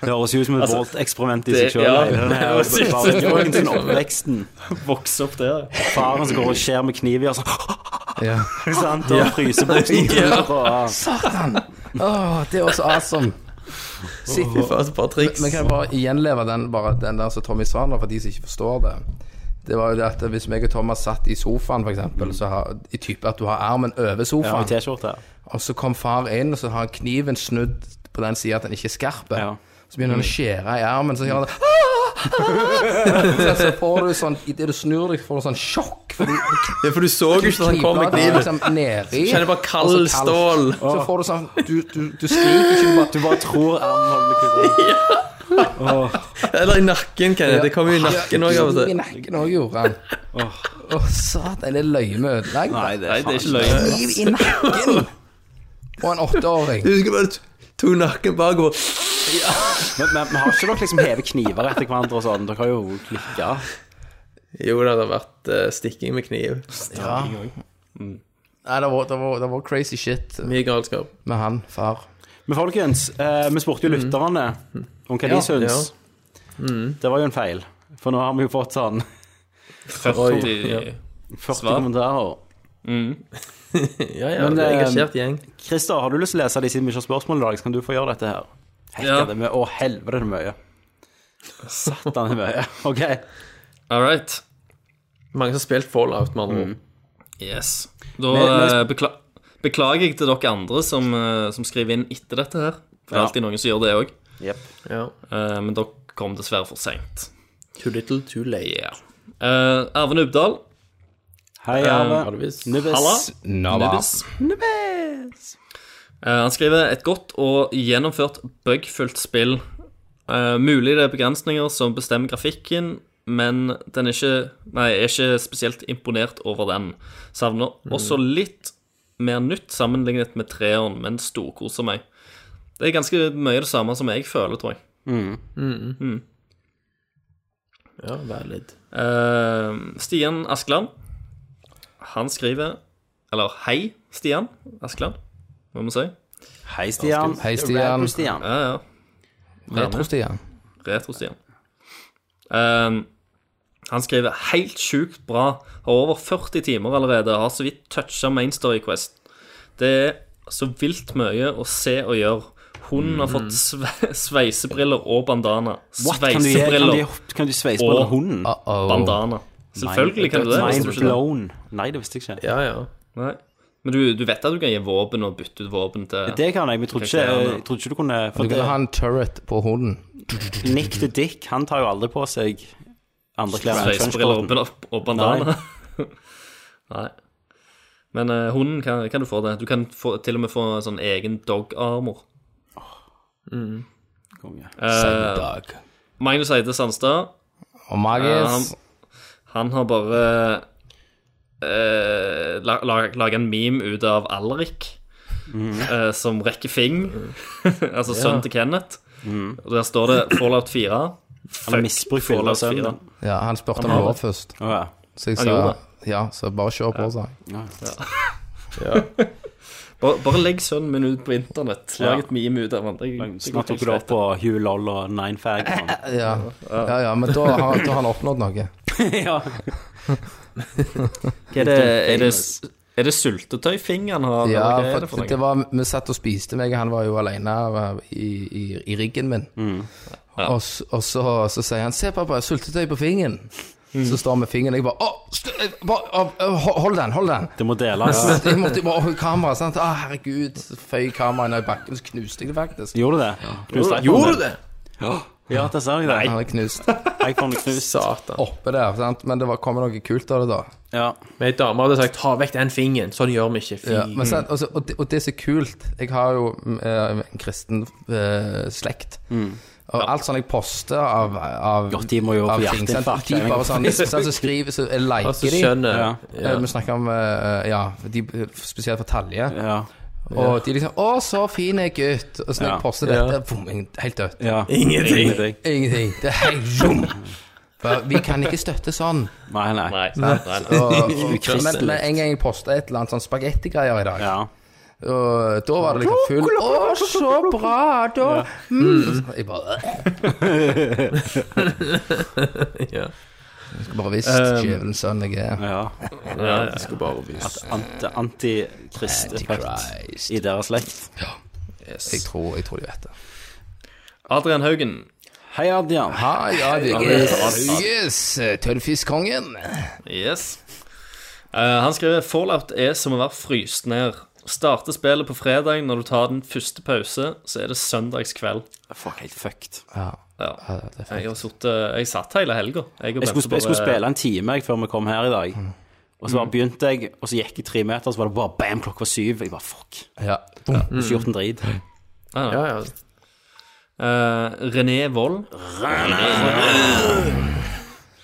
Speaker 2: Det høres jo ut som et Volt-eksperiment i seg
Speaker 4: Altså, det-
Speaker 2: sjøl.
Speaker 4: ja, det synes jeg det var.
Speaker 2: Jørgensen-oppveksten.
Speaker 4: Vokse opp der.
Speaker 2: Faren som går og skjærer med kniv i og
Speaker 4: [laughs]
Speaker 2: sånn.
Speaker 3: Ja.
Speaker 2: Sant? Og fryser bort
Speaker 3: [laughs]
Speaker 2: og
Speaker 3: Satan! Åh, det var så awesome. Sitt,
Speaker 6: Fy faen, så bra triks.
Speaker 3: Men kan jeg bare gjenleve den, bare den der som Tommy sa nå, for de som ikke forstår det. Det var jo det at hvis meg og Thomas satt i sofaen, for eksempel, så har, i type at du har armen over
Speaker 2: Ja,
Speaker 3: sofaen,
Speaker 2: T-skjorte.
Speaker 3: og så kom far inn, og så har kniven snudd på den sida at den ikke er skarp.
Speaker 2: Ja.
Speaker 3: Så begynner han å skjære i armen, så gjør han det Så- Så får du sånn Idet du snur deg, får du sånn sjokk. For du
Speaker 6: Ja, for du så jo ikke at han kom med
Speaker 3: knivbladet er
Speaker 6: kniven.
Speaker 3: liksom nedi.
Speaker 6: Kjenner bare kald
Speaker 3: og så kaldt.
Speaker 6: stål.
Speaker 3: Så får du sånn Du, du, du skriker ikke, du bare
Speaker 2: Du bare tror armen holder
Speaker 4: [laughs]
Speaker 2: kurven.
Speaker 6: Eller i nakken, Kenneth. Det kom jo i nakken altså. òg.
Speaker 3: Ja, i nakken også gjorde han. Å, satan, det er løgne ødelagt.
Speaker 2: Nei, det
Speaker 4: Nei, det er
Speaker 2: er faen
Speaker 4: ikke løgn.
Speaker 3: Kniv i nakken på en åtteåring.
Speaker 6: Du husker bare t- to nakken bakover.
Speaker 2: Men, men, men har ikke dere liksom hevet kniver etter hverandre og sånn? Dere har jo klikka.
Speaker 6: Jo, det hadde vært eh, stikking med kniv.
Speaker 3: Ja. Nei, det var, det, var, det var crazy shit
Speaker 6: Mye galskap.
Speaker 3: med han, far.
Speaker 2: Men folkens, eh, vi
Speaker 4: Mm.
Speaker 2: spurte jo lytterne om hva de syns.
Speaker 4: Mm.
Speaker 2: Det var jo en feil, for nå har vi jo fått sånn
Speaker 4: 40
Speaker 2: 40
Speaker 4: Svar.
Speaker 2: kommentarer.
Speaker 6: Ja, ja,
Speaker 2: Men,
Speaker 6: det er
Speaker 2: eh,
Speaker 6: engasjert gjeng.
Speaker 2: Christer, har du lyst til å lese de siden vi ikke har spørsmål i dag, så kan du få gjøre dette her. Hekka
Speaker 4: Ja.
Speaker 2: det med Å, helvete, det er mye. Satan, det er mye. [laughs] OK.
Speaker 4: All right.
Speaker 6: Mange som har spilt Fallout, med andre ord.
Speaker 4: Yes. Da
Speaker 2: Men- men-
Speaker 4: eh, bekla beklager jeg til dere andre som, eh, som skriver inn etter dette her. For det er
Speaker 2: Ja.
Speaker 4: alltid noen som gjør det òg.
Speaker 2: Jepp.
Speaker 6: Ja.
Speaker 4: men dere kom dessverre for seint.
Speaker 6: Too little, too late.
Speaker 4: Yeah. Eh, Arve Nubdal.
Speaker 2: Hei,
Speaker 4: Eh,
Speaker 6: Har
Speaker 2: Arve.
Speaker 6: du visst?
Speaker 4: Halla.
Speaker 2: Nubbes.
Speaker 4: Nubbes. Eh, han skriver et godt og gjennomført bugfullt spill. Eh, mulig det er begrensninger som bestemmer grafikken, men den er ikke, nei, jeg er ikke spesielt imponert over den. Savner også litt mer nytt sammenlignet med treeren, men storkoser meg. Det er ganske mye det samme som jeg føler, tror jeg. Mm.
Speaker 6: Ja, valid.
Speaker 4: Eh, Stian Askeland, han skriver Eller hei, Stian Askeland, hva må vi si.
Speaker 2: Hei, Stian.
Speaker 3: Hei, Stian.
Speaker 2: Stian.
Speaker 4: Ja, ja.
Speaker 3: Retro-Stian.
Speaker 4: Retro-Stian. Ehm, han skriver helt sjukt bra. Har over 40 timer allerede. Har så vidt toucha Main Story Quest. Det er så vilt mye å se og gjøre. Hun har fått sve sveisebriller og bandana.
Speaker 2: Mhm. What? Kan du, gi- kan
Speaker 4: Sveisebriller
Speaker 2: du, kan du sveise på
Speaker 4: Og-
Speaker 2: den hunden?
Speaker 3: Uh-oh.
Speaker 4: bandana. Selvfølgelig kan du det. hvis du
Speaker 2: Mind
Speaker 4: ikke det.
Speaker 2: blown. Nei, det visste jeg ikke.
Speaker 6: Ja, ja.
Speaker 4: Nei. Men du, du vet at du kan gi våpen og bytte ut våpen til
Speaker 2: Det kan jeg, men jeg trodde ikke,
Speaker 4: Karakterene.
Speaker 2: jeg trodde ikke du kunne
Speaker 3: Du
Speaker 2: For
Speaker 3: kan
Speaker 2: det,
Speaker 3: ha en turret på hunden.
Speaker 2: Nick the Dick, han tar jo aldri på seg andre klær enn
Speaker 4: Sveisbriller og
Speaker 2: trenchcoaten.
Speaker 4: ban- og bandana. [laughs] Nei. Men eh, hunden kan, kan du få det. Du kan få, til og med få en sånn egen dog-armor.
Speaker 2: Konge.
Speaker 4: Eh, Magnus Eide Sandstad,
Speaker 3: Og Magis
Speaker 4: eh, han har bare uh, laga en meme ut av Alrik.
Speaker 2: Mm.
Speaker 4: eh, som rekker fing. [laughs] altså sønnen til Kenneth. Og der står det Fallout 4.
Speaker 2: Mm. Han har misbrukt bildet av sønnen. din.
Speaker 3: Ja, han spurte om lov først.
Speaker 2: Å, ja.
Speaker 3: Så jeg
Speaker 4: Han gjorde
Speaker 3: sa
Speaker 4: det.
Speaker 3: ja, så bare kjør på, sa jeg.
Speaker 4: Bare, bare legg sønnen min ut på internett. Lag et meme ut av han. Det- det går
Speaker 2: Snart tok
Speaker 4: helt
Speaker 2: du
Speaker 4: greit.
Speaker 2: opp på Hugh Loll og Nine Fag.
Speaker 4: [laughs]
Speaker 2: og sånn.
Speaker 3: Ja, ja, ja men da har, da har han oppnådd noe.
Speaker 2: ja.
Speaker 4: Er det, er det, er det sultetøyfing han har?
Speaker 3: Ja,
Speaker 4: eller hva er det
Speaker 3: for
Speaker 4: for
Speaker 3: det
Speaker 4: noe?
Speaker 3: var, vi satt og spiste, meg og han var jo alene eh, i, i, i riggen min.
Speaker 4: Ja.
Speaker 3: Og, s- og så, så sier han 'Se, pappa, sultetøy på fingeren'.
Speaker 4: Mm.
Speaker 3: Så står han med fingeren, og jeg bare, å, st- eh, bare å, å, ho- Hold den, hold den!
Speaker 2: Det må deles.
Speaker 3: Jeg måtte bare holde kameraet, sant. Å, herregud. Så føy kameraet ned i bakken, så knuste jeg det faktisk.
Speaker 2: Gjorde du det? Knuste
Speaker 6: Gjorde
Speaker 2: iPhonen
Speaker 6: du
Speaker 2: din?
Speaker 6: det?
Speaker 2: Ja, det sa jeg det.
Speaker 3: Han er knust
Speaker 2: iPhone er knust.
Speaker 6: Satan.
Speaker 3: oppe der, sant. Men det var, kommer noe kult av det, da.
Speaker 2: Ja.
Speaker 6: Men ei dame hadde sagt 'ta vekk den fingeren'. Sånn gjør vi ikke. Fy.
Speaker 3: Ja,
Speaker 2: Mm.
Speaker 3: men sant, altså, og, det, og det er så kult Jeg har jo mm, eh, en kristen eh, slekt Og alt sånn jeg poster av, av
Speaker 2: Mm. Ja, de må jo
Speaker 3: av
Speaker 2: få
Speaker 3: ting, sant,
Speaker 2: hjerteinfarkt.
Speaker 3: De bare
Speaker 2: [laughs]
Speaker 3: sånn, sant, så skriver, så jeg liker
Speaker 6: altså,
Speaker 3: de
Speaker 6: skjønner
Speaker 2: Ja.
Speaker 6: Ja.
Speaker 3: Eh, Vi snakker om, eh, ja, de, spesielt for talje
Speaker 2: Ja.
Speaker 3: Og de liksom, å så fin er gutt Og så når
Speaker 2: Ja.
Speaker 3: jeg poster dette, boom, helt dødt
Speaker 2: ja.
Speaker 6: Ingenting.
Speaker 2: Ingenting.
Speaker 3: Ingenting, det er helt zoom For vi kan ikke støtte sånn
Speaker 2: [laughs] Nei, nei.
Speaker 4: Nei, nei, nei, nei.
Speaker 3: og, [laughs] og, men, men en gang jeg postet et eller annet sånn spagettigreier i dag
Speaker 2: Ja.
Speaker 3: Og da var det liksom full Å, så bra! Da mm. Jeg bare [laughs]
Speaker 6: Ja.
Speaker 3: Jeg skulle bare visst djevelen sønn jeg er.
Speaker 2: ja.
Speaker 4: Ja, ja.
Speaker 6: Jeg skulle bare vise.
Speaker 2: Ant- Antikrist-effekt
Speaker 3: Antichrist.
Speaker 2: i deres slekt.
Speaker 3: Jeg tror, jeg tror de vet det.
Speaker 4: Adrian Haugen.
Speaker 2: Hei, Adrian.
Speaker 3: Ha, ja, det yes, yes, Tørrfiskkongen.
Speaker 4: Yes. Eh, han skriver Fallout er som å være fryst ned. Starter spillet på fredag. Når du tar den første pause, så er det søndagskveld.
Speaker 2: Fuck, helt fucked.
Speaker 4: Ja.
Speaker 3: det er fint.
Speaker 4: Jeg har sittet Jeg satt hele helga. Jeg, og
Speaker 2: Jeg skulle,
Speaker 4: Bente
Speaker 2: sp- jeg skulle
Speaker 4: bare-
Speaker 2: spille en time jeg, før vi kom her i dag. Og så bare begynte jeg, og så gikk jeg tre meter, og så var det bare bam, klokka var syv. Jeg bare fuck.
Speaker 3: Ja.
Speaker 2: Jeg har ikke gjort en drit.
Speaker 4: Ja, ja.
Speaker 6: Ja, ja.
Speaker 4: Eh, René Wold.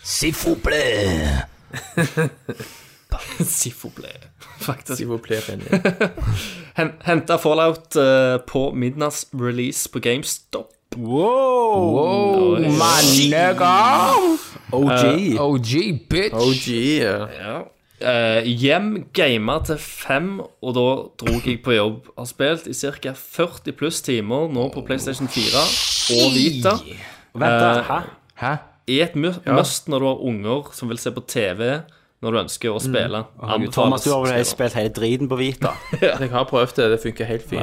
Speaker 3: S'il vous plaît.
Speaker 4: [laughs] Sifoble, faktisk.
Speaker 6: S'il vous plaît, René.
Speaker 4: Hen- Henta Fallout eh, på midnatts release på GameStop.
Speaker 3: Wow, mannegam.
Speaker 2: OG.
Speaker 3: OG, bitch.
Speaker 6: OG. Ja.
Speaker 4: Eh, hjem, gama til fem, og da dro jeg på jobb. Har spilt i ca. 40 pluss timer nå på PlayStation 4 og Vita.
Speaker 2: Vent, da. Hæ?
Speaker 3: Hæ?
Speaker 4: I et mu- must når du har unger som vil se på TV når du ønsker å spille.
Speaker 2: Mm. Herregud, Thomas, du har vel
Speaker 4: skriver.
Speaker 2: spilt hele driten på Vita?
Speaker 6: Jeg har prøvd det. Det funker helt fint.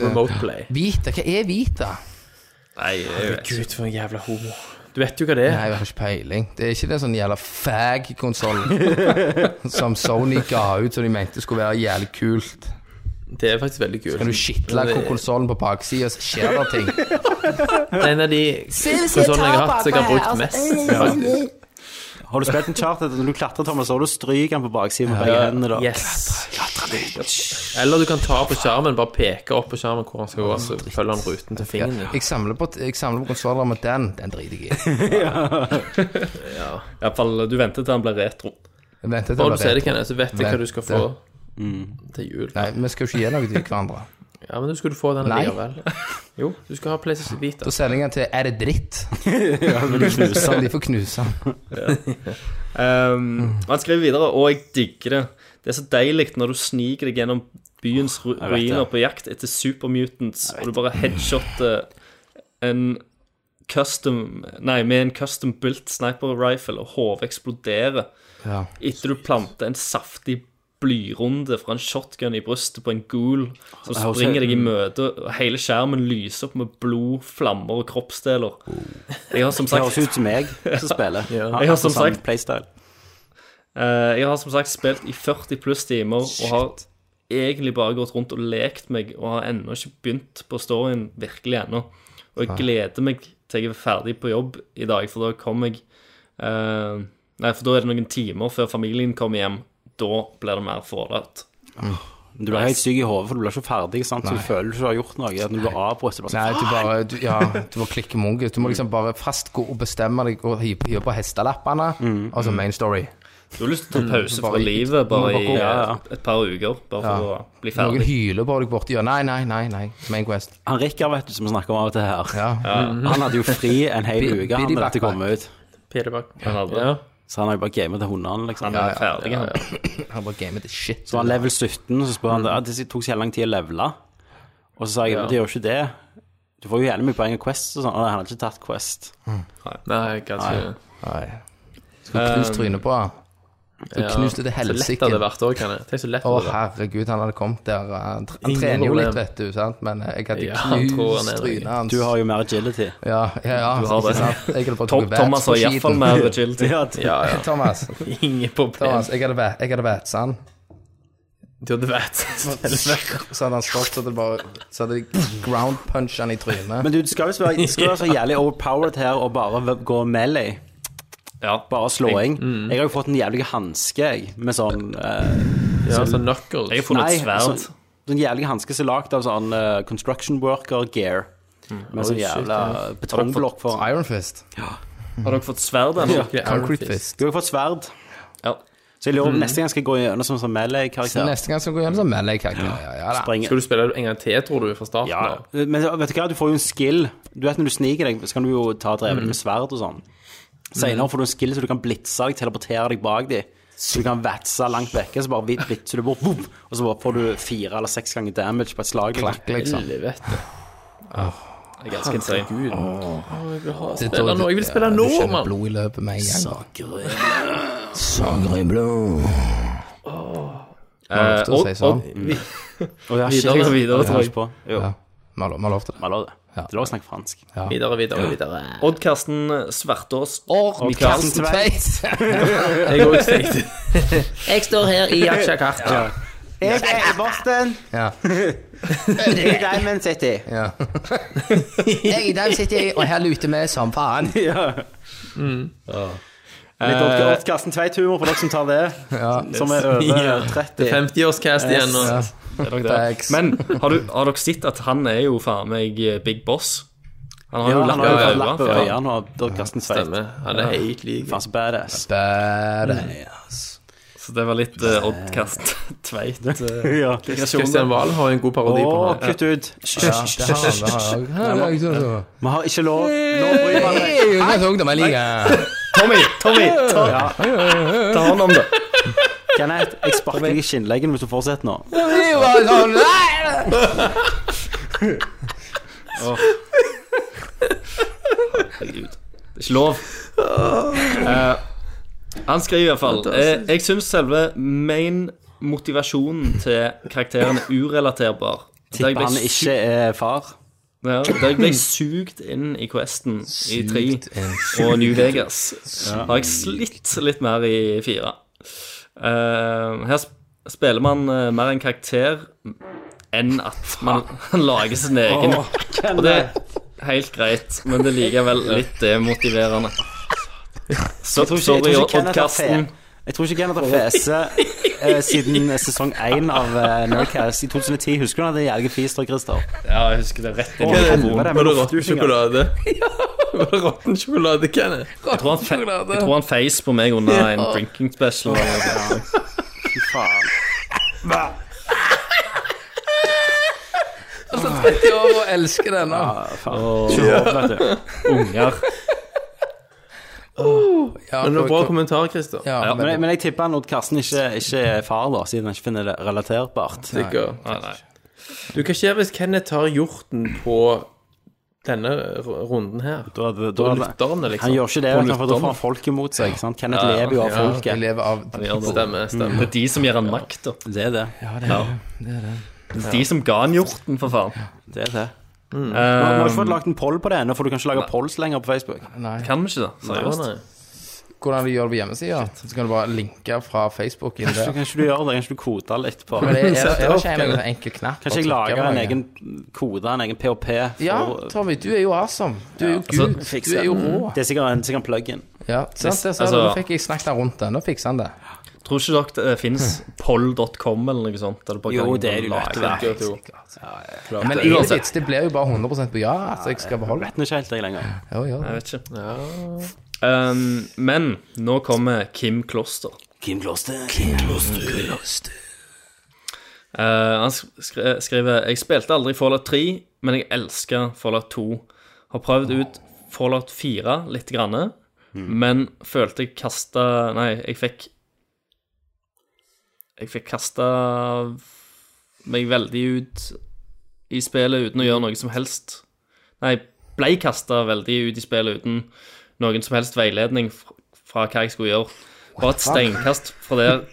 Speaker 6: Remote play.
Speaker 3: Vita? Hva er Vita?
Speaker 4: Nei, jeg vet ikke.
Speaker 6: Gud, for en jævla homo. Du vet jo hva det er.
Speaker 3: Nei, jeg har ikke peiling. Det er ikke den sånn jævla [laughs] fag-konsollen som Sony ga ut som de mente skulle være jævlig kult.
Speaker 6: Det er faktisk veldig kult.
Speaker 3: Kan du skitle
Speaker 6: det-
Speaker 3: hvor konsollen på baksida så skjer det ting?
Speaker 6: [laughs] Det er en av de konsollene jeg har hatt som jeg har brukt mest. faktisk.
Speaker 2: Har du spilt en chart når du klatrer, Thomas, så har du stryk den på baksiden med begge hendene. da.
Speaker 6: Yes. Eller du kan ta på skjermen, bare peke opp på skjermen hvor han skal gå, så følger han ruten til fingeren. din.
Speaker 3: Jeg samler på, jeg samler på konsoller med den. Den driter jeg i.
Speaker 4: I hvert fall, du venter til han blir retro.
Speaker 3: Jeg venter til
Speaker 6: Når
Speaker 3: det
Speaker 6: du ser
Speaker 3: er
Speaker 6: det, Kenneth, så vet jeg hva du skal få
Speaker 3: Vent,
Speaker 6: til jul.
Speaker 3: Nei, vi skal jo ikke gi noe til
Speaker 6: [laughs]
Speaker 3: hverandre.
Speaker 6: Ja, men du skulle få den
Speaker 3: Nei.
Speaker 6: likevel. [laughs] Jo, du skal ha PlayStation Vita.
Speaker 3: Da sender jeg den til Er det
Speaker 6: [laughs]
Speaker 3: dritt? De får knuse den.
Speaker 4: Um, og Han skriver videre, og jeg digger det. Det er så deilig når du sniker deg gjennom byens ru
Speaker 2: vet det.
Speaker 4: ruiner på jakt etter supermutants, og du bare headshotter en custom Nei, med en custom built sniper rifle, og hodet eksploderer
Speaker 3: Ja.
Speaker 4: etter du planter en saftig blyrunde fra en shotgun i brystet på en ghoul som
Speaker 2: Jeg har
Speaker 4: springer
Speaker 2: sett-
Speaker 4: deg i møte, og hele skjermen lyser opp med blod, flammer og kroppsdeler. Jeg har som
Speaker 2: Det
Speaker 4: sagt
Speaker 2: høres ut som meg som spiller.
Speaker 4: Jeg har som
Speaker 2: Sånn
Speaker 4: sagt-
Speaker 2: playstyle.
Speaker 4: Eh, Jeg har som sagt spilt i 40 pluss timer og har egentlig bare gått rundt og lekt meg og har ennå ikke begynt på storyen virkelig ennå. Og jeg gleder meg til jeg er ferdig på jobb i dag, for da kommer jeg eh, Nei, for da er det noen timer før familien kommer hjem. Da blir det mer forlatt.
Speaker 2: Du blir helt syk i hodet, for du blir ikke ferdig. sant? Så du føler ikke du har gjort noe. At når du blir avbrutt, så bare
Speaker 3: Nei,
Speaker 2: sånn
Speaker 3: du bare du, Ja, du må klikke mungus. Du må liksom bare fast gå og bestemme deg og hive hive på hestelappene.
Speaker 6: Mm.
Speaker 3: Altså main story.
Speaker 4: Du har lyst til å ta pause
Speaker 3: bare
Speaker 4: fra
Speaker 3: i-
Speaker 4: livet Mm, bare
Speaker 3: bare
Speaker 4: i
Speaker 3: gå.
Speaker 2: Ja, ja.
Speaker 4: et, et par uker, bare for å bli
Speaker 3: Noen
Speaker 4: ferdig.
Speaker 3: hyler bare deg borti. Ja, nei, nei, nei, nei. Main quest.
Speaker 2: Han Rikard, vet du, som vi snakker om av og til her,
Speaker 3: Ja.
Speaker 2: [laughs] han hadde jo fri en hel
Speaker 3: Bi-
Speaker 2: uke han
Speaker 3: biddy
Speaker 2: da
Speaker 3: backpack.
Speaker 2: dette kom ut.
Speaker 6: Pedebakk.
Speaker 4: Han hadde
Speaker 6: Ja.
Speaker 2: Så han har jo bare gamet til hundene, liksom.
Speaker 4: Han er ferdig, han.
Speaker 3: Han bare gamet the shit.
Speaker 2: Så var han level 17, så spør han ja, det tok så jævlig lang tid å levele. Og så sa jeg men det gjør jo ikke det. Du får jo gjerne mye poeng av Quest og sånn. Og han hadde ikke tatt Quest.
Speaker 6: Nei, kanskje
Speaker 3: Nei. Skulle knust trynet på han. Skulle
Speaker 6: Ja.
Speaker 3: knust det til
Speaker 6: Så lett hadde det
Speaker 3: helsike.
Speaker 6: vært òg, kan jeg. Tenk så lett
Speaker 3: Å,
Speaker 6: det hadde vært.
Speaker 3: herregud, han hadde kommet der. Han, tr- han
Speaker 6: Ingen
Speaker 3: trener jo litt,
Speaker 6: problem.
Speaker 3: vet du, sant? men jeg hadde
Speaker 6: Ja, han tror han er
Speaker 3: knust
Speaker 6: en
Speaker 3: trynet hans.
Speaker 2: Du har jo mer agility.
Speaker 3: Ja, ja, ja. Du
Speaker 4: har det.
Speaker 3: Jeg hadde bare
Speaker 4: Tom,
Speaker 3: tatt
Speaker 4: Thomas har iallfall mer agility.
Speaker 2: [laughs] Ja, det-
Speaker 6: Ja, ja.
Speaker 3: [laughs]
Speaker 6: [laughs]
Speaker 3: Thomas,
Speaker 6: Ingen problem.
Speaker 3: Thomas, jeg hadde vært, jeg hadde vært sånn.
Speaker 6: Du hadde vært Selvverk.
Speaker 3: Så hadde han stått, så hadde det bare Så hadde de ground punch han i trynet.
Speaker 2: Men du, det skal visst være det skal være så jævlig overpowered her og bare v- gå melee.
Speaker 4: Ja.
Speaker 2: Bare slåing. Jeg har jo fått en jævlig hanske, jeg, med sånn eh,
Speaker 6: Ja, sånn knuckles.
Speaker 4: Jeg har funnet et sverd.
Speaker 2: sånn, sånn jævlig hanske som er lagd av sånn eh, construction worker gear. Med sånn jævla betongblokk foran.
Speaker 3: Iron Fist.
Speaker 4: Har dere fått sverd ennå?
Speaker 6: Skikkelig
Speaker 3: Concrete
Speaker 6: Iron Fist.
Speaker 3: Fist.
Speaker 2: Du har jo fått sverd.
Speaker 4: Ja.
Speaker 2: Så jeg lurer om neste gang skal jeg gå gjennom som sånn
Speaker 3: Så
Speaker 2: melee-karakter.
Speaker 3: neste gang skal vi gå hjem, så melder jeg hva jeg gjør. Ja, da.
Speaker 2: Springe-
Speaker 6: Skal du spille en gang til, tror du, fra starten
Speaker 2: Ja,
Speaker 6: av?
Speaker 2: men vet du hva, du får jo en skill. Du vet når du sniker deg, så kan du jo ta dreven med sverd og sånn. Senere får du en skill så du kan blitse deg, teleportere deg bak dem. Så du kan vatse langt vekke, så bare vi- blitser du bort, boom, og så bare får du fire eller seks ganger damage på et slag. liksom.
Speaker 3: Klakk, liksom.
Speaker 6: Helvete.
Speaker 4: Det er ganske insane.
Speaker 6: Gud. Åh, jeg vil ha
Speaker 3: Det er
Speaker 6: spille
Speaker 3: da-
Speaker 6: nå. Jeg vil spille
Speaker 3: ja,
Speaker 6: nå,
Speaker 3: du kjenner
Speaker 6: mann.
Speaker 3: Blod i løpet med en gang. da. Man har lov til å si
Speaker 4: Odd,
Speaker 3: sånn.
Speaker 4: Odd,
Speaker 2: Og det er
Speaker 4: Videre,
Speaker 2: ikke
Speaker 4: videre,
Speaker 2: jeg
Speaker 4: tror jeg.
Speaker 2: ikke på. Jo,
Speaker 3: Ja. Man har lov- man har lov til det.
Speaker 2: man lov det. Det er lov å snakke fransk.
Speaker 6: Videre, videre, videre.
Speaker 4: Odd Karsten Svertås.
Speaker 3: Or
Speaker 4: Michaelsen
Speaker 3: Tveit. [laughs]
Speaker 6: Jeg òg tenkte
Speaker 7: Jeg står her i Jakarta.
Speaker 2: Jeg er Boston,
Speaker 3: Ja.
Speaker 2: jeg er Diamond [laughs] City.
Speaker 3: ja. [laughs] jeg, der sitter jeg, og her luter vi som faen. Mm.
Speaker 2: Litt Odd- Odd Karsten Tveit-humor for dere som tar Eh, [laughs] det, som er over 30.
Speaker 6: 50-årscast igjen nå.
Speaker 3: Ja.
Speaker 4: Er dere det?
Speaker 3: Thanks.
Speaker 4: Men har, du, har dere sett at han er jo faen meg eh, Big Boss? Han har
Speaker 2: Ja,
Speaker 4: jo
Speaker 2: han har jo fått lapp
Speaker 4: lapp
Speaker 2: over
Speaker 4: over øya.
Speaker 2: øynene, og Odd Karsten Tveit.
Speaker 6: Stemmer. Han er helt lik.
Speaker 2: Faen så badass.
Speaker 3: Badass.
Speaker 4: Så det var litt eh, Odd Karsten Tveit.
Speaker 2: [laughs] Ja.
Speaker 6: Kristian Valen har en god parodi på
Speaker 2: Å,
Speaker 6: han.
Speaker 2: kutt ut.
Speaker 3: Ja, det har han, det har han. Han er ikke sånn.
Speaker 2: Vi har ikke lov. Nå bryr man
Speaker 3: Hei, ungdoms- ungdom, sånn jeg liker.
Speaker 4: Tommy! Tommy! Ta, ta hånd om det.
Speaker 2: Kenneth, jeg sparker deg i skinnleggen hvis du fortsetter nå.
Speaker 3: Det er jo bare sånn, nei!
Speaker 4: Herregud. Det er [laughs] ikke lov. Eh, han skriver i hvert fall eh, Jeg syns selve main motivasjonen til karakteren er urelaterbar. Der jeg
Speaker 2: Tipper
Speaker 4: ble
Speaker 2: han
Speaker 4: su-
Speaker 2: ikke er far.
Speaker 4: Ja, der jeg ble sugd inn i Questen i tre
Speaker 3: Sykt en
Speaker 2: [laughs]
Speaker 4: og New Vegas har jeg slitt litt mer i fire. Eh, her sp- spiller man eh, mer en karakter enn at man [laughs] lager sin egen. Og det er helt greit, men det er likevel litt eh, demotiverende. Så
Speaker 2: tror ikke- jeg tror
Speaker 4: sorry,
Speaker 2: ikke
Speaker 4: Odd
Speaker 2: Kenneth har
Speaker 4: Karsten.
Speaker 2: Jeg tror ikke Kenneth har fese eh, siden sesong én av eh, Nerdcast i 2010. Husker du da det jævla fiste, Christer?
Speaker 4: Ja, jeg husker det rett inn i
Speaker 2: Å,
Speaker 4: telefonen.
Speaker 2: helvete.
Speaker 6: Var det råtten sjokolade? [laughs] Ja, var det råtten sjokolade, Kenneth?
Speaker 4: Jeg tror han, fe jeg tror han feis på meg under en drinking special. eller noe.
Speaker 2: Fy faen.
Speaker 3: Jeg over og elsker denne.
Speaker 4: Unger.
Speaker 3: Ja,
Speaker 6: Men det var bra
Speaker 3: for-
Speaker 6: kommentar, Kristian.
Speaker 3: Ja,
Speaker 4: Ja,
Speaker 2: [laughs] Men,
Speaker 3: men,
Speaker 2: men jeg tipper han Odd Karsten ikke, ikke er far, da, siden han ikke finner det relaterbart.
Speaker 6: Sikker.
Speaker 4: Nei, nei.
Speaker 6: Du, hva skjer hvis Kenneth tar hjorten på denne r- runden her?
Speaker 2: Da, da,
Speaker 6: Da
Speaker 2: da,
Speaker 6: lytter han det, liksom.
Speaker 2: han gjør ikke det,
Speaker 6: På
Speaker 2: vet du, for da
Speaker 6: lytterne.
Speaker 2: får han folket mot seg. Sant? Kenneth
Speaker 4: Ja,
Speaker 2: lever jo av
Speaker 6: ja.
Speaker 3: vi
Speaker 2: folket.
Speaker 3: lever av
Speaker 4: Han gjør det.
Speaker 6: Stemmer, stemmer.
Speaker 4: Det er de som gir han makt, da.
Speaker 2: Det er det.
Speaker 4: Ja. Det er de som ga han hjorten, for faen.
Speaker 2: det, er det. Vi har vi har
Speaker 4: Eh,
Speaker 2: ikke fått lagt en poll på det ennå, for du kan ikke lage polls lenger på Facebook.
Speaker 3: Nei.
Speaker 4: kan vi ikke det? Seriøst?
Speaker 6: Nei,
Speaker 3: hvordan de gjør det på hjemmesida. Så kan du bare linke fra
Speaker 2: [laughs]
Speaker 3: Facebook inn
Speaker 2: Så
Speaker 3: der.
Speaker 2: kan ikke du gjøre det? Kan ikke du kode litt på
Speaker 3: Men det er, er, er det ikke
Speaker 2: Kanskje
Speaker 3: en enkel knapp. å
Speaker 2: jeg
Speaker 3: trykke
Speaker 2: lager
Speaker 3: på
Speaker 2: en
Speaker 3: noe?
Speaker 2: egen kode, en egen PHP? For,
Speaker 3: Ja, Tommy, du er jo awesome. Du er jo gud.
Speaker 2: Fikse
Speaker 3: du er jo
Speaker 2: den.
Speaker 3: rå.
Speaker 2: Det er sikkert en, sikkert en plug-in.
Speaker 3: Ja, sant det, så
Speaker 4: Altså-
Speaker 3: Nå fikk jeg snakket rundt det. Nå fikser han det.
Speaker 4: Tror ikke dere det finnes [laughs] poll.com eller noe sånt? Der du bare
Speaker 2: Jo,
Speaker 4: kan
Speaker 2: det er det jo
Speaker 4: lage-
Speaker 2: lett å være.
Speaker 6: jo.
Speaker 3: Men
Speaker 4: det-
Speaker 3: ingen
Speaker 4: uansett.
Speaker 3: vits, det blir jo bare 100 på ja, så jeg skal beholde det.
Speaker 2: Vet nå ikke helt jeg lenger.
Speaker 3: Ja, ja.
Speaker 4: Jeg vet ikke. Um, men nå kommer Kim Kloster.
Speaker 2: Kim Kloster.
Speaker 4: Eh, han skre- skriver Jeg spilte aldri Fallout 3, men jeg elsker Fallout 2. Har prøvd ut Fallout 4 litt, grann,
Speaker 2: Hmm.
Speaker 4: men følte jeg kasta Nei, jeg fikk Jeg fikk kasta meg veldig ut i spillet uten å gjøre noe som helst. Nei, blei kasta veldig ut i spillet uten noen som helst veiledning f- fra hva jeg skulle gjøre. Bare et steinkast fra der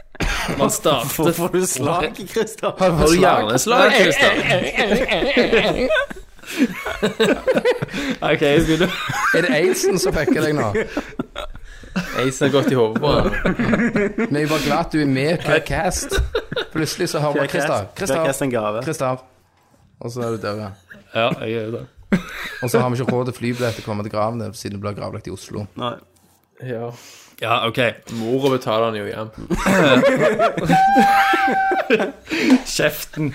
Speaker 2: [laughs]
Speaker 4: man startet
Speaker 2: Får du slag, Christer?
Speaker 4: har du hjerneslag, Kristian? OK, jeg skulle
Speaker 3: Er det Aidsen som fucker deg nå?
Speaker 6: Ace har gått i hodet på han.
Speaker 3: Vi er jo bare glad at du er med per cast. Plutselig så hører vi Christer.
Speaker 2: Christer
Speaker 3: Christer.
Speaker 2: en gave.
Speaker 3: Christer. Og så er du død. ja.
Speaker 4: Ja, jeg er det.
Speaker 3: Og så har vi ikke råd til flybillett til å komme til graven din siden du blir gravlagt i Oslo.
Speaker 2: Nei.
Speaker 6: Ja.
Speaker 4: Ja, OK.
Speaker 6: Mora betaler han jo hjem.
Speaker 4: Kjeften.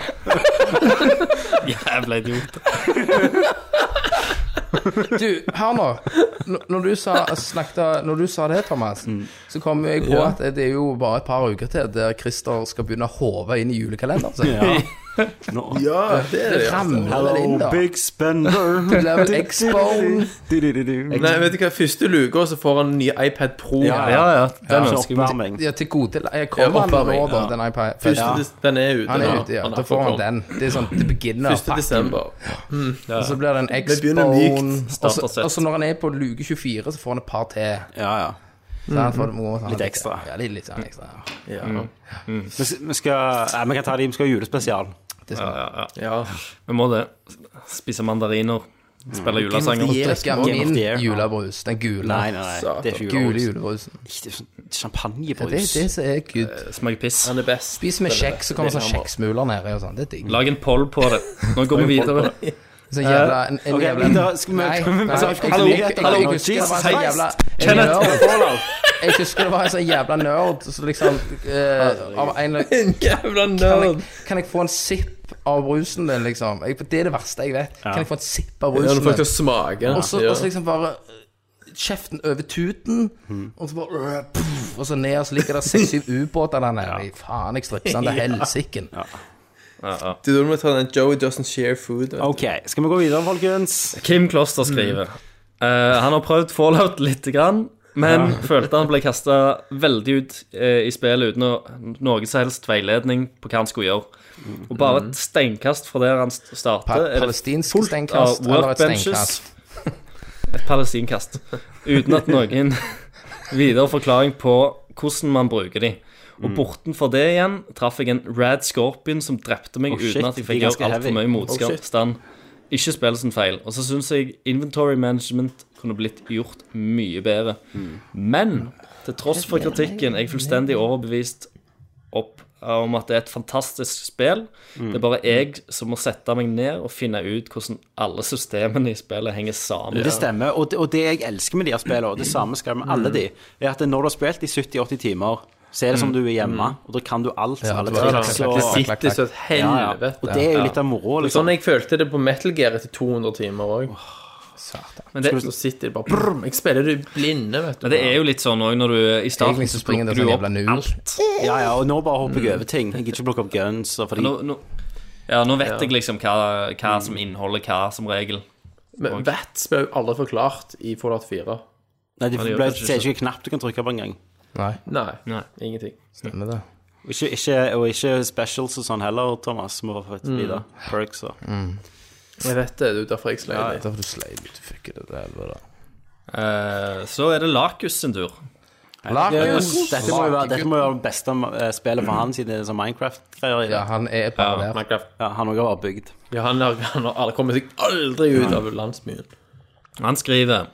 Speaker 4: [laughs] Jævla idiot.
Speaker 3: Du, hør nå. Når- Når du sa, snakket, når du sa det, Thomas,
Speaker 2: Mm.
Speaker 3: så kom jeg på at det er jo bare et par uker til der Christer skal begynne å hove inn i julekalenderen sin.
Speaker 2: Ja. Nå.
Speaker 3: Det ramler det inn,
Speaker 2: Hello,
Speaker 3: da.
Speaker 2: big spender.
Speaker 3: [laughs] Level Expo.
Speaker 2: Du-du-du-du.
Speaker 6: Nei, vet du hva, første luka, så får han en ny iPad Pro.
Speaker 2: [laughs] Ja,
Speaker 4: Ja, ja. Den
Speaker 2: Så
Speaker 4: ønsker jeg meg.
Speaker 2: oppvarming.
Speaker 3: Ja, til gode Jeg kommer
Speaker 6: Ja,
Speaker 3: han
Speaker 6: oppvarming,
Speaker 3: nå, da,
Speaker 6: ja.
Speaker 3: den iPaden.
Speaker 6: Første, des- Den er ute.
Speaker 3: Han
Speaker 6: nå.
Speaker 3: er ute, ja.
Speaker 6: Han er
Speaker 3: Da får han
Speaker 6: på-
Speaker 3: den. Det er sånn, det beginner.
Speaker 6: Første desember.
Speaker 3: Og så blir det en
Speaker 6: begynner
Speaker 3: X-bone.
Speaker 6: mykt,
Speaker 3: Og
Speaker 4: starter
Speaker 3: så-
Speaker 4: sett.
Speaker 3: og så når han er på luke 24, så får han et par til.
Speaker 2: Ja, ja.
Speaker 3: Så han får det moro, så han-
Speaker 2: Mm. Litt ekstra.
Speaker 3: Ja, litt, litt sånn ekstra. ja.
Speaker 6: Ja.
Speaker 2: Vi s- vi skal, nei, vi kan ta de, vi skal ha julespesial.
Speaker 6: ja.
Speaker 4: Vi må det. Spise mandariner. Spille julesanger.
Speaker 3: Drikke
Speaker 2: Game of
Speaker 3: min
Speaker 2: the Year.
Speaker 3: julebrus. Den gule.
Speaker 2: Nei, nei, nei. Det er ikke
Speaker 3: Gule
Speaker 2: julebrus.
Speaker 3: julebrusen.
Speaker 2: Det er sånn
Speaker 3: Det er
Speaker 2: Champagnebrus.
Speaker 3: det som er good.
Speaker 2: Eh,
Speaker 4: Smake piss.
Speaker 6: Han er best.
Speaker 3: Spis med kjeks, så kommer sånn
Speaker 6: Lillehammer.
Speaker 3: kjeksmuler nedi og sånn. Det er digg.
Speaker 4: Lag en poll på det. Nå går vi videre.
Speaker 3: Sånn jævla en, en
Speaker 2: Eh, ok,
Speaker 3: jævla
Speaker 2: men da [laughs] skal vi-
Speaker 3: Nei,
Speaker 2: kan vi-
Speaker 3: nei,
Speaker 2: altså,
Speaker 3: jeg- jeg-
Speaker 2: hallo,
Speaker 3: jeg- jeg-
Speaker 2: hallo,
Speaker 3: jeg husker det var en sånn
Speaker 2: Jesus
Speaker 3: jævla-
Speaker 4: Kenneth!
Speaker 3: en nerd. Jeg husker det var en sånn jævla nerd som liksom eh, Av en eller
Speaker 6: [laughs] En jævla
Speaker 3: kan
Speaker 6: nerd.
Speaker 3: jeg, kan jeg få en sipp av brusen din, liksom? Jeg, det er det verste jeg vet. Kan jeg få en sipp av
Speaker 6: Ja,
Speaker 3: brusen
Speaker 6: når folk
Speaker 3: din?
Speaker 6: skal smake.
Speaker 3: Og så
Speaker 6: Ja.
Speaker 3: og så liksom bare øh, kjeften over tuten,
Speaker 6: Hmm.
Speaker 3: og så bare øh, puff, Og så ned, og så ligger det
Speaker 6: [laughs]
Speaker 3: seks-syv ubåter der nede. Faen, jeg stripser den til helsiken.
Speaker 6: Du, da må du ta den Joey doesn't share food. vet du.
Speaker 2: Ok, skal vi gå videre, folkens?
Speaker 4: Kim Kloster skriver eh, Han har prøvd Fallout litt grann, Men [laughs] følte han ble kastet veldig ut eh, i spillet Uten å, noe som helst veiledning på hva han skulle gjøre Og bare et steinkast fra der han st-
Speaker 3: Mm. Pa
Speaker 4: starter er det
Speaker 3: palestinsk
Speaker 4: fullt av
Speaker 3: steinkast eller et
Speaker 4: workbenches.
Speaker 3: steinkast?
Speaker 4: [laughs] Et palestinkast Uten at noen videre forklaring på hvordan man bruker de
Speaker 2: Mm.
Speaker 4: og bortenfor det igjen traff jeg en Rad Scorpion som drepte meg
Speaker 2: Oh, shit,
Speaker 4: uten at jeg
Speaker 2: de
Speaker 4: fikk
Speaker 2: er ganske
Speaker 4: gjøre altfor
Speaker 2: heavy.
Speaker 4: mye motstand. Ikke spill sin feil. Og så syns jeg inventory management kunne blitt gjort mye bedre.
Speaker 2: Mm.
Speaker 4: Men til tross for kritikken er jeg fullstendig overbevist opp eh, om at det er et fantastisk spill.
Speaker 2: Mm.
Speaker 4: Det er bare jeg som må sette meg ned og finne ut hvordan alle systemene i spillet henger sammen.
Speaker 2: Det stemmer. Og det, og det jeg elsker med de her spillene, og det samme skal jeg med alle de, er at når du har spilt i 70-80 timer, så er det som du er hjemme, og da kan du alt. alle
Speaker 3: det var
Speaker 2: tre,
Speaker 3: det.
Speaker 2: så-
Speaker 6: Det
Speaker 3: Klart, klart.
Speaker 6: sitter så et
Speaker 2: Ja, ja. Og
Speaker 6: helvete.
Speaker 2: det er jo litt av moroa, liksom.
Speaker 6: Sånn jeg følte det på Metal Gear etter 200 timer òg.
Speaker 4: Men det,
Speaker 6: Så sitter det bare brum, Jeg spiller det blinde, vet du.
Speaker 4: men det er jo litt sånn òg når du I starten
Speaker 3: Egentlig så
Speaker 4: så
Speaker 3: springer
Speaker 4: plukker
Speaker 3: det
Speaker 4: du
Speaker 3: sånn
Speaker 4: opp
Speaker 3: jævla noob.
Speaker 4: alt.
Speaker 2: Ja, ja, og nå bare hopper jeg over ting. Jeg gidder ikke plukke opp guns og fordi
Speaker 4: Nå, nå, ja, nå vet jeg liksom hva, hva som inneholder hva, som regel.
Speaker 6: Men Vats ble jo aldri forklart i Fallout 4.
Speaker 2: Nei, det
Speaker 4: Ja, det gjør
Speaker 2: ble
Speaker 4: kanskje
Speaker 2: det er ikke en knapp du kan trykke på engang.
Speaker 3: Nei,
Speaker 6: Nei,
Speaker 4: Nei.
Speaker 6: ingenting.
Speaker 3: stemmer det.
Speaker 2: Og Ikke, ikke, og ikke specials og sånn heller, Thomas. Må få et videre. Perks og
Speaker 6: Jeg vet det, det er derfor jeg sleit litt.
Speaker 3: Da får du sleip ut fucker det der. da.
Speaker 4: Eh, så er det Lakus sin tur.
Speaker 3: Lakus.
Speaker 2: Dette må jo være, dette må jo være det beste eh, spillet for han, siden det er sånn Minecraft-greier i
Speaker 3: Ja,
Speaker 2: det.
Speaker 3: han er bare der.
Speaker 6: Minecraft.
Speaker 2: Ja, han også har bygd.
Speaker 6: Ja, han, har, han har aldri kommet seg aldri ut av landsbyen.
Speaker 4: Han skriver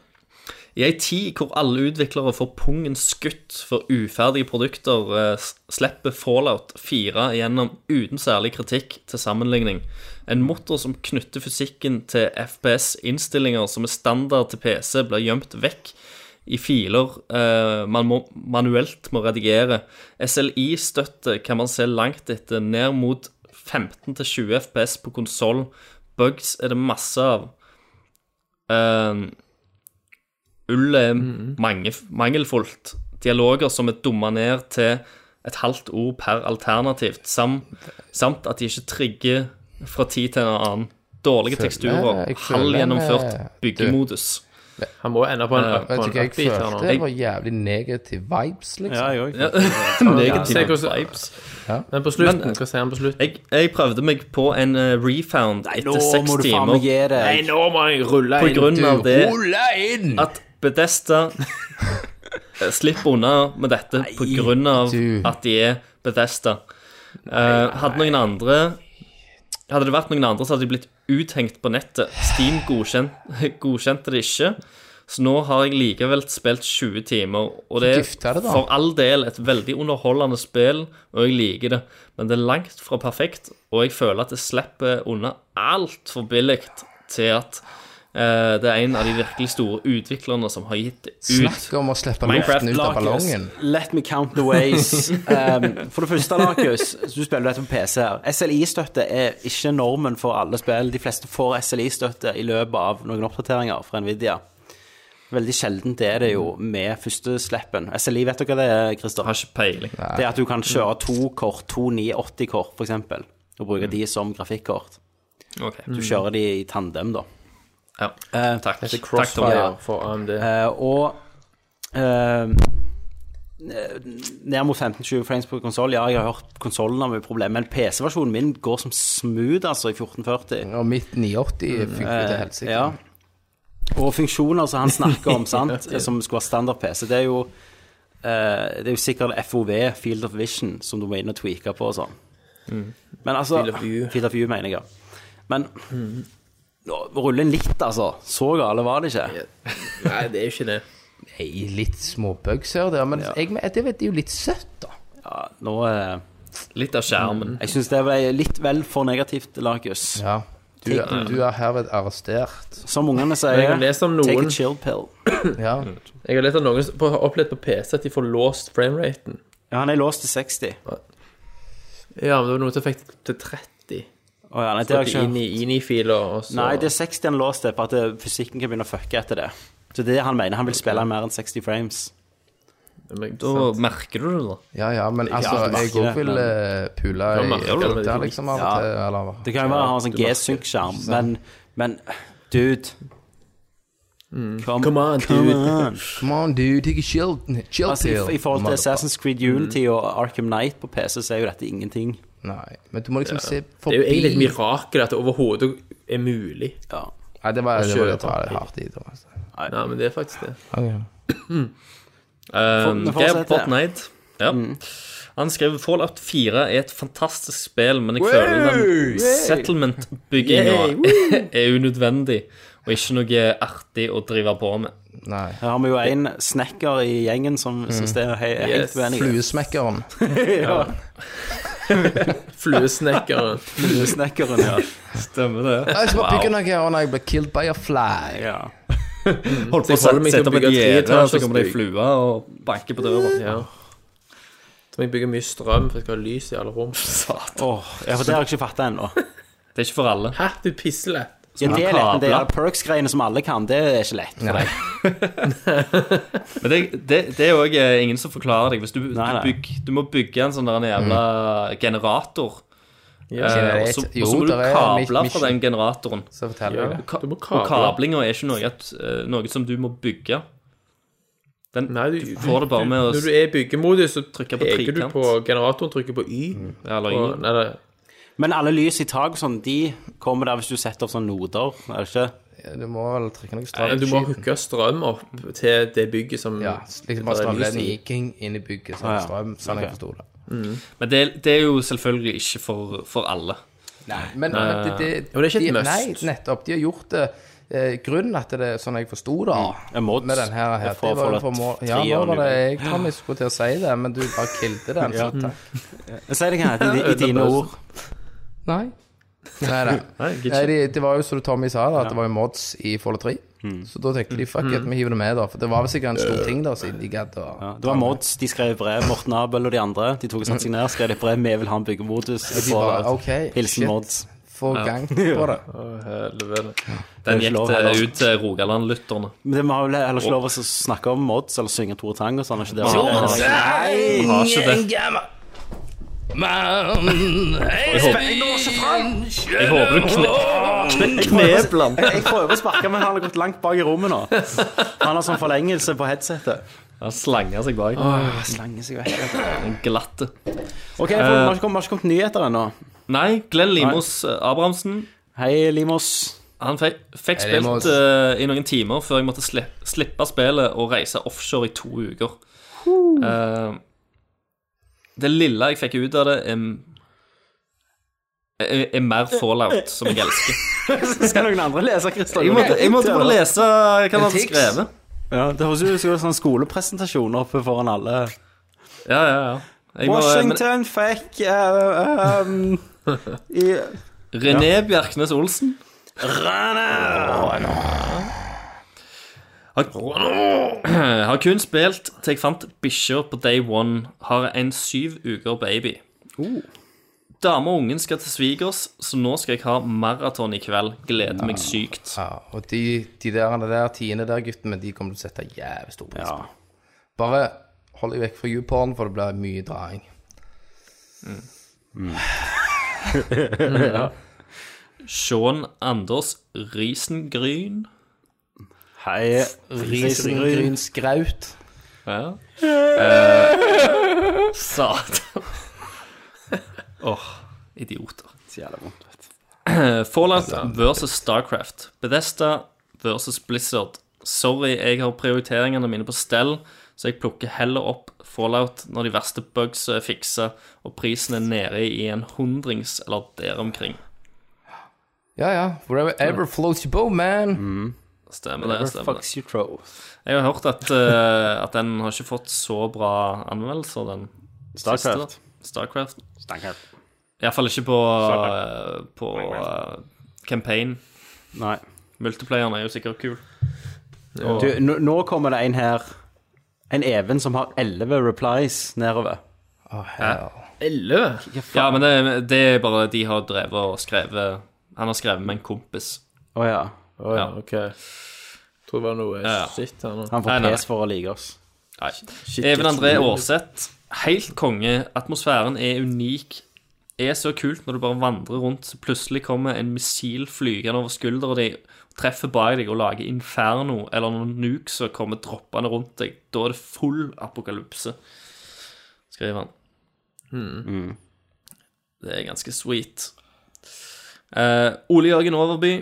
Speaker 4: I ei tid hvor alle utviklere får pungen skutt for uferdige produkter, eh, s- slipper Fallout 4 gjennom uten særlig kritikk til sammenligning. En motor som knytter fysikken til FPS-innstillinger som er standard til PC, blir gjemt vekk i filer eh, man må, manuelt må redigere. SLI-støtte kan man se langt etter, ned mot 15-20 FPS på konsoll. Bugs er det masse av. Eh, Ullet er
Speaker 3: Mm.
Speaker 4: mange, mangelfullt. Dialoger som er dumma ned til et halvt ord per alternativt, sam, samt at de ikke trigger fra tid til en annen. Dårlige teksturer,
Speaker 3: jeg føler-
Speaker 4: halvgjennomført byggemodus.
Speaker 6: Han må jo ende på en,
Speaker 4: Ja,
Speaker 6: på
Speaker 3: Vet
Speaker 6: en
Speaker 3: du hva jeg
Speaker 6: upbeat her nå.
Speaker 3: følte? Det var jævlig negative vibes,
Speaker 2: Ja,
Speaker 3: liksom.
Speaker 2: jeg òg.
Speaker 6: Se
Speaker 4: Negative
Speaker 6: hvordan-
Speaker 4: vibes.
Speaker 6: Men på slutten, hva sier han på slutten?
Speaker 4: Jeg, jeg prøvde meg på en eh, refound
Speaker 2: Nå
Speaker 4: etter seks
Speaker 2: må du faen
Speaker 4: timer
Speaker 2: meg gi
Speaker 6: Nei,
Speaker 2: deg.
Speaker 6: nå må jeg rulle
Speaker 4: på
Speaker 6: inn.
Speaker 4: grunn av det
Speaker 3: inn!
Speaker 4: at Bedesta slipper unna med dette på grunn av
Speaker 3: du.
Speaker 4: at de er Bedesta. hadde noen andre Hadde det vært noen andre, så hadde de blitt uthengt på nettet. Steam godkjent, [laughs] godkjente det ikke. Så nå har jeg likevel spilt 20 timer, og det er
Speaker 3: Gifta det, da.
Speaker 4: for all del et veldig underholdende spill, og jeg liker det, men det er langt fra perfekt, og jeg føler at det slipper unna altfor billig til at eh, det er en av de virkelig store utviklerne som har gitt det ut.
Speaker 3: Snakk om å slippe
Speaker 4: Minecraft
Speaker 3: luften ut av
Speaker 2: Lakus,
Speaker 3: ballongen.
Speaker 2: let me count the ways. Um, for det første, Lakus, du spiller dette på PC her. SLI-støtte er ikke normen for alle spill. De fleste får SLI-støtte i løpet av noen oppdateringer fra Nvidia. Veldig sjeldent er det jo med førsteslippen. SLI, vet dere hva det er, Christer?
Speaker 4: Har ikke peiling.
Speaker 2: Det er at du kan kjøre to kort, to 980-kort, for eksempel, og bruke de som grafikkort.
Speaker 4: Ok.
Speaker 2: Du kjører de i tandem, da.
Speaker 4: Ja.
Speaker 2: Eh,
Speaker 4: Takk.
Speaker 6: Det er
Speaker 4: Takk, Tom.
Speaker 6: crossfire for um, AMD.
Speaker 2: Eh, og eh, ned mot 15-20 frames på konsoll. Ja, jeg har hørt konsollen har mye problemer, men PC-versjonen min går som smooth, altså, i
Speaker 6: Mm,
Speaker 2: 1440.
Speaker 3: Og mitt 980 funker jo til helsike.
Speaker 2: eh, Ja. Og funksjoner som han snakker om, sant,
Speaker 6: [laughs]
Speaker 2: eh, som skulle være standard PC, det er jo eh, det er jo sikkert FOV, Field of Vision, som du må inn og tweake på og sånn. Men altså
Speaker 6: Mm. Field of view. Mm.
Speaker 2: Field of View, mener jeg. ja. Men nå, rulle inn litt, altså. Så gale var det ikke.
Speaker 6: Nei, det er jo ikke det.
Speaker 3: Nei, litt små bugs her og der, men jeg, men det vet jeg jo litt søtt, da.
Speaker 2: Ja, nå eh,
Speaker 4: Litt av skjermen.
Speaker 2: Jeg syns det var litt vel for negativt, Lagus.
Speaker 3: Ja. Du, du er herved arrestert.
Speaker 2: Som ungene
Speaker 6: Jeg
Speaker 2: sier,
Speaker 6: har lest om
Speaker 2: take a
Speaker 6: noen
Speaker 2: chill pill.
Speaker 3: Ja.
Speaker 6: Jeg har lest om noen som på- har opplevd på PC at de får låst frameraten.
Speaker 2: Ja, han er låst til 60.
Speaker 6: Ja, men det var noen som fikk det til 30.
Speaker 2: Å ja, nei, det
Speaker 6: Det
Speaker 2: har
Speaker 6: er
Speaker 2: jeg ikke.
Speaker 6: inn i, inn i filer og så
Speaker 2: Nei, det er 60 han er låst til, for at eh, fysikken kan begynne å fucke etter det. Så det er det han mener. Han vil spille mer enn 60 frames.
Speaker 6: Men
Speaker 4: Da
Speaker 6: sant.
Speaker 4: merker du det, da.
Speaker 3: ja, ja, men altså,
Speaker 2: alltid
Speaker 3: jeg
Speaker 2: merker
Speaker 3: òg
Speaker 2: det,
Speaker 3: vil
Speaker 2: men-
Speaker 3: eh, pule
Speaker 6: Ja,
Speaker 3: i
Speaker 6: merker du det, men det
Speaker 3: der,
Speaker 6: er
Speaker 3: liksom, av
Speaker 2: Ja.
Speaker 3: og til. Eller
Speaker 2: Det kan jo være han har en sånn G-synk-skjerm, men, men dude Kom
Speaker 6: Come on, dude.
Speaker 2: on.
Speaker 3: Come on, dude, take a chill, chill
Speaker 2: Altså,
Speaker 3: pill.
Speaker 2: i, I forhold til
Speaker 3: motherfucker.
Speaker 2: Assassin's Creed Unity og Arkham Knight på PC, så er jo dette ingenting.
Speaker 3: Nei, men du må liksom se
Speaker 6: Det er jo egentlig et
Speaker 3: forbi
Speaker 6: mirakel at det overhodet er mulig.
Speaker 2: Ja.
Speaker 3: Nei, det var det var- det
Speaker 6: Kjøre
Speaker 3: tar hardt i. da, altså.
Speaker 6: Nei, men det er faktisk det.
Speaker 3: Ok.
Speaker 4: Um, Gab
Speaker 2: Fortnite, ja.
Speaker 4: Fortnite. Ja. Han skrev Fallout 4 er et fantastisk spill, men jeg føler den settlement-bygginga [laughs] er unødvendig og ikke noe artig å drive på med.
Speaker 3: Nei.
Speaker 2: Her har vi jo en snekker i gjengen som syns det er he- helt
Speaker 6: Mm. Yes.
Speaker 2: uenig.
Speaker 3: Fluesmekkeren.
Speaker 6: Fluesnekkeren.
Speaker 2: Fluesnekkeren,
Speaker 6: [laughs]
Speaker 2: ja.
Speaker 4: Stemmer det.
Speaker 3: Jeg skal bare bygge noe her når jeg ble killed by a fly.
Speaker 2: ja.
Speaker 4: Holdt på å
Speaker 6: Så jeg holder
Speaker 4: sette
Speaker 6: meg
Speaker 4: sette opp et
Speaker 6: til å bygge et
Speaker 4: gjerde, så kommer det ei
Speaker 6: treetasjes
Speaker 4: flue og banker på døra.
Speaker 6: [laughs] Ja. Så må jeg bygge mye strøm, for jeg skal ha lys i alle rom.
Speaker 4: Satan.
Speaker 2: Åh, ja, for det har jeg ikke fatta ennå.
Speaker 4: Det er ikke for alle.
Speaker 6: Hæ, du pisselett?
Speaker 2: Ja, det er lett, men det
Speaker 4: kabler.
Speaker 2: er perks-greiene som alle kan, det er ikke lett.
Speaker 3: Nei.
Speaker 4: Men det, det, det er òg ingen som forklarer deg. Hvis du,
Speaker 2: Nei, Mm. nei.
Speaker 4: du, bygg, du må bygge en sånn der en jævla generator. Eh, og så og
Speaker 3: Generat-
Speaker 4: så
Speaker 3: jo,
Speaker 4: må du
Speaker 3: der er
Speaker 4: kable
Speaker 3: mis-
Speaker 4: fra den generatoren.
Speaker 3: Så forteller jeg
Speaker 6: Ja.
Speaker 3: det.
Speaker 4: Ka
Speaker 6: Du må
Speaker 4: Og
Speaker 6: kable.
Speaker 4: kablinga er ikke noe, at, eh, noe som du må bygge. Den,
Speaker 6: Nei, du,
Speaker 4: du får det bare med å
Speaker 6: Når du er i byggemodus, så
Speaker 4: Trykker på
Speaker 6: peker du
Speaker 4: trikant.
Speaker 6: på generatoren, trykker på Y.
Speaker 3: Mm.
Speaker 4: ja, eller,
Speaker 6: Og, nei, nei,
Speaker 2: Men alle lys i tak og sånn, de kommer der hvis du setter opp sånne noder, er det ikke?
Speaker 3: Ja, Du må vel trykke noe
Speaker 6: nei,
Speaker 3: strøm.
Speaker 6: du må hooke strøm opp til det bygget som
Speaker 3: Ja, liksom bare
Speaker 6: der er lys i.
Speaker 3: strømledning king inn i bygget. Sånn
Speaker 2: Ah, ja.
Speaker 3: strøm, sånn
Speaker 2: Ok.
Speaker 3: jeg forsto det.
Speaker 4: Men det, det er jo selvfølgelig ikke for, for alle.
Speaker 3: Men, men det, det,
Speaker 6: Og det er ikke et
Speaker 3: de,
Speaker 6: must.
Speaker 3: Nei, nettopp. De har gjort det eh, grunnen at det er sånn jeg forsto det
Speaker 2: Ja, Mods.
Speaker 3: med den her,
Speaker 2: Mm. Jeg
Speaker 3: her
Speaker 2: får-
Speaker 3: det var jo
Speaker 2: får
Speaker 3: for
Speaker 2: lagt
Speaker 3: må-
Speaker 2: tre
Speaker 3: Ja, nå
Speaker 2: år
Speaker 3: var
Speaker 2: nå.
Speaker 3: det jeg Tom, jeg skulle til å si det, men du bare kilde den.
Speaker 2: Ja.
Speaker 3: så takk.
Speaker 2: Si det hva heter i,
Speaker 3: [laughs]
Speaker 2: i dine ord.
Speaker 3: Nei. Nei, nei.
Speaker 4: Nei, jeg
Speaker 3: Nei,
Speaker 4: gidder ikke.
Speaker 3: de, det var jo som Tommy sa, da, at det var jo mods i Follow 3.
Speaker 2: Mm.
Speaker 3: Så da tenkte de fuck it, vi hiver det med, da. For det var vel sikkert en stor ting, da, siden de gadd å
Speaker 2: Øh. Ja, det var Mods, de skrev brev, Morten Abel og de andre. De tok og satte seg ned, skrev et brev. Vi vil ha en byggemodus.
Speaker 3: Og de bare, ok,
Speaker 2: Hilsen
Speaker 3: shit.
Speaker 2: Mods.
Speaker 3: få gang
Speaker 2: [laughs]
Speaker 3: på det.
Speaker 6: eh,
Speaker 4: Den
Speaker 2: Det er ikke
Speaker 4: gikk
Speaker 2: lov
Speaker 4: til,
Speaker 2: heller.
Speaker 4: ut til Rogaland-lytterne.
Speaker 2: Men det- vi har vel heller ikke lov å snakke om Mods eller synge Tore Tang og sånn. er Ikke det?
Speaker 4: Vi Har ikke det. Jeg håper, jeg håper du kne...
Speaker 2: Kneblan. Jeg prøver å sparke, men han har gått langt bak i rommet nå. Han har sånn forlengelse på headsetet.
Speaker 4: Han slanger seg bak.
Speaker 2: Slange seg vekk.
Speaker 4: En glatte.
Speaker 2: Ok, for, vi har ikke kommet- vi har ikke kommet nyheter ennå.
Speaker 4: Nei, Glenn Limos eh, Abrahamsen
Speaker 2: Hei, Limos.
Speaker 4: Han fikk, fikk
Speaker 3: Nei, det må-
Speaker 4: spilt eh, i noen timer før jeg måtte slippe, slippe spillet og reise offshore i to uker. Eh, det lille jeg fikk ut av det, er, er, er mer fallout, som jeg elsker.
Speaker 2: [laughs] Skal noen andre lese, Christer?
Speaker 4: Jeg måtte, jeg måtte bare lese hva han hadde skrevet.
Speaker 2: Ja, det høres ut som en sånn skolepresentasjon oppe foran alle.
Speaker 4: Ja, ja, ja. Jeg må-
Speaker 2: Washington fikk eh, um, i
Speaker 4: men- René Bjerknes Olsen. Har, har [clears throat] kun spilt til jeg fant bikkja på day one. Har en syv uker baby. Dame og ungen skal til svigers, så nå skal jeg ha maraton i kveld. Gleder meg sykt.
Speaker 3: Ja, og de, de der, de der tiende der guttene, de kommer til å sette jævlig stor pris på.
Speaker 2: Ja.
Speaker 3: Bare hold deg vekk fra YouPorn, for det blir mye draing.
Speaker 4: Sean Anders Risengryn.
Speaker 2: Hei, Risengryn.
Speaker 3: Risengrynskraut.
Speaker 4: Ja. Eh, [laughs] Satan. Åh, idioter.
Speaker 2: Så jævla vondt, vet du.
Speaker 4: Eh, Fallout versus Starcraft. Bethesda versus Blizzard. Sorry, jeg har prioriteringene mine på stell, så jeg plukker heller opp Fallout når de verste bugs er fiksa, og prisen er nede i en hundrings eller der omkring.
Speaker 3: Ja, ja. Wherever ever floats your boat,
Speaker 2: Mm.
Speaker 3: man.
Speaker 4: Stemmer det. stemmer det
Speaker 2: Fucks you trow.
Speaker 4: Jeg har hørt at, eh, at den har ikke fått så bra anmeldelser, den
Speaker 2: Starcraft.
Speaker 4: siste. Starcraft.
Speaker 2: Starcraft.
Speaker 4: Iallfall ikke på, eh, på eh, campaign.
Speaker 2: Nei.
Speaker 4: Multiplayeren er jo sikkert kul.
Speaker 2: Du, nå, nå kommer det en her. En Even som har 11 replies nedover.
Speaker 6: Elleve?
Speaker 4: Ja, men det, det er bare de har drevet og skrevet Han har skrevet med en kompis.
Speaker 2: Å ja.
Speaker 6: Å ja,
Speaker 4: Ja.
Speaker 6: OK. Tror det var noe
Speaker 4: Ja, ja.
Speaker 6: shit her nå.
Speaker 2: Han
Speaker 4: Nei,
Speaker 2: får
Speaker 4: nei,
Speaker 2: pes for å like oss.
Speaker 4: Nei.
Speaker 6: Shit,
Speaker 4: Even
Speaker 6: shit,
Speaker 4: André
Speaker 6: shit.
Speaker 4: Aarseth. Helt konge. Atmosfæren er unik. Er så kult når du bare vandrer rundt, så plutselig kommer en missil flygende over skuldra di, treffer bak deg og lager inferno, eller noen nukes som kommer droppende rundt deg. Da er det full apokalypse, skriver han. Det er ganske sweet. Eh, Ole Jørgen Overby.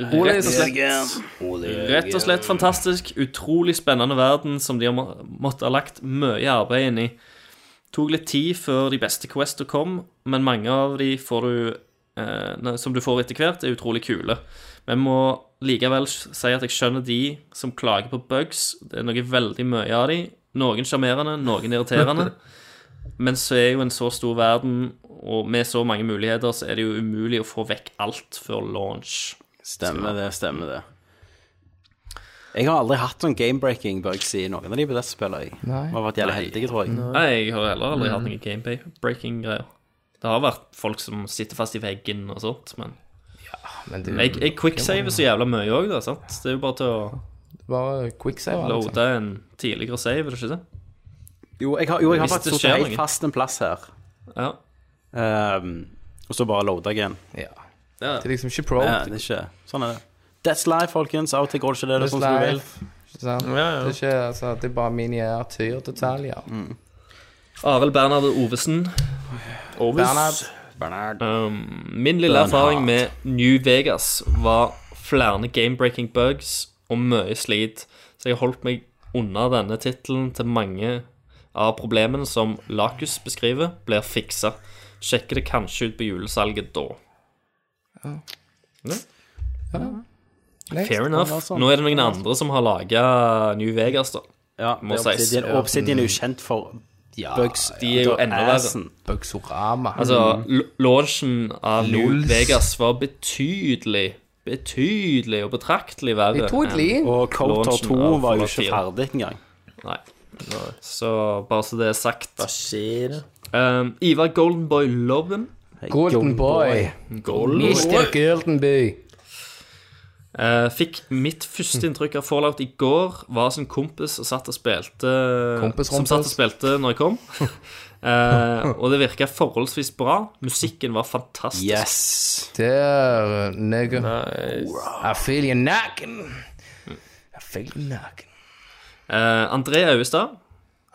Speaker 4: Rett og slett Rett og slett fantastisk. Utrolig spennende verden som de har må måttet ha lagt mye arbeid inn i. Tok litt tid før de beste questene kom, men mange av de får du, eh, nei, som du får etter hvert, er utrolig kule. Men må likevel si at jeg skjønner de som klager på bugs. Det er noe veldig mye av de. Noen sjarmerende, noen irriterende. Men så er jo en så stor verden, og med så mange muligheter, så er det jo umulig å få vekk alt før launch.
Speaker 2: Stemmer det, stemmer det. Jeg har aldri hatt sånn game-breaking bugs i noen av de BDS-spillene. jeg. Vi har vært jævlig heldige, tror jeg.
Speaker 4: Nei, jeg har heller aldri hatt noen game-breaking-greier. Det har vært folk som sitter fast i veggen og sånt, men
Speaker 3: Men du,
Speaker 4: jeg, jeg quicksaver så jævla mye òg, da, sant? Det er jo bare til å
Speaker 3: bare quicksave, liksom.
Speaker 4: loade en tidligere save, er det ikke det?
Speaker 2: Jo, jeg har, jo, jeg har
Speaker 4: Hvis det skjer
Speaker 2: faktisk sittet helt
Speaker 4: noe.
Speaker 2: fast en plass her.
Speaker 4: Ja.
Speaker 2: Ehm, og så bare loada jeg igjen.
Speaker 3: Ja.
Speaker 4: Ja.
Speaker 3: Det er liksom ikke pro.
Speaker 2: Ja, det er ikke Sånn er det. That's life, folkens. Av og til går det ikke det, det er sånn som du vil.
Speaker 3: Life. Ikke sant? Det, er ikke, altså, det er bare miniatyrdetaljer.
Speaker 2: Mm.
Speaker 4: Arild Bernhard Ovesen.
Speaker 3: Bernhard,
Speaker 4: Um, min lille erfaring med New Vegas var flere game-breaking bugs og mye slit, så jeg har holdt meg unna denne tittelen til mange av problemene som Lakus beskriver, blir fiksa. Sjekker det kanskje ut på julesalget da. Ja. Fair enough. Nå er det noen andre som har laga New Vegas, da.
Speaker 2: Ja,
Speaker 4: Må
Speaker 2: det er
Speaker 4: sies.
Speaker 2: Obsidian, Obsidian er jo kjent for ja,
Speaker 4: Bugs, de er jo
Speaker 2: da
Speaker 4: enda verre.
Speaker 2: assen.
Speaker 3: Bugsorama.
Speaker 4: Altså, l- launchen av New
Speaker 3: Lols.
Speaker 4: Vegas var betydelig, betydelig og betraktelig verre.
Speaker 3: Betydelig.
Speaker 4: enn
Speaker 2: Og Counter
Speaker 4: launchen
Speaker 2: 2
Speaker 4: av
Speaker 2: var jo
Speaker 4: Fallout 4.
Speaker 2: ikke ferdig engang.
Speaker 4: Nei. Så bare så det er sagt.
Speaker 6: Skjer det?
Speaker 4: Um, Ivar Goldenboy Loven.
Speaker 3: Golden Boy. Mr. Golden Boy.
Speaker 4: Eh, fikk mitt første inntrykk av Fallout i går. Var sin kompis og satt og spilte
Speaker 3: Kompis,
Speaker 4: Som
Speaker 3: rompis.
Speaker 4: satt og spilte når jeg kom. Eh, og det virka forholdsvis bra. Musikken var fantastisk.
Speaker 2: Yes.
Speaker 3: Der, nigga. I feel you knocking. I feel you knocking.
Speaker 4: Eh, André Auestad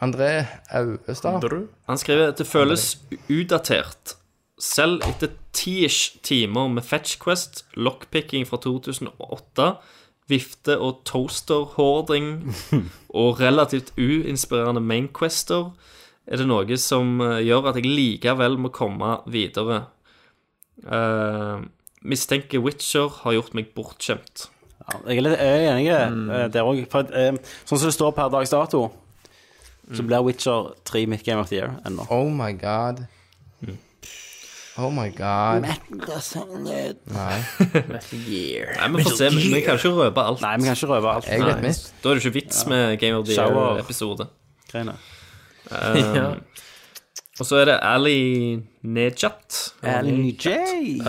Speaker 3: André Auestad.
Speaker 4: Han skriver at det føles utdatert. Selv etter ti-ish timer med Fetch Quest, lockpicking fra 2008, vifte- og toaster-hoarding og relativt uinspirerende mainquester, er det noe som eh, gjør at jeg likevel må komme videre. Eh, mistenker Witcher har gjort meg bortskjemt.
Speaker 2: Ja, jeg er litt jeg er enig
Speaker 3: Mm.
Speaker 2: eh, der òg. For eh, sånn som det står per dags dato, så blir Witcher 3 mitt game of the year ennå.
Speaker 3: Oh my god. Oh my god.
Speaker 4: sånn, eh,
Speaker 3: Nei,
Speaker 4: Nei, Vi får se, vi vi kan ikke røpe alt.
Speaker 2: Nei, vi kan ikke røve alt.
Speaker 3: jeg vet mitt.
Speaker 4: Da er det ikke vits med Game of the
Speaker 2: Shower.
Speaker 4: Year-episode.
Speaker 2: Greiene.
Speaker 4: Ja. Og så er det Ali Nejat.
Speaker 3: Ellie J.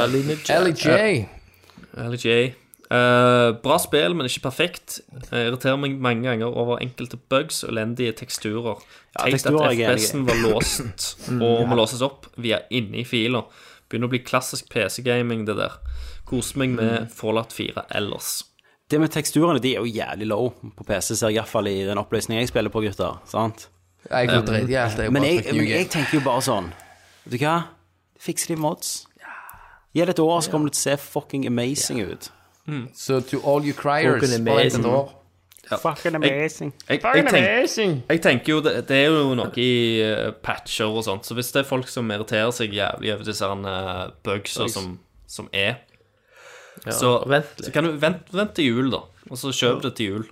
Speaker 4: Ali J. Eh, bra spill, men ikke perfekt. Jeg irriterer meg mange ganger over enkelte bugs og elendige teksturer. Tenk at
Speaker 2: teksturer er Mm, jeg
Speaker 4: FPS-en var låst
Speaker 2: [laughs]
Speaker 4: og må låses opp via inni filer. Begynner å bli klassisk PC-gaming, det der. Koser meg
Speaker 2: Mm.
Speaker 4: med Fallout 4 ellers.
Speaker 2: Det med teksturene, de er jo jævlig low på PC, ser jeg iallfall i den oppløsningen jeg spiller på, gutter. sant?
Speaker 3: Jeg går dritt i alt. Jeg
Speaker 2: Men
Speaker 3: bare
Speaker 2: jeg,
Speaker 3: trykker
Speaker 2: men
Speaker 3: new
Speaker 2: jeg
Speaker 3: game.
Speaker 2: tenker jo bare sånn Vet du hva? Fikser de mods? Gi det et år, så kommer det til å se fucking amazing ut.
Speaker 3: Så to all you criers
Speaker 6: Broken
Speaker 3: bare vent et
Speaker 6: amazing.
Speaker 3: år.
Speaker 2: Fucking amazing.
Speaker 4: Jeg, jeg, tenk, jeg tenker jo det, det er jo noe i eh, patcher og sånt, så hvis det er folk som irriterer seg jævlig over disse her, eh, bugsa som, som er, så,
Speaker 6: vent litt.
Speaker 4: så kan du vent, vent til jul, da. Og så kjøp det til jul.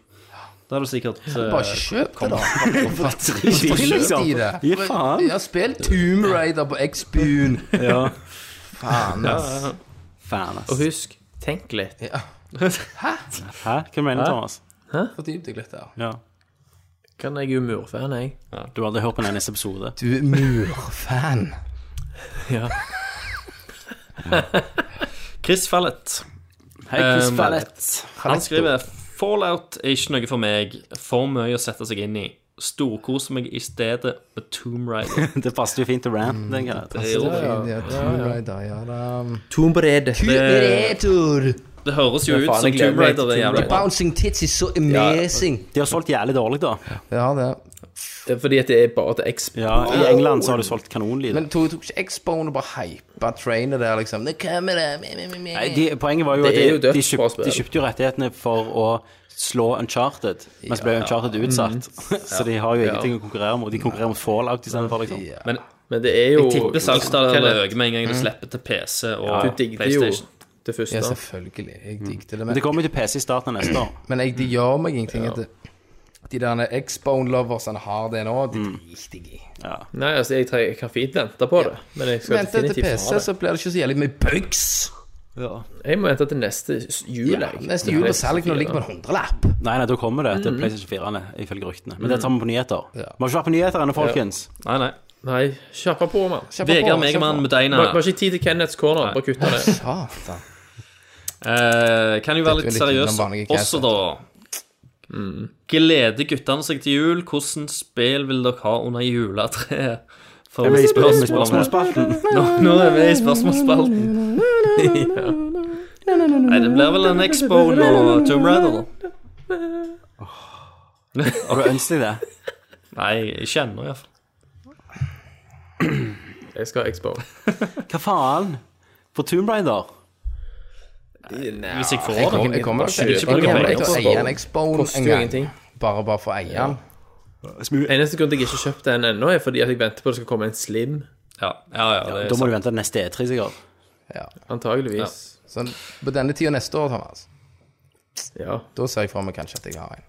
Speaker 4: Da er du sikkert eh,
Speaker 3: Bare ikke kjøp det, da. [laughs]
Speaker 2: Gi
Speaker 3: Drit
Speaker 2: liksom.
Speaker 3: i det.
Speaker 2: Gi faen.
Speaker 3: Ja, spill Tomb Raider på X-Boon.
Speaker 2: Ja.
Speaker 3: Faen, altså. ass.
Speaker 2: Faen, ass.
Speaker 6: Og husk, tenk litt.
Speaker 2: Hæ? Hva mener du, Thomas?
Speaker 3: Fordyp deg litt der.
Speaker 2: Ja.
Speaker 6: Kan jeg jo murfan, jeg.
Speaker 2: Du har aldri hørt på den eneste episode?
Speaker 3: Du er murfan.
Speaker 4: Chris Fallett.
Speaker 2: Hei, Chris
Speaker 4: Um,
Speaker 2: Fallett.
Speaker 4: Han skriver Fallout er ikke noe for meg. For mye å sette seg inn i. Storkoser meg i stedet med Tomb Raider.
Speaker 2: [laughs]
Speaker 6: [laughs]
Speaker 2: Det passer jo fint til Ram. den kan jeg ta.
Speaker 4: Det, er jo-
Speaker 3: Ja, Tomb Raider, ja da.
Speaker 6: Tombered.
Speaker 3: Predator.
Speaker 4: det høres jo
Speaker 6: Det er
Speaker 4: ut
Speaker 6: faen,
Speaker 4: som
Speaker 6: jeg
Speaker 4: Tomb
Speaker 6: gleder meg
Speaker 4: Raider. Det er
Speaker 6: til Tomb
Speaker 4: jævlig bra.
Speaker 3: Bouncing tits is so amazing.
Speaker 2: De har solgt jævlig dårlig, da.
Speaker 3: Ja, det.
Speaker 6: Det er fordi at det er bare til X.
Speaker 2: Ja, I England så har de solgt kanonlyd.
Speaker 3: Men tok, tok ikke X-Bone og bare hypa trainet der, liksom? Nå kommer det. me, me, me, me.
Speaker 2: Nei, de, poenget var jo
Speaker 6: Det
Speaker 2: at
Speaker 6: er jo
Speaker 2: de,
Speaker 6: dødt
Speaker 2: de,
Speaker 6: bra
Speaker 2: kjøpt,
Speaker 6: spill.
Speaker 2: de kjøpte jo rettighetene for å slå Uncharted, mens ble Uncharted utsatt. [laughs] Så de har jo ingenting å konkurrere mot. De konkurrerer mot Fallout istedenfor, liksom.
Speaker 4: Men
Speaker 6: Men det er jo
Speaker 4: Jeg tipper salgstallene
Speaker 6: Kenneth,
Speaker 4: øker med en gang
Speaker 3: Mm.
Speaker 4: du slipper til PC og
Speaker 6: Du digger jo
Speaker 4: PlayStation.
Speaker 6: det første.
Speaker 3: Ja, selvfølgelig. Jeg digget det.
Speaker 2: Men
Speaker 3: Men,
Speaker 2: det kommer jo til PC i starten av neste år.
Speaker 3: men jeg, det gjør meg ingenting. at det- De der X-Bone Loversene har det nå. De driter jeg i.
Speaker 6: Nei, altså, jeg, tre- jeg kan fint vente på det. Men jeg skal
Speaker 3: Vent til
Speaker 6: definitivt ha
Speaker 3: PC,
Speaker 6: det.
Speaker 3: så blir det ikke så jævlig mye bugs.
Speaker 6: Jeg må vente til neste s- jul, jeg.
Speaker 3: Neste jul og salg når det ligger på en hundrelapp.
Speaker 2: Nei, nei, da kommer det til PlayStation 4, ifølge ryktene. Men det tar vi på nyheter. Vi har ikke vært på nyheter ennå, folkens.
Speaker 4: Nei, nei.
Speaker 6: Nei, kjappe på, mann.
Speaker 3: Kjøp på,
Speaker 4: Vegard
Speaker 3: kjøp
Speaker 4: Megemann
Speaker 3: på.
Speaker 4: med Deina.
Speaker 6: Var var ikke tid til Kenneths corner. Bare kutt det.
Speaker 3: Satan.
Speaker 4: Eh, kan jo være litt
Speaker 3: Dette er litt
Speaker 4: seriøs
Speaker 3: utenom vanlige
Speaker 4: også, da. Gleder guttene seg til jul? Hvordan spill vil dere ha under juletreet? For
Speaker 2: Vi er i spørs-
Speaker 4: spørsmål-
Speaker 2: spørsmålsspalten.
Speaker 4: Nå, nå er vi i spørsmålsspalten. ja. Nei, det blir vel en X-Bone og Tomb Raider, da.
Speaker 2: Har du ønsket deg det?
Speaker 4: Nei, ikke ennå, iallfall.
Speaker 6: Jeg skal expone.
Speaker 2: Hva faen? For Tomb Raider?
Speaker 4: Hvis jeg får
Speaker 3: Jeg
Speaker 4: det.
Speaker 3: kommer- Jeg kommer
Speaker 6: Jeg vil ikke
Speaker 3: jeg
Speaker 6: bruke
Speaker 3: kommer
Speaker 6: penger
Speaker 3: til å
Speaker 6: på
Speaker 3: eie
Speaker 6: X-Bone.
Speaker 3: en X-Bone
Speaker 6: [laughs] Koster
Speaker 3: en
Speaker 6: jo
Speaker 3: gang.
Speaker 6: ingenting.
Speaker 3: Bare bare for å eie den.
Speaker 6: Eneste grunn til jeg ikke kjøpte den ennå, er fordi at jeg venter på at det skal komme en slim.
Speaker 4: Ja, ja, ja, det
Speaker 2: Da
Speaker 4: er
Speaker 2: må
Speaker 4: sant.
Speaker 2: du vente til neste E3, sikkert.
Speaker 3: Ja.
Speaker 6: Antageligvis.
Speaker 3: Sånn på denne tida neste år, Thomas.
Speaker 6: Ja,
Speaker 3: Da ser jeg for meg kanskje at jeg har en.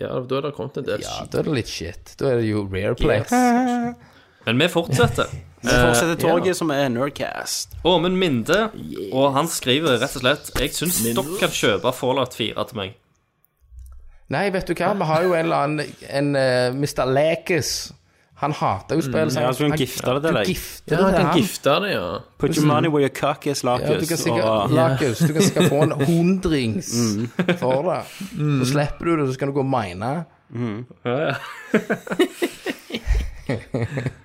Speaker 6: ja da er det kommet en del.
Speaker 3: Ja, da er det litt shit. Da er det jo rare play.
Speaker 4: Men vi fortsetter.
Speaker 2: Vi fortsetter toget, som er Nerdcast.
Speaker 4: Åmund Minde, og han skriver rett og slett Jeg syns dere kan kjøpe Fallout 4 til meg.
Speaker 3: Nei, vet du hva, vi har jo en eller annen en, eh, Mr. Lekes. Han hater jo spill. Mm, så
Speaker 2: ja, så du kan gifte det til
Speaker 3: du
Speaker 2: deg.
Speaker 3: gifter
Speaker 6: Ja,
Speaker 3: det
Speaker 6: han
Speaker 3: til
Speaker 6: kan
Speaker 3: ham.
Speaker 6: gifte det, ja.
Speaker 2: Put your money where your cock is,
Speaker 3: Ja, du kan
Speaker 2: Larkus.
Speaker 3: sikkert, [laughs]
Speaker 2: og
Speaker 3: Lakers, du kan sikkert [laughs] få en hundrings for det. Så slipper du det, så kan du gå og mine.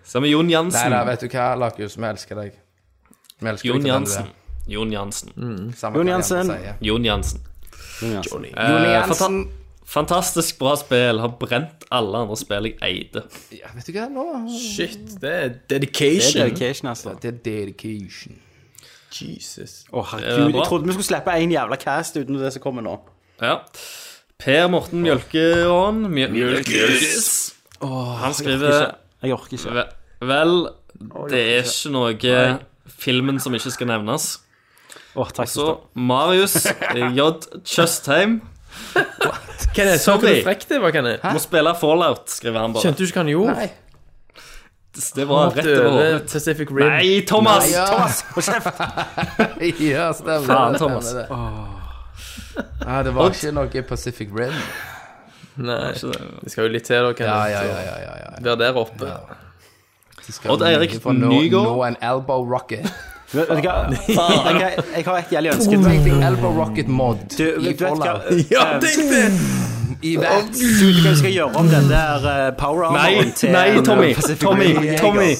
Speaker 4: Sammen med Jon
Speaker 3: Nei da,
Speaker 4: Jansen.
Speaker 3: vet du hva, Lakers, vi elsker deg. Vi elsker
Speaker 4: Jon
Speaker 3: deg for den du
Speaker 4: Jansen. Jon Jansen.
Speaker 3: er. Samme hva
Speaker 2: Jon
Speaker 3: de andre
Speaker 2: Jansen.
Speaker 3: sier.
Speaker 4: Jon Jansen.
Speaker 2: Johnny.
Speaker 4: Eh,
Speaker 3: Jon Jansen.
Speaker 4: fanta- Fantastisk bra spill. Har brent alle andre spill jeg eide.
Speaker 3: Ja, vet du hva, nå
Speaker 6: Shit, det er
Speaker 2: Det er
Speaker 6: dedication.
Speaker 2: dedication, altså.
Speaker 3: Det er dedication.
Speaker 6: Jesus.
Speaker 2: Å,
Speaker 4: Eh,
Speaker 2: herregud.
Speaker 4: bra.
Speaker 2: Jeg trodde vi skulle slippe en jævla cast uten det som kommer nå.
Speaker 4: Ja. Per Morten Mjølkeån Mjø- Mjølkes. Han skriver
Speaker 2: Jeg orker ikke.
Speaker 4: Ve- Vel, det er ikke noe filmen som ikke skal nevnes.
Speaker 2: Å, takk
Speaker 4: Så
Speaker 2: for det.
Speaker 4: Marius eh, J. Tjøstheim
Speaker 6: Hva er det? Så
Speaker 4: Sorry.
Speaker 6: frekk det var, hva er det?
Speaker 4: må spille Fallout, skriver han bare.
Speaker 6: Skjønte du ikke hva han gjorde?
Speaker 3: Nei.
Speaker 4: Det var rett over hodet.
Speaker 6: Pacific Rim.
Speaker 4: Nei, Thomas!
Speaker 3: Ja.
Speaker 2: Thomas, hold
Speaker 3: [laughs]
Speaker 2: kjeft!
Speaker 3: Ja, stemmer det,
Speaker 4: Faen,
Speaker 3: stemmer
Speaker 4: Thomas.
Speaker 3: det. Nei, det var ikke noe Pacific Rim.
Speaker 6: Nei. Det skal jo litt til, da. Kan
Speaker 3: Ja, ja, ja. ja, ja, ja.
Speaker 6: Være der oppe.
Speaker 3: De skal
Speaker 4: Odd Eirik
Speaker 3: få nå-
Speaker 4: Nygaard.
Speaker 3: Nå en elbow rocket.
Speaker 2: Vet vet du hva? Jeg, jeg, jeg har et jævlig ønske.
Speaker 3: Tenk deg elbow rocket mod
Speaker 2: Du,
Speaker 3: i
Speaker 2: vet du hva?
Speaker 3: Fallout.
Speaker 2: Ja,
Speaker 3: I hvert
Speaker 2: Du, vet hva vi skal gjøre om den der eh, power
Speaker 4: Nei,
Speaker 2: armoren til
Speaker 4: nei, Tommy.
Speaker 2: Pacific
Speaker 4: Tommy,
Speaker 2: Rim.
Speaker 4: Tommy.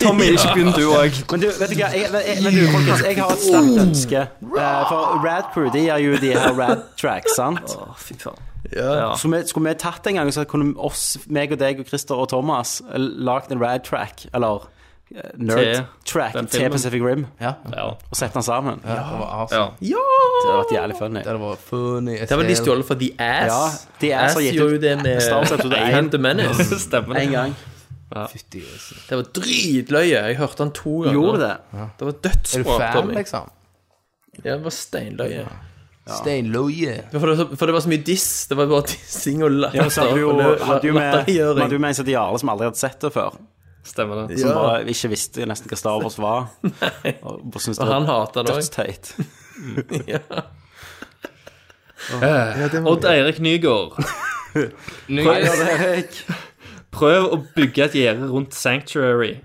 Speaker 4: Tommy, ikke begynn du òg.
Speaker 2: Men du, vet du hva, jeg, jeg, men du, folkens, jeg har et sterkt ønske. Eh, for Rad Crew de gjør jo de her Rad Tracks, sant? Skulle vi, skulle vi tatt en gang, så kunne oss, meg og deg og Christer og Thomas eh, lagd en Rad Track, eller eh, Nerd Track
Speaker 4: den
Speaker 2: til
Speaker 4: filmen.
Speaker 2: Pacific Rim,
Speaker 3: Ja,
Speaker 4: Ja.
Speaker 2: og sette den sammen.
Speaker 3: det var awesome.
Speaker 2: Det hadde vært jævlig funny.
Speaker 3: Det hadde vært funny.
Speaker 6: Det er vel de stjålet fra The
Speaker 2: Ja,
Speaker 6: Ass.
Speaker 2: de er så
Speaker 6: Ass
Speaker 2: gitt
Speaker 6: gjorde jo
Speaker 2: ut
Speaker 6: det med
Speaker 2: Star Wars episode
Speaker 6: I
Speaker 2: én.
Speaker 6: Hand the Menace.
Speaker 4: Stemmer det.
Speaker 2: en gang.
Speaker 3: Fytti grisen.
Speaker 6: Det var dritløye. Jeg hørte han to ganger.
Speaker 2: Gjorde det.
Speaker 6: Det var
Speaker 3: Er du
Speaker 6: dødsbra.
Speaker 3: fan,
Speaker 6: Tommy.
Speaker 3: liksom?
Speaker 6: Ja, det var steinløye.
Speaker 3: Stein Loje.
Speaker 6: Ja, For det, var så- for det var så mye diss. Det var bare [laughs] dissing og latter.
Speaker 2: Ja, så hadde vi jo,
Speaker 6: og lø-
Speaker 2: hadde jo med,
Speaker 6: latterliggjøring.
Speaker 2: vi hadde jo med en som heter Jarle, som aldri hadde sett det før.
Speaker 4: Stemmer det.
Speaker 2: Som Liksom bare ikke visste nesten hva Star Wars var. Og bare syntes det
Speaker 6: Og han
Speaker 2: var
Speaker 6: hater det òg.
Speaker 2: dødsteit.
Speaker 4: Odd Eirik Nygaard. Prøv å bygge et gjerde rundt Sanctuary.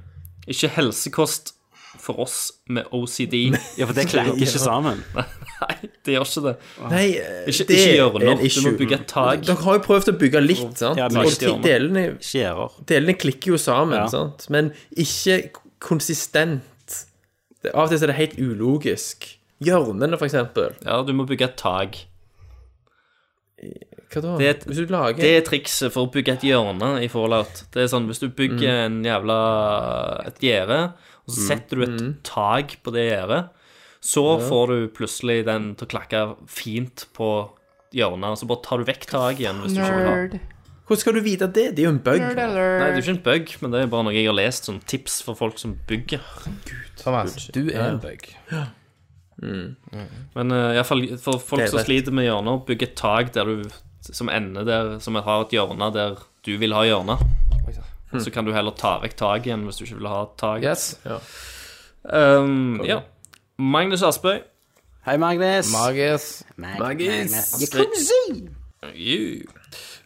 Speaker 4: Ikke helsekost for oss med [laughs] OCD.
Speaker 2: Ja, for det klikker ikke sammen.
Speaker 4: Nei, det gjør ikke det.
Speaker 6: Nei,
Speaker 4: Ikke, ikke gjør noe. Du må bygge et tak.
Speaker 6: Dere har jo prøvd å bygge litt, sant?
Speaker 2: Ja, men
Speaker 6: og
Speaker 2: ikke
Speaker 6: de-
Speaker 4: gjør noe.
Speaker 6: delene,
Speaker 2: Skjærer.
Speaker 6: delene klikker jo sammen,
Speaker 2: Ja.
Speaker 6: sant? Men ikke konsistent. Det, av og til så er det helt ulogisk. Hjørnene, for eksempel.
Speaker 4: Ja, du må bygge et tak.
Speaker 6: Hva da?
Speaker 4: Det er et-
Speaker 6: Hvis du lager
Speaker 4: Det er trikset for å bygge et hjørne i Fallout. Det er sånn, Hvis du bygger en jævla et gjerde, og så setter du et tak på det gjerdet, så får du plutselig den til å klakke fint på hjørnet, og så bare tar du vekk taket igjen. hvis du ikke vil ha.
Speaker 6: Hvordan skal du vite det? Det er jo en bug.
Speaker 4: Nei, Det er jo ikke en bug, men det er bare noe jeg har lest som tips for folk som bygger.
Speaker 3: Thomas, du er en bug.
Speaker 4: Men uh, iallfall for folk
Speaker 6: Det er
Speaker 4: som
Speaker 6: rett.
Speaker 4: sliter med hjørner, bygg et tak der du, som ender der, som har et hjørne der du vil ha hjørne. Og
Speaker 6: Hm.
Speaker 4: så kan du heller ta vekk taket igjen hvis du ikke vil ha tak.
Speaker 3: Yes.
Speaker 4: Um, ja. Magnus Aspøy.
Speaker 2: Hei, Magnus.
Speaker 3: Magis.
Speaker 4: You.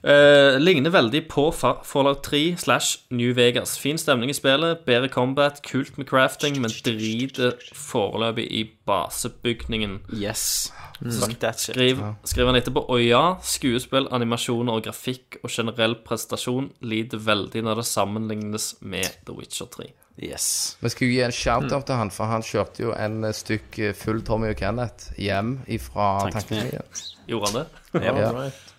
Speaker 4: Eh, ligner veldig på Fa- Fallout 3 slash New Vegas. Fin stemning i spillet, bedre combat, kult med crafting, men driter foreløpig i basebygningen.
Speaker 2: Yes. Fuck that shit.
Speaker 4: Skriv, skriver han etterpå. Og ja, skuespill, animasjoner og grafikk og generell prestasjon lider veldig når det sammenlignes med The Witcher 3.
Speaker 2: Yes.
Speaker 3: Vi skulle gi en shout-out til han, for han kjørte jo en eh, stykk eh, full Tommy og Kenneth hjem ifra
Speaker 2: Tankesmien.
Speaker 3: tankesmien.
Speaker 4: Gjorde han det?
Speaker 3: Ja.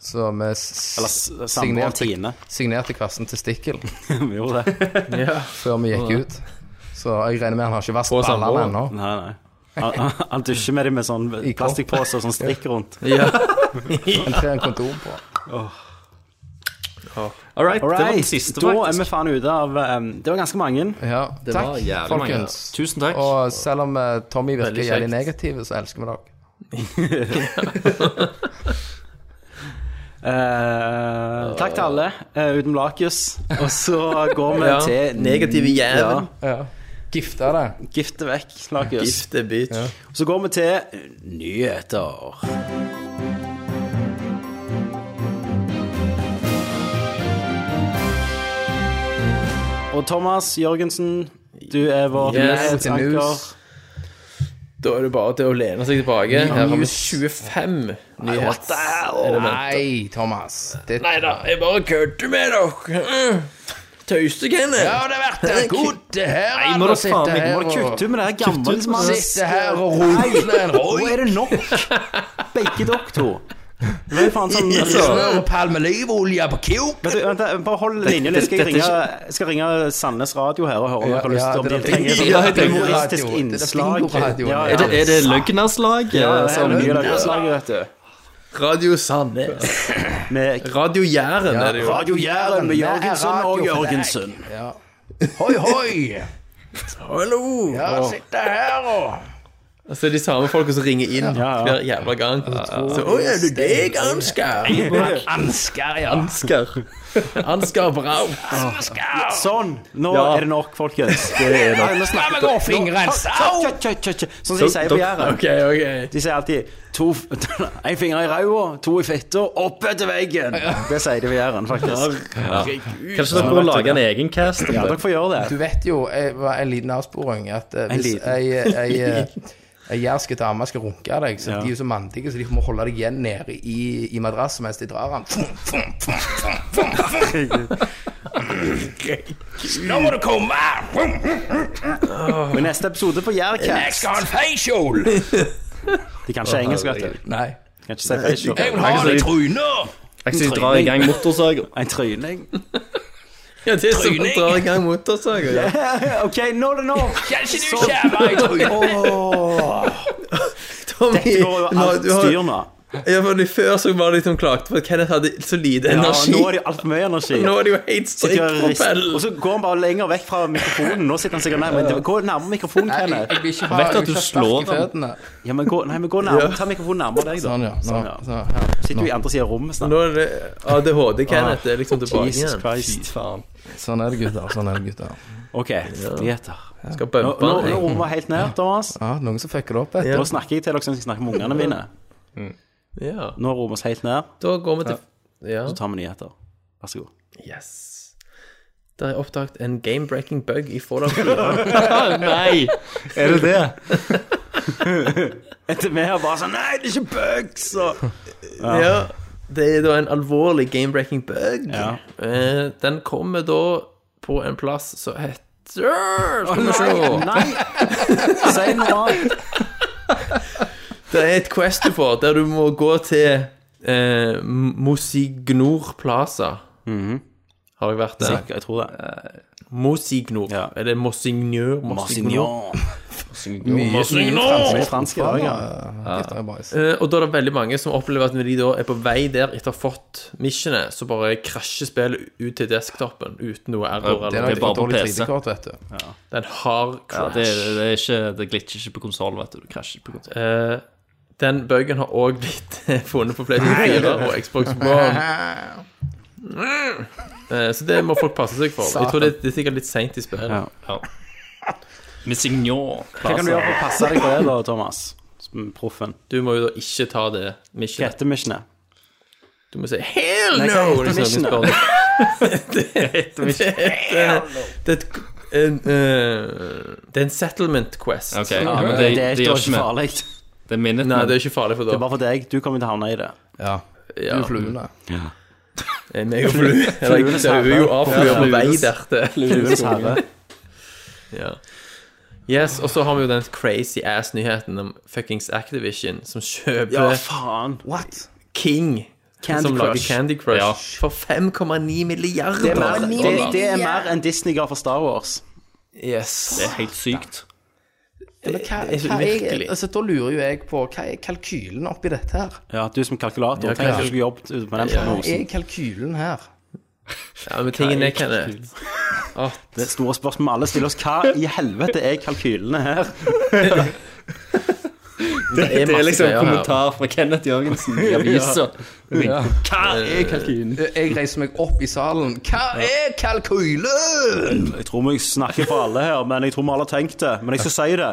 Speaker 3: Så vi s-
Speaker 2: Eller s- samboeren Tine. [laughs]
Speaker 3: signerte kvassen til Stikkel
Speaker 2: Vi gjorde det.
Speaker 3: før vi gikk ut. Så jeg regner med han har ikke vasket ballene
Speaker 6: samboeren.
Speaker 3: ennå.
Speaker 2: Nei, nei. Han, han- han dusjer med dem med sånn plastikkpose og sånn strikk rundt.
Speaker 3: Han trer en kondom på.
Speaker 4: All right,
Speaker 2: All
Speaker 4: Det var den
Speaker 2: right,
Speaker 4: siste,
Speaker 2: da er vi
Speaker 4: faktisk.
Speaker 2: faen ute av um, Det var ganske mange.
Speaker 3: Ja, takk,
Speaker 4: jævlig mange.
Speaker 3: folkens.
Speaker 4: Tusen takk.
Speaker 3: Og selv om eh, Tommy virker
Speaker 6: Veldig
Speaker 3: jævlig
Speaker 6: kjekt.
Speaker 3: negativ, så elsker vi dere.
Speaker 2: Eh, takk til alle, eh, uten Lakius. Og så går vi
Speaker 6: Ja,
Speaker 2: til
Speaker 6: negative jæven.
Speaker 3: Ja. Gifte deg.
Speaker 2: Gifte vekk Lakius.
Speaker 6: Gifte bitch.
Speaker 2: Så går vi til nyheter. Og Thomas Jørgensen, du er vår
Speaker 6: Yes,
Speaker 3: til
Speaker 2: nyhetsanker.
Speaker 3: news.
Speaker 6: Da er det bare til å lene seg tilbake. Her har vi 25 nyhetselementer.
Speaker 3: Nei, Thomas. Det
Speaker 6: Nei da, jeg bare kødder med dere. Mm. Tøyste, Kenneth.
Speaker 3: har det vært en god det her.
Speaker 4: Nei, må
Speaker 3: å
Speaker 4: du
Speaker 3: sitte
Speaker 4: faen meg-
Speaker 3: her
Speaker 2: Må du
Speaker 3: og-
Speaker 2: kutte ut med det her gamle som han
Speaker 3: Sitte her og rote en
Speaker 2: Nå
Speaker 3: roi.
Speaker 2: er det nok! Begge dere to. Det er jo faen sånn altså.
Speaker 3: Smør og palmelivolje på kuk.
Speaker 2: Vet du, Altså, vent, da, bare hold linja litt. Skal jeg ringe, skal ringe Sandnes Radio her og høre hva du
Speaker 3: Ja,
Speaker 2: om
Speaker 3: det
Speaker 2: de
Speaker 3: er
Speaker 2: trenger
Speaker 3: det
Speaker 2: et sånt
Speaker 4: fine
Speaker 2: humoristisk
Speaker 3: radioen. Det er det fine
Speaker 2: innslag.
Speaker 3: radioen.
Speaker 2: Ja,
Speaker 4: Er
Speaker 2: ja.
Speaker 4: det, er det løgnerslag?
Speaker 2: Ja,
Speaker 4: eh,
Speaker 2: det er
Speaker 4: som-
Speaker 2: mye løgnslag, vet du.
Speaker 6: Radio Sandnes.
Speaker 2: Med
Speaker 6: Radio Jæren er det jo.
Speaker 2: Radio Jæren med Jørgensen
Speaker 3: Det er
Speaker 2: og
Speaker 3: radio for deg.
Speaker 2: Jørgensen.
Speaker 3: Ja. Hoi, hoi.
Speaker 6: Hallo.
Speaker 3: Ja, sitte her og
Speaker 6: Altså, det er de samme folka som ringer inn
Speaker 2: ja.
Speaker 6: hver jævla gang. Så, Å, er du deg, Ansgar?
Speaker 3: Ansker, ja.
Speaker 6: Ansgar. Ansgar Brau.
Speaker 2: Sånn! Nå
Speaker 6: Ja.
Speaker 2: er det nok, folkens. Det er nok. Nå
Speaker 3: La meg gå og fingre en sau.
Speaker 2: Tja, tja, tja, tja. Sånn som de sier på Jæren.
Speaker 6: Ok, ok.
Speaker 2: De sier alltid to f- [laughs] En finger i ræva, to i fitta, opp etter veggen. Det sier de på Jæren, faktisk.
Speaker 4: Kanskje dere burde lage en egen cast om
Speaker 2: Ja,
Speaker 4: det?
Speaker 2: dere får gjøre det.
Speaker 3: Du vet jo, jeg var en liten avsporing, at eh, hvis
Speaker 2: liten.
Speaker 3: ei, ei, eh, ei jærske dame skal runke av deg, så
Speaker 2: Ja.
Speaker 3: de er jo så mandige, så de må holde deg igjen nede i, i madrassen mens de drar den. Fum, fum, fum, fum, fum, fum. Nå må du komme! Fum,
Speaker 2: Og i neste episode på
Speaker 3: Jeg
Speaker 2: Jærcast
Speaker 3: skal ha en
Speaker 8: [laughs]
Speaker 3: feiskjol!
Speaker 2: De kan ikke engelsk, vet du.
Speaker 3: Nei.
Speaker 2: De kan ikke si facial.
Speaker 3: Jeg vil ha
Speaker 4: Nei,
Speaker 3: den i
Speaker 4: så-
Speaker 3: trynet!
Speaker 4: Jeg skal dra i gang motorsager.
Speaker 2: En
Speaker 6: [laughs]
Speaker 2: tryning.
Speaker 6: Ja, det er som å
Speaker 3: Tryning.
Speaker 6: dra i gang motorsager. Ja.
Speaker 2: OK, nå er det [laughs] nok.
Speaker 3: Kan ikke du skjære i trynet?
Speaker 6: Tommy,
Speaker 2: Det går jo
Speaker 6: nå-
Speaker 2: alt
Speaker 6: du har-
Speaker 2: styr nå.
Speaker 6: Ja, for de Før så var det litt om klagt for at Kenneth hadde så lite
Speaker 2: Ja,
Speaker 6: energi.
Speaker 2: nå er det altfor mye energi.
Speaker 6: [laughs] Nå er det jo helt strikk
Speaker 2: Sitter og rister.
Speaker 6: propell.
Speaker 2: Og så går han bare lenger vekk fra mikrofonen. Nå sitter han sikkert nærmere. Men Gå nærmere mikrofonen,
Speaker 3: Nei, jeg,
Speaker 2: Kenneth.
Speaker 3: jeg vil ikke ha
Speaker 4: Vet du at
Speaker 3: jeg vil
Speaker 4: du
Speaker 3: ikke ha spark
Speaker 4: slår
Speaker 3: i
Speaker 4: den?
Speaker 3: føttene.
Speaker 2: Ja, men gå, nei, men gå nærmere. Ta mikrofonen nærmere deg, da.
Speaker 3: Sånn, ja. Nå,
Speaker 2: Sånn, ja.
Speaker 3: så, her.
Speaker 2: Sitter jo i andre siden av rommet
Speaker 6: Nå
Speaker 2: snart.
Speaker 6: er det ADHD-Kenneth det er liksom tilbake
Speaker 2: Jesus
Speaker 6: igjen.
Speaker 2: Christ.
Speaker 3: sånn er det, gutter. Sånn er det, gutter.
Speaker 2: OK, nyheter.
Speaker 6: Skal
Speaker 2: Nå,
Speaker 6: bumpe
Speaker 2: nå,
Speaker 6: han.
Speaker 2: nå
Speaker 6: jeg.
Speaker 2: rommet helt ned, Thomas.
Speaker 3: Ja, noen som fucker det opp, vet du.
Speaker 6: Ja.
Speaker 2: Nå snakker jeg til dere som skal snakke med ungene mine.
Speaker 6: Ja.
Speaker 2: Nå rommet oss helt ned.
Speaker 6: Da går vi til Ja.
Speaker 2: Så tar vi nyheter. Vær så god.
Speaker 6: Yes. Der er oppdaget en game-breaking bug i [laughs] Fallout 4.
Speaker 4: Nei!
Speaker 2: Er det det? [laughs] Etter vi har bare sånn Nei, det er ikke bugs! Og...
Speaker 6: ja. Det er da en alvorlig game-breaking bug.
Speaker 2: Ja.
Speaker 6: Eh, Den kommer da på en plass som heter Skal vi se.
Speaker 2: Nei! Si noe annet.
Speaker 6: Det er et quest du får, der du må gå til eh, Mosignor Plaza. Mhm. Har jeg vært der?
Speaker 2: Sikkert, Jeg tror det.
Speaker 6: Mosignor.
Speaker 2: Ja.
Speaker 6: Er det Mosignor?
Speaker 2: Marsignon.
Speaker 3: Mye
Speaker 2: Mye fransk i dag, ja.
Speaker 3: Gutter er boys.
Speaker 6: Eh, og da er det veldig mange som opplever at når de da er på vei der etter å ha fått missionet, så bare krasjer spillet ut til desktopen uten noe error.
Speaker 3: Det er nok
Speaker 6: Eller det
Speaker 3: et
Speaker 6: er bare,
Speaker 4: på
Speaker 3: dårlig
Speaker 4: PC.
Speaker 3: 3D-kort, vet du.
Speaker 6: det er en hard
Speaker 4: Ja,
Speaker 6: crash.
Speaker 4: det, det, er ikke, det glitcher ikke på konsollen, vet du. Det krasjer ikke på konsollen.
Speaker 6: Eh, den buggen har òg blitt [laughs] funnet på PlayStation 4 og Xbox One. Eh, så det må folk passe seg for. Jeg tror det, det er sikkert litt seint i spillet.
Speaker 2: Ja.
Speaker 4: Ja. Messignon.
Speaker 2: Hva kan du gjøre for å passe deg for det, da, Thomas? Som Proffen.
Speaker 6: Du må jo da ikke ta det
Speaker 2: Hva
Speaker 6: missionet.
Speaker 2: heter missionet?
Speaker 6: Du må si 'hell
Speaker 2: Nei, hva
Speaker 6: no!'
Speaker 2: heter
Speaker 6: liksom, hvis
Speaker 2: missionet?
Speaker 6: du spør det. [laughs] Det er et, det er et en, eh, Det er en settlement quest.
Speaker 4: Ok, ja, men det,
Speaker 2: Det er
Speaker 4: det
Speaker 2: ikke
Speaker 4: gjør
Speaker 2: så
Speaker 4: ikke vi.
Speaker 2: farlig.
Speaker 4: Det er minnet
Speaker 6: Nei,
Speaker 4: men-
Speaker 6: det er ikke farlig for
Speaker 2: Det er
Speaker 6: da.
Speaker 2: bare for deg. Du kommer til å havne i det.
Speaker 3: Ja.
Speaker 6: Ja,
Speaker 3: Du fluene.
Speaker 6: eh, meg og flue. [laughs] Eller
Speaker 2: Fluenes
Speaker 6: jeg er jo
Speaker 2: herre.
Speaker 6: avflua på vei der til
Speaker 2: Fluenes herre.
Speaker 6: [laughs] ja. Yes, og så har vi jo den crazy ass-nyheten om fuckings Activision, som kjøper
Speaker 2: Ja, faen.
Speaker 3: What?
Speaker 6: King.
Speaker 2: Candy
Speaker 6: som lager
Speaker 2: Crush.
Speaker 6: Candy Crush
Speaker 4: Ja.
Speaker 6: for 5,9 milliarder.
Speaker 2: Det er mer, det,
Speaker 6: dollar.
Speaker 2: det er mer enn Disney ga for Star Wars.
Speaker 6: Yes.
Speaker 4: Det er helt sykt.
Speaker 3: Men hva,
Speaker 6: Det er
Speaker 3: hva er,
Speaker 6: virkelig.
Speaker 3: altså, da lurer jo jeg på hva er kalkylen oppi dette her?
Speaker 2: Ja, du som kalkulator.
Speaker 6: Ja,
Speaker 2: Tenk at
Speaker 6: kanskje.
Speaker 2: du skulle jobbet ut med den
Speaker 6: Ja.
Speaker 3: Hva er
Speaker 2: prognosen.
Speaker 3: kalkylen her?
Speaker 6: Ja, men tingen er, Kenneth
Speaker 2: Det store spørsmålet alle stiller oss, hva i helvete er kalkylene her?
Speaker 4: Det,
Speaker 6: er
Speaker 4: det er
Speaker 6: masse
Speaker 4: liksom
Speaker 6: greier her.
Speaker 4: kommentar fra Kenneth Jørgensen i avisa.
Speaker 3: Ja.
Speaker 4: Hva er kalkunen?
Speaker 3: Eh, Jeg reiser meg opp i salen. Hva er kalkylen?
Speaker 2: Jeg tror vi snakker for alle her, men jeg tror vi alle har tenkt det. Men jeg skal si det.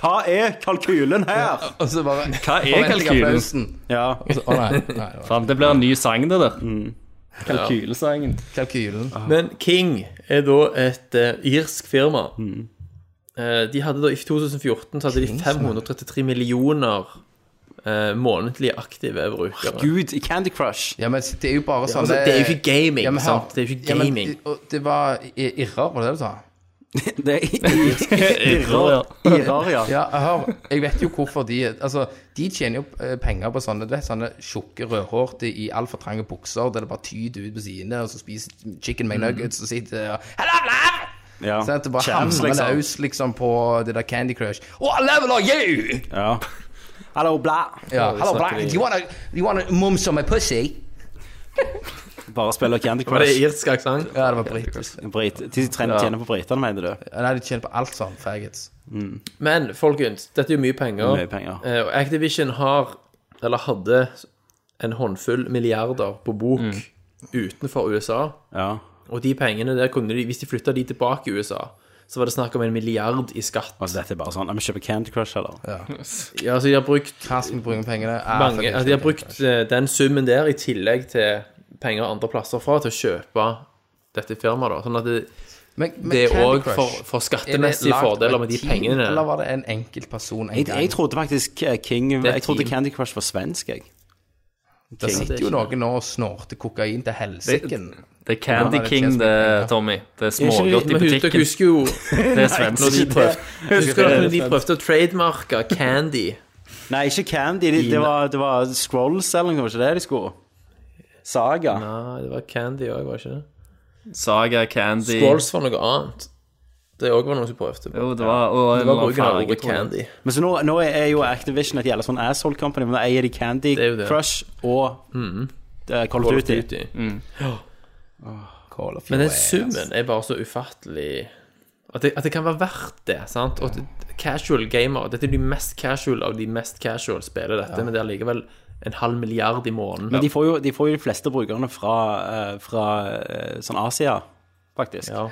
Speaker 2: Hva er kalkylen her?
Speaker 3: Og så bare
Speaker 4: Hva er
Speaker 3: forventer jeg
Speaker 4: kalkylen?
Speaker 3: applausen.
Speaker 2: Ja.
Speaker 3: Og så- Altså, Å nei, nei, det var
Speaker 4: Faen, det blir en ny sang, det der. [laughs] Kalkylesangen.
Speaker 3: kalkylen.
Speaker 6: Men King er da et eh, irsk firma. Eh, de hadde da I 2014 så hadde de 533 millioner eh, månedlig aktive brukere.
Speaker 2: Gud, i Candy Crush.
Speaker 3: Ja, men det er jo bare sånn
Speaker 6: Altså, det er jo ikke gaming,
Speaker 3: Ja, men hør.
Speaker 6: sant? Det er jo ikke
Speaker 3: Ja, men-
Speaker 6: gaming.
Speaker 3: og det var i- irrer, var det det du sa?
Speaker 2: Det er irrer, ja.
Speaker 3: Ja, hør, jeg vet jo hvorfor de Altså, de tjener jo eh, penger på sånne Du vet, sånne tjukke rødhårte i altfor trange bukser der det bare tyter ut på sidene, og så spiser chicken McNuggets og sitter og Hello, love!
Speaker 2: ja.
Speaker 3: Sånn at det bare
Speaker 2: Champs,
Speaker 3: hamrer
Speaker 2: liksom.
Speaker 3: løs liksom på det der Candy Crush. Oh, I level are you!
Speaker 2: Ja. Hallo, bla.
Speaker 3: Ja, hello, black.
Speaker 6: snakker de-
Speaker 3: Do you wanna, do you wanna mums on my pussy?
Speaker 2: Bare spiller Candy
Speaker 6: Var det
Speaker 2: Crush.
Speaker 6: irsk aksent?
Speaker 3: Ja, det var britisk.
Speaker 2: Brit. De trener, tjener på britene, mener du?
Speaker 3: Nei, de tjener på alt sånn, faggots.
Speaker 6: Men folkens, dette er jo mye penger.
Speaker 2: Mye penger.
Speaker 6: Eh, og Activision har, eller hadde, en håndfull milliarder på bok
Speaker 3: Mm.
Speaker 6: utenfor USA.
Speaker 2: Ja.
Speaker 6: Og de pengene der kunne de, hvis de flytta de tilbake i USA, så var det snakk om en milliard i skatt.
Speaker 2: Altså, dette er bare sånn. Jeg må kjøpe Candy Crush, eller?
Speaker 6: Ja, altså de har brukt
Speaker 3: Hva skal vi bruke pengene? Ah,
Speaker 6: mange,
Speaker 3: fucking
Speaker 6: altså, de har
Speaker 3: shit.
Speaker 6: brukt eh, den summen der i tillegg til penger andre plasser fra til å kjøpe dette firmaet, da. Sånn at det,
Speaker 3: Men- men
Speaker 6: det er
Speaker 3: Candy
Speaker 6: òg
Speaker 3: Crush,
Speaker 6: for, for
Speaker 3: er det
Speaker 6: skattemessige
Speaker 3: lagd av
Speaker 6: fordeler
Speaker 3: et
Speaker 6: med de
Speaker 3: team,
Speaker 6: pengene.
Speaker 3: Eller var det en enkelt person en
Speaker 2: Jeg,
Speaker 3: gang?
Speaker 2: jeg trodde faktisk eh, King
Speaker 6: er
Speaker 2: Jeg trodde
Speaker 6: team.
Speaker 2: Candy Crush var svensk, jeg.
Speaker 3: Det sitter jo
Speaker 6: ikke-
Speaker 3: noen nå og snorter kokain til helsiken.
Speaker 4: Det er Candy
Speaker 3: Ja, det er
Speaker 4: King, det,
Speaker 3: kjempefint, ja.
Speaker 4: Tommy. Det er
Speaker 6: Men
Speaker 4: smågodt i
Speaker 6: husk- Dere
Speaker 4: butikken. [laughs]
Speaker 6: husker jo
Speaker 4: Det er svensk.
Speaker 2: [laughs]
Speaker 6: når de prøvde, husker dere når de prøvde å trademarke Candy.
Speaker 2: Nei, ikke Candy. Det, det, var, det var Scrolls eller noe, var ikke det de skulle? Saga.
Speaker 6: Nei, det var Candy òg, var det ikke det?
Speaker 4: Saga Candy.
Speaker 6: Squalls var noe annet. Det òg var noe som prøvde. på.
Speaker 4: Jo, det var Og
Speaker 6: Det
Speaker 4: en eller
Speaker 6: var
Speaker 4: annen
Speaker 6: bruken av
Speaker 4: farge,
Speaker 6: ordet
Speaker 4: tror jeg.
Speaker 6: Candy.
Speaker 2: Men så nå, nå er jo Activision et jævla sånn asshole company, men da eier de Candy
Speaker 6: Det er jo det.
Speaker 2: Crush og eh, Call of Duty.
Speaker 6: Duty.
Speaker 3: Call of
Speaker 6: Men den
Speaker 3: Duty.
Speaker 6: summen er bare så ufattelig at det, at det kan være verdt det. sant? Og at Casual gamer Dette er de mest casual av de mest casual spiller dette, men det er allikevel en halv milliard i måneden.
Speaker 2: Men de får, jo, de får jo de fleste brukerne fra, eh, fra eh, sånn Asia, faktisk.
Speaker 6: Ja.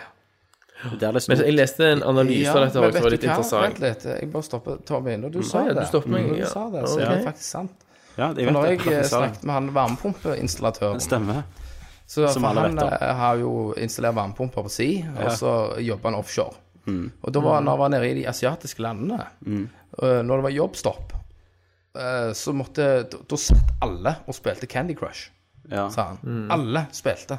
Speaker 2: Det er det
Speaker 6: Men
Speaker 2: stort.
Speaker 6: jeg leste en analyse av dette
Speaker 3: men
Speaker 6: også, som var
Speaker 3: vet
Speaker 6: litt
Speaker 3: du hva? Vent
Speaker 6: interessant.
Speaker 3: litt, jeg bare stopper Tommy. Når du sa
Speaker 6: Ah, ja, du
Speaker 3: det,
Speaker 6: stopper meg,
Speaker 3: når du
Speaker 6: ja.
Speaker 3: sa det, så
Speaker 6: Ok.
Speaker 3: er det faktisk sant.
Speaker 2: Ja, jeg
Speaker 3: For
Speaker 2: vet
Speaker 3: når
Speaker 2: det,
Speaker 3: jeg eh,
Speaker 2: faktisk er det.
Speaker 3: snakket med han varmepumpeinstallatøren
Speaker 2: Stemmer.
Speaker 3: så
Speaker 2: som
Speaker 3: for
Speaker 2: alle
Speaker 3: Han
Speaker 2: vet om.
Speaker 3: eh, har jo installert varmepumper på si, og så jobber han offshore.
Speaker 6: Mm.
Speaker 3: Og da var, når han var nede i de asiatiske landene, eh, når det var jobbstopp, eh, så måtte Da da satt alle og spilte Candy Crush,
Speaker 2: Ja.
Speaker 3: sa han.
Speaker 6: Mm.
Speaker 3: Alle spilte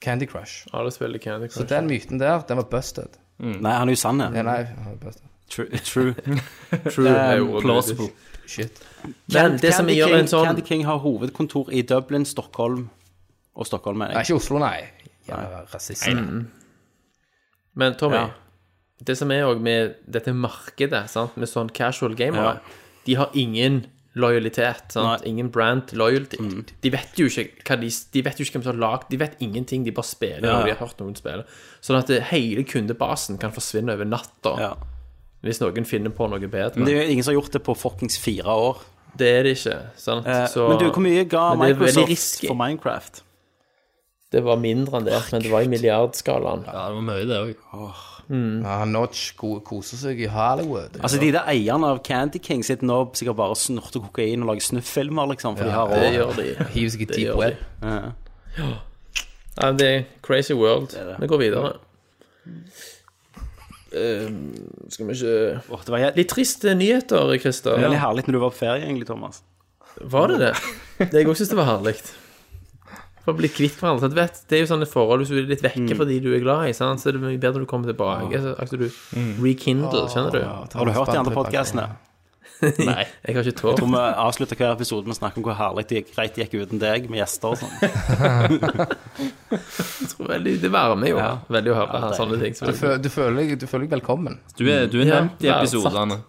Speaker 3: Candy Crush.
Speaker 6: Alle spiller Candy Crush.
Speaker 3: Så den myten der, den var busted.
Speaker 2: Nei, han er jo sann,
Speaker 3: Ja,
Speaker 2: ja.
Speaker 3: nei, den var busted.
Speaker 2: True.
Speaker 3: [laughs]
Speaker 2: True. Um,
Speaker 6: True, er jo ordet.
Speaker 4: Plausible.
Speaker 3: Shit.
Speaker 6: Men det som
Speaker 2: Candy,
Speaker 6: gjør
Speaker 2: King,
Speaker 6: en sånn
Speaker 2: Candy King har hovedkontor i Dublin, Stockholm og Stockholm, mener
Speaker 3: Nei,
Speaker 2: jeg.
Speaker 3: ikke Oslo, nei. Jævla rasist.
Speaker 6: Men Tommy,
Speaker 2: Ja.
Speaker 6: det som er òg med dette markedet, sant? med sånn casual gamere, de har ingen lojalitet. Sant? Ingen brand loyalty.
Speaker 2: Mm.
Speaker 6: De vet jo ikke hva de, de vet jo ikke hvem som har lagd De vet ingenting, de bare spiller
Speaker 2: Ja.
Speaker 6: når de har hørt noen spille. Sånn at det, hele kundebasen kan forsvinne over natta
Speaker 2: Ja.
Speaker 6: hvis noen finner på noe bedre.
Speaker 2: Men det
Speaker 6: Det,
Speaker 2: er jo ingen som har gjort det på fuckings fire år.
Speaker 6: er det ikke. Sant?
Speaker 2: Eh,
Speaker 6: Så
Speaker 2: men du, hvor mye ga
Speaker 6: Men det er veldig
Speaker 2: Microsoft
Speaker 6: risky.
Speaker 2: for Minecraft?
Speaker 6: det var mindre enn det, men det var i milliardskalaen.
Speaker 4: Ja, det var mye, det òg.
Speaker 3: Ja, Notch ko- koser seg i Hollywood.
Speaker 2: Altså, de der eierne av Candy King sitter nå sikkert bare og snorter kokain og lager snufffilmer, liksom, for de har
Speaker 6: Det
Speaker 2: råd.
Speaker 6: gjør de.
Speaker 3: Hiver seg i
Speaker 6: Det
Speaker 3: deep
Speaker 6: gjør
Speaker 3: web.
Speaker 6: Nei, det er crazy world. Vi går videre. Eh, skal vi ikke
Speaker 2: Åh, det var jæ-
Speaker 6: Litt triste nyheter, Christer.
Speaker 2: veldig herlig når du var på ferie, egentlig, Thomas.
Speaker 6: Var det det? Det jeg òg syns det var herlig. For å bli kvitt hverandre. sant? Vet, det er jo sånne forhold hvis du er litt vekke fra de du er glad i, sant? så er det mye bedre når du kommer tilbake. Så at du
Speaker 2: Mm.
Speaker 6: rekindle, skjønner du?
Speaker 2: Har du hørt de andre podkastene?
Speaker 6: [laughs] Nei. Jeg har ikke tålt
Speaker 2: Hvor vi avslutter hver episode med å snakke om hvor herlig det gikk, greit det gikk uten deg, med gjester og sånn.
Speaker 6: Veldig, Det varmer jo veldig å høre sånne ting.
Speaker 3: Du, fø- du, føler, deg- du føler deg velkommen.
Speaker 4: Du er, du er
Speaker 6: Ja,
Speaker 4: nevnt i
Speaker 6: ja,
Speaker 4: episodene.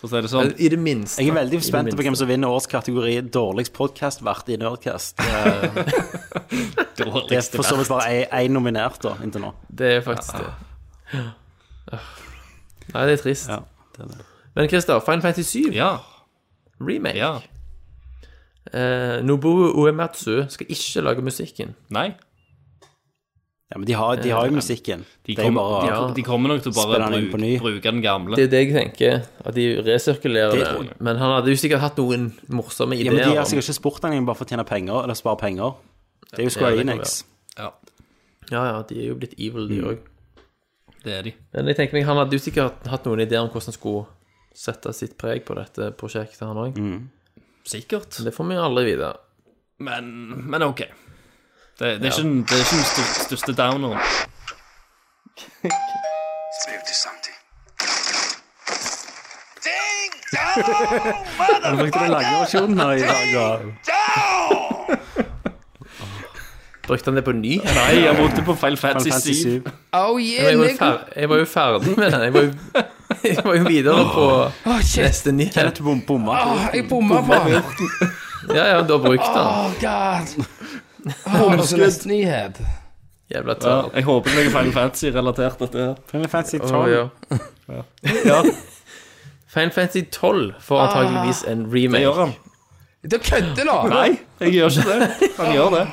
Speaker 4: For å si det sånn.
Speaker 6: I det minste. [laughs]
Speaker 2: Jeg er veldig
Speaker 6: I det
Speaker 2: spent på hvem
Speaker 6: minste.
Speaker 2: som vinner årets kategori dårligst podkastvert i Nerdcast. Eh, Det er for så vidt bare én nominert, da, inntil nå.
Speaker 6: Det er faktisk det. Nei, det er trist.
Speaker 2: Ja, det er det.
Speaker 6: Men Christer, Final Fantasy 7
Speaker 4: Ja.
Speaker 6: remake.
Speaker 4: ja.
Speaker 6: Eh, Nobuo Uematsu skal ikke lage musikken.
Speaker 4: Nei.
Speaker 2: Ja, men de har, de har jo musikken.
Speaker 4: De
Speaker 2: Det er jo
Speaker 4: kommer,
Speaker 2: bare
Speaker 4: de, de kommer nok til å bare
Speaker 2: Spiller den inn på ny.
Speaker 4: bruke, bruke den gamle.
Speaker 6: Det er det jeg tenker, at de resirkulerer
Speaker 2: Det
Speaker 6: det.
Speaker 2: tror
Speaker 6: Men han hadde jo sikkert hatt noen morsomme
Speaker 2: ja, men
Speaker 6: ideer.
Speaker 2: De har
Speaker 6: om-
Speaker 2: sikkert ikke spurt han bare for å tjene penger, eller spare penger. Det er jo Square
Speaker 6: Ja, det kan
Speaker 2: Enix.
Speaker 4: Ja,
Speaker 6: Ja, ja, de er jo blitt evil, de òg.
Speaker 4: det er de.
Speaker 6: Men jeg tenker meg, han hadde jo sikkert hatt noen ideer om hvordan han skulle sette sitt preg på dette prosjektet, han òg.
Speaker 4: Sikkert.
Speaker 6: Det får vi jo aldri vite.
Speaker 4: Men, men OK. Det, det, er ikke, den- det er ikke den styr- største downeren.
Speaker 2: Han brukte den lange versjonen her i dag. da.
Speaker 6: Brukte han det på ny?
Speaker 4: Nei, jeg brukte på feil
Speaker 2: Final
Speaker 4: fancy
Speaker 2: Fantasy
Speaker 4: 7.
Speaker 2: 7.
Speaker 3: Oh
Speaker 6: Jeg
Speaker 3: yeah,
Speaker 6: var jo fer- jeg var jo ferdig med den. Jeg var jo, [laughs] jeg var jo videre på
Speaker 3: Åh, shit.
Speaker 6: neste nyhet.
Speaker 2: Kenneth bom, bomma.
Speaker 3: Åh, jeg bomma faen.
Speaker 6: Ja, ja, da brukte han.
Speaker 3: Åh, Oh, god. Bomskudd.
Speaker 6: Jævla
Speaker 4: Ja,
Speaker 6: tørt.
Speaker 4: jeg håper det er feil fancy-relatert, dette her.
Speaker 2: Final Fantasy 12.
Speaker 6: Oh, ja.
Speaker 4: Ja,
Speaker 6: Final Fantasy 12 får antageligvis en
Speaker 4: det gjør
Speaker 6: remake.
Speaker 4: han.
Speaker 3: Du kødder nå!
Speaker 4: Nei, jeg gjør ikke det. Han gjør det.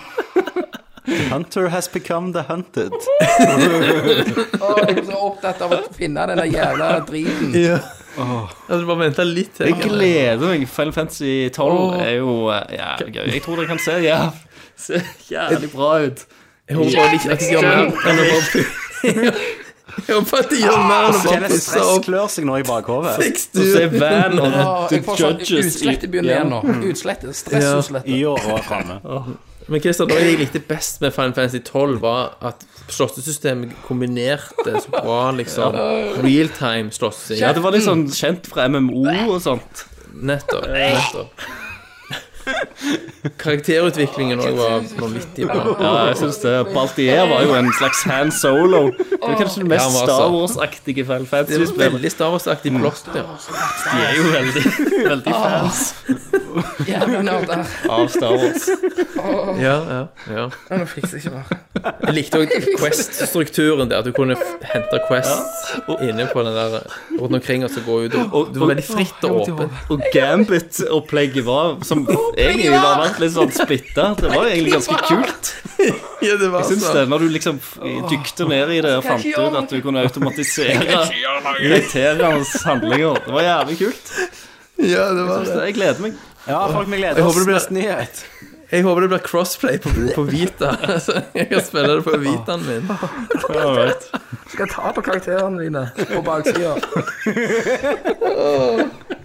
Speaker 2: Hunter has become the hunted.
Speaker 3: Åh, jeg er så opptatt av å finne den der jævla driten.
Speaker 6: Jeg hadde bare venta litt til.
Speaker 4: Jeg gleder meg. Final Fantasy 12 er jo eh, jævlig gøy. Jeg tror det kan se jæv- se jævlig bra ut.
Speaker 6: Jeg håper bare de ikke at de gjør mer enn å bare [laughs] Jeg håper at de gjør mer enn å bare
Speaker 2: Kenneth
Speaker 6: pusse
Speaker 2: Stress
Speaker 6: opp
Speaker 2: klør seg nå i bakhovet.
Speaker 4: Du ser Van og
Speaker 3: Åh,
Speaker 4: The
Speaker 3: jeg får sånn
Speaker 4: Judges i
Speaker 3: utslett i begynnelsen igjen nå. Utslett. Stressutslettet.
Speaker 2: Yr og framme.
Speaker 6: Men Christian, det jeg likte best med Final Fantasy 12, var at slåssesystemet kombinerte så bra, liksom. Realtime slåssing.
Speaker 4: Ja, det var litt sånn kjent fra MMO og sånt.
Speaker 6: Nettopp. nettopp. Karakterutviklingen òg var vanvittig [laughs] bra.
Speaker 4: Ja, jeg synes det. Baltier var jo en slags hand solo. Det er kanskje det
Speaker 6: Ja,
Speaker 4: mest
Speaker 6: han var
Speaker 4: Star
Speaker 6: så-
Speaker 4: Wars-aktige Final
Speaker 6: Det var
Speaker 4: Fantasy-spillet.
Speaker 6: veldig Star Wars-aktig plott der.
Speaker 4: De er jo veldig, veldig fans
Speaker 3: Jævla nerder.
Speaker 4: av Star Wars.
Speaker 6: Ja, ja, ja.
Speaker 3: Åh, Nå fikser jeg ikke mer.
Speaker 6: Jeg likte òg
Speaker 3: [laughs]
Speaker 6: Quest-strukturen der, at du kunne f- hente Quest inne på den der rundt omkring og så gå ut. Og, det var veldig fritt og åpent.
Speaker 4: Og Gambit-opplegget var, som egentlig var vært litt sånn splitta, det var egentlig ganske kult.
Speaker 6: Ja, det var sånn.
Speaker 4: Jeg synes det, når du liksom f- dykte ned i det og fant ut at du kunne automatisere irriterende handlinger. Det var jævlig kult.
Speaker 6: Ja, det var det.
Speaker 4: Jeg gleder meg.
Speaker 2: Ja, folk, vi gleder
Speaker 6: Jeg
Speaker 2: oss
Speaker 6: håper det blir-
Speaker 2: neste nyhet.
Speaker 6: Jeg håper det blir crossplay på, på Vita. [laughs] Så jeg kan spille det på Vitaen min.
Speaker 3: Skal jeg ta på karakterene dine på baksida?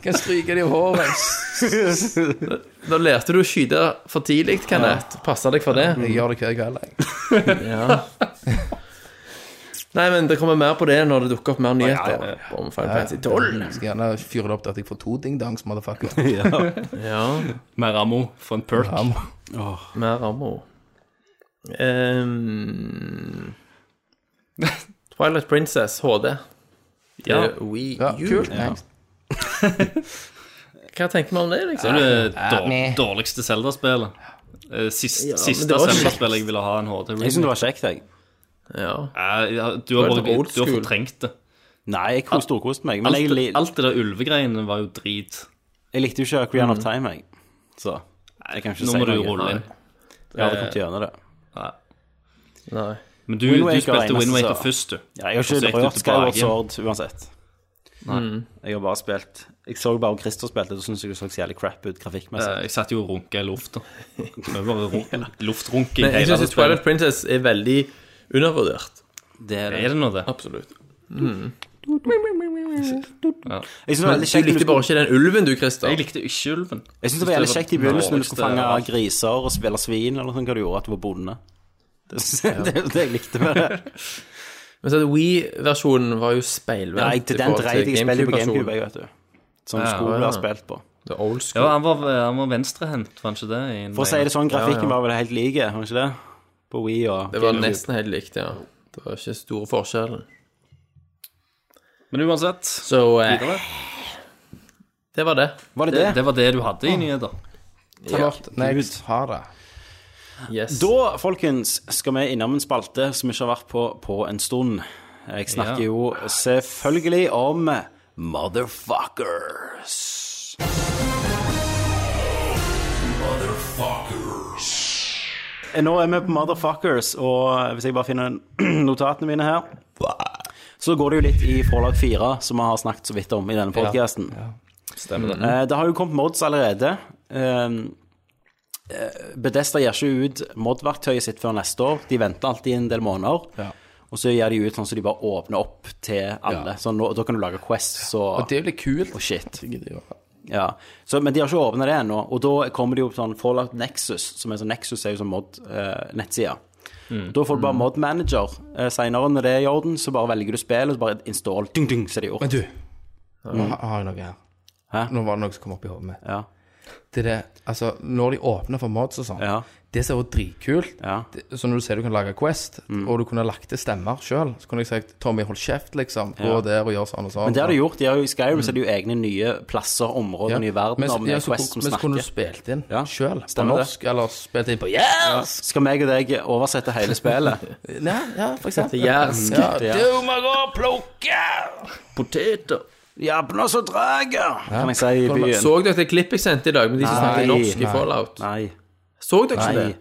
Speaker 3: Kan stryke de i håret.
Speaker 6: Da lærte du å skyte for tidlig, Kenneth. Passer deg for det?
Speaker 3: Jeg gjør det hver kveld, jeg.
Speaker 6: Ja. Nei, men det kommer mer på det når det dukker opp mer nyheter om Final Fantasy 12.
Speaker 3: Jeg skal gjerne fyre det opp til at jeg får to dingdangs, motherfucker.
Speaker 6: Ja,
Speaker 4: Mer ammo for en perk.
Speaker 3: Ja, må-
Speaker 6: mer ammo. Ehm, Twilight Princess HD.
Speaker 4: Ja.
Speaker 6: Eh, Wii
Speaker 3: Ja,
Speaker 6: U.
Speaker 3: kult. Next.
Speaker 6: Hva tenker vi om det,
Speaker 4: Det
Speaker 6: liksom?
Speaker 4: er det dår- dårligste Zelda-spillet. Eh, Sist,
Speaker 6: Ja, men
Speaker 4: siste
Speaker 6: det var
Speaker 4: Zelda-spillet jeg ville ha en HD
Speaker 2: Jeg syns det var kjekt, jeg.
Speaker 6: Ja.
Speaker 4: Eh, ja, Du har
Speaker 6: Det var
Speaker 4: bare
Speaker 6: old
Speaker 4: du har
Speaker 6: school.
Speaker 4: fortrengt det.
Speaker 2: Nei, jeg kom storkost meg. Men jeg, li
Speaker 4: Alt, alt det der ulvegreiene var jo drit.
Speaker 2: jeg likte jo ikke Crean of Time, jeg. Så jeg kan ikke
Speaker 4: Nå
Speaker 2: si
Speaker 4: må du
Speaker 2: noe.
Speaker 4: jo rulle inn.
Speaker 2: Jeg hadde kommet gjennom det.
Speaker 6: Nei.
Speaker 4: Men du,
Speaker 2: Wind
Speaker 4: du
Speaker 2: Waker
Speaker 4: spilte
Speaker 2: eneste
Speaker 4: Wind Waker
Speaker 2: så-
Speaker 4: først, du.
Speaker 2: Ja, jeg
Speaker 4: Og så gikk
Speaker 2: har
Speaker 4: du
Speaker 2: ikke rørt
Speaker 4: tilbake
Speaker 2: Skyward Sword uansett. Jeg har bare spilt Jeg så bare Christer spilte, og så syntes jeg det så så jævlig crap ut grafikkmessig.
Speaker 4: Eh, Jeg satt jo og runka i lufta. Det var bare ru- luftrunking
Speaker 6: Men jeg
Speaker 4: hele det
Speaker 6: syns Twilight
Speaker 4: spillet.
Speaker 6: Princess er veldig undervurdert.
Speaker 2: Det er
Speaker 4: Er
Speaker 2: det.
Speaker 4: det nå det?
Speaker 6: Absolutt.
Speaker 2: Jeg syns det var veldig
Speaker 6: Du
Speaker 2: kjekt når du
Speaker 6: likte bare ikke den ulven, du, Christer.
Speaker 4: Jeg likte ikke ulven.
Speaker 2: Jeg synes det var jævlig kjekt i begynnelsen når du skulle fange
Speaker 4: Dårligste-
Speaker 2: griser og spille svin eller noe sånt, hva du gjorde, at du var bonde. Det er [laughs] det, er det jeg likte med det.
Speaker 6: Men så at Wii-versjonen var jo speilvendt.
Speaker 2: Nei, til den
Speaker 6: i forhold
Speaker 2: dreit jeg spillet på
Speaker 6: GameCube-versjonen.
Speaker 2: GameCube, jeg, vet du. Som
Speaker 4: Ja,
Speaker 2: skulle
Speaker 6: ja.
Speaker 2: ha spilt på.
Speaker 6: Det er old school.
Speaker 4: Ja, han var, han var venstrehendt, var han ikke det? i en-
Speaker 2: For å si det sånn, grafikken
Speaker 6: Ja, ja.
Speaker 2: var vel helt lik, var den ikke det? På Wii og
Speaker 6: det var nesten helt likt, ja. Det var ikke store forskjellen.
Speaker 4: Men uansett,
Speaker 6: Så eh,
Speaker 4: videre.
Speaker 6: det var det.
Speaker 2: Var det
Speaker 4: Det,
Speaker 2: det?
Speaker 4: det var det du hadde
Speaker 2: Ah.
Speaker 4: i nyheter.
Speaker 3: Ta bort. Next. Ha det.
Speaker 6: Yes.
Speaker 2: Da, folkens, skal vi innom en spalte som vi ikke har vært på på en stund. Jeg snakker
Speaker 4: Ja.
Speaker 2: jo selvfølgelig om Motherfuckers. Eh, Nå er vi på Motherfuckers, og hvis jeg bare finner [clears throat] notatene mine her Så går det jo litt i Fallout 4, som vi har snakket så vidt om i denne podkasten.
Speaker 5: Stemmer det.
Speaker 3: Mm.
Speaker 2: Eh, Det har jo kommet mods allerede. Eh, eh, Bethesda gjør ikke ut mod-verktøyet sitt før neste år. De venter alltid en del måneder. Og så gjør de ut sånn som de bare åpner opp til alle. Så nå, da kan du lage Quest og,
Speaker 3: Og det er jo litt kult.
Speaker 2: og shit.
Speaker 3: Ja.
Speaker 2: Ja. Så, men de har ikke åpna det ennå. Og da kommer det jo opp sånn Fallout Nexus, som er sånn Nexus er jo sånn mod-nettside.
Speaker 3: Mm.
Speaker 2: Da får du bare mod manager. Eh, Seinere, når det er i orden, så bare velger du spill, og så bare install. Ding, ding, så er det gjort.
Speaker 3: Men du, nå har- har jeg noe her.
Speaker 2: Hæ?
Speaker 3: Nå var det noe som kom opp i hodet mitt.
Speaker 2: Ja.
Speaker 3: Det er det, altså, når de åpner for mods og sånn,
Speaker 2: Ja.
Speaker 3: det ser jo dritkult.
Speaker 2: Ja.
Speaker 3: Det- Så når du ser du kan lage Quest,
Speaker 2: Mm.
Speaker 3: og du kunne lagt til stemmer sjøl, så kunne jeg sagt 'Tommy, hold kjeft', liksom. Gå
Speaker 2: Ja.
Speaker 3: der og gjør sånn og sånn.
Speaker 2: Men det har de gjort. De har jo, I Skyrim så er det jo egne nye plasser, områder,
Speaker 3: Mm. Ja.
Speaker 2: nye verdener.
Speaker 3: Men så-
Speaker 2: om det
Speaker 3: ja,
Speaker 2: er
Speaker 3: så
Speaker 2: Quest som
Speaker 3: kunne- Men så kunne du
Speaker 2: snakker.
Speaker 3: spilt inn
Speaker 2: Ja.
Speaker 3: sjøl, på
Speaker 2: Stemmer det.
Speaker 3: norsk, eller spilt inn på Yes!
Speaker 2: Skal meg og deg oversette hele spillet?
Speaker 3: [laughs] Ja, ja for eksempel.
Speaker 6: Yes.
Speaker 3: Ja,
Speaker 2: Ja.
Speaker 3: Du må gå og plukke!
Speaker 6: Poteter.
Speaker 2: Jævla så drager, kan jeg si i byen.
Speaker 6: Så dere det klippet jeg sendte i dag med de som
Speaker 2: Nei,
Speaker 6: snakker norsk i
Speaker 2: nei.
Speaker 6: Fallout?
Speaker 2: Nei.
Speaker 6: Så dere ikke
Speaker 2: Nei.
Speaker 6: det?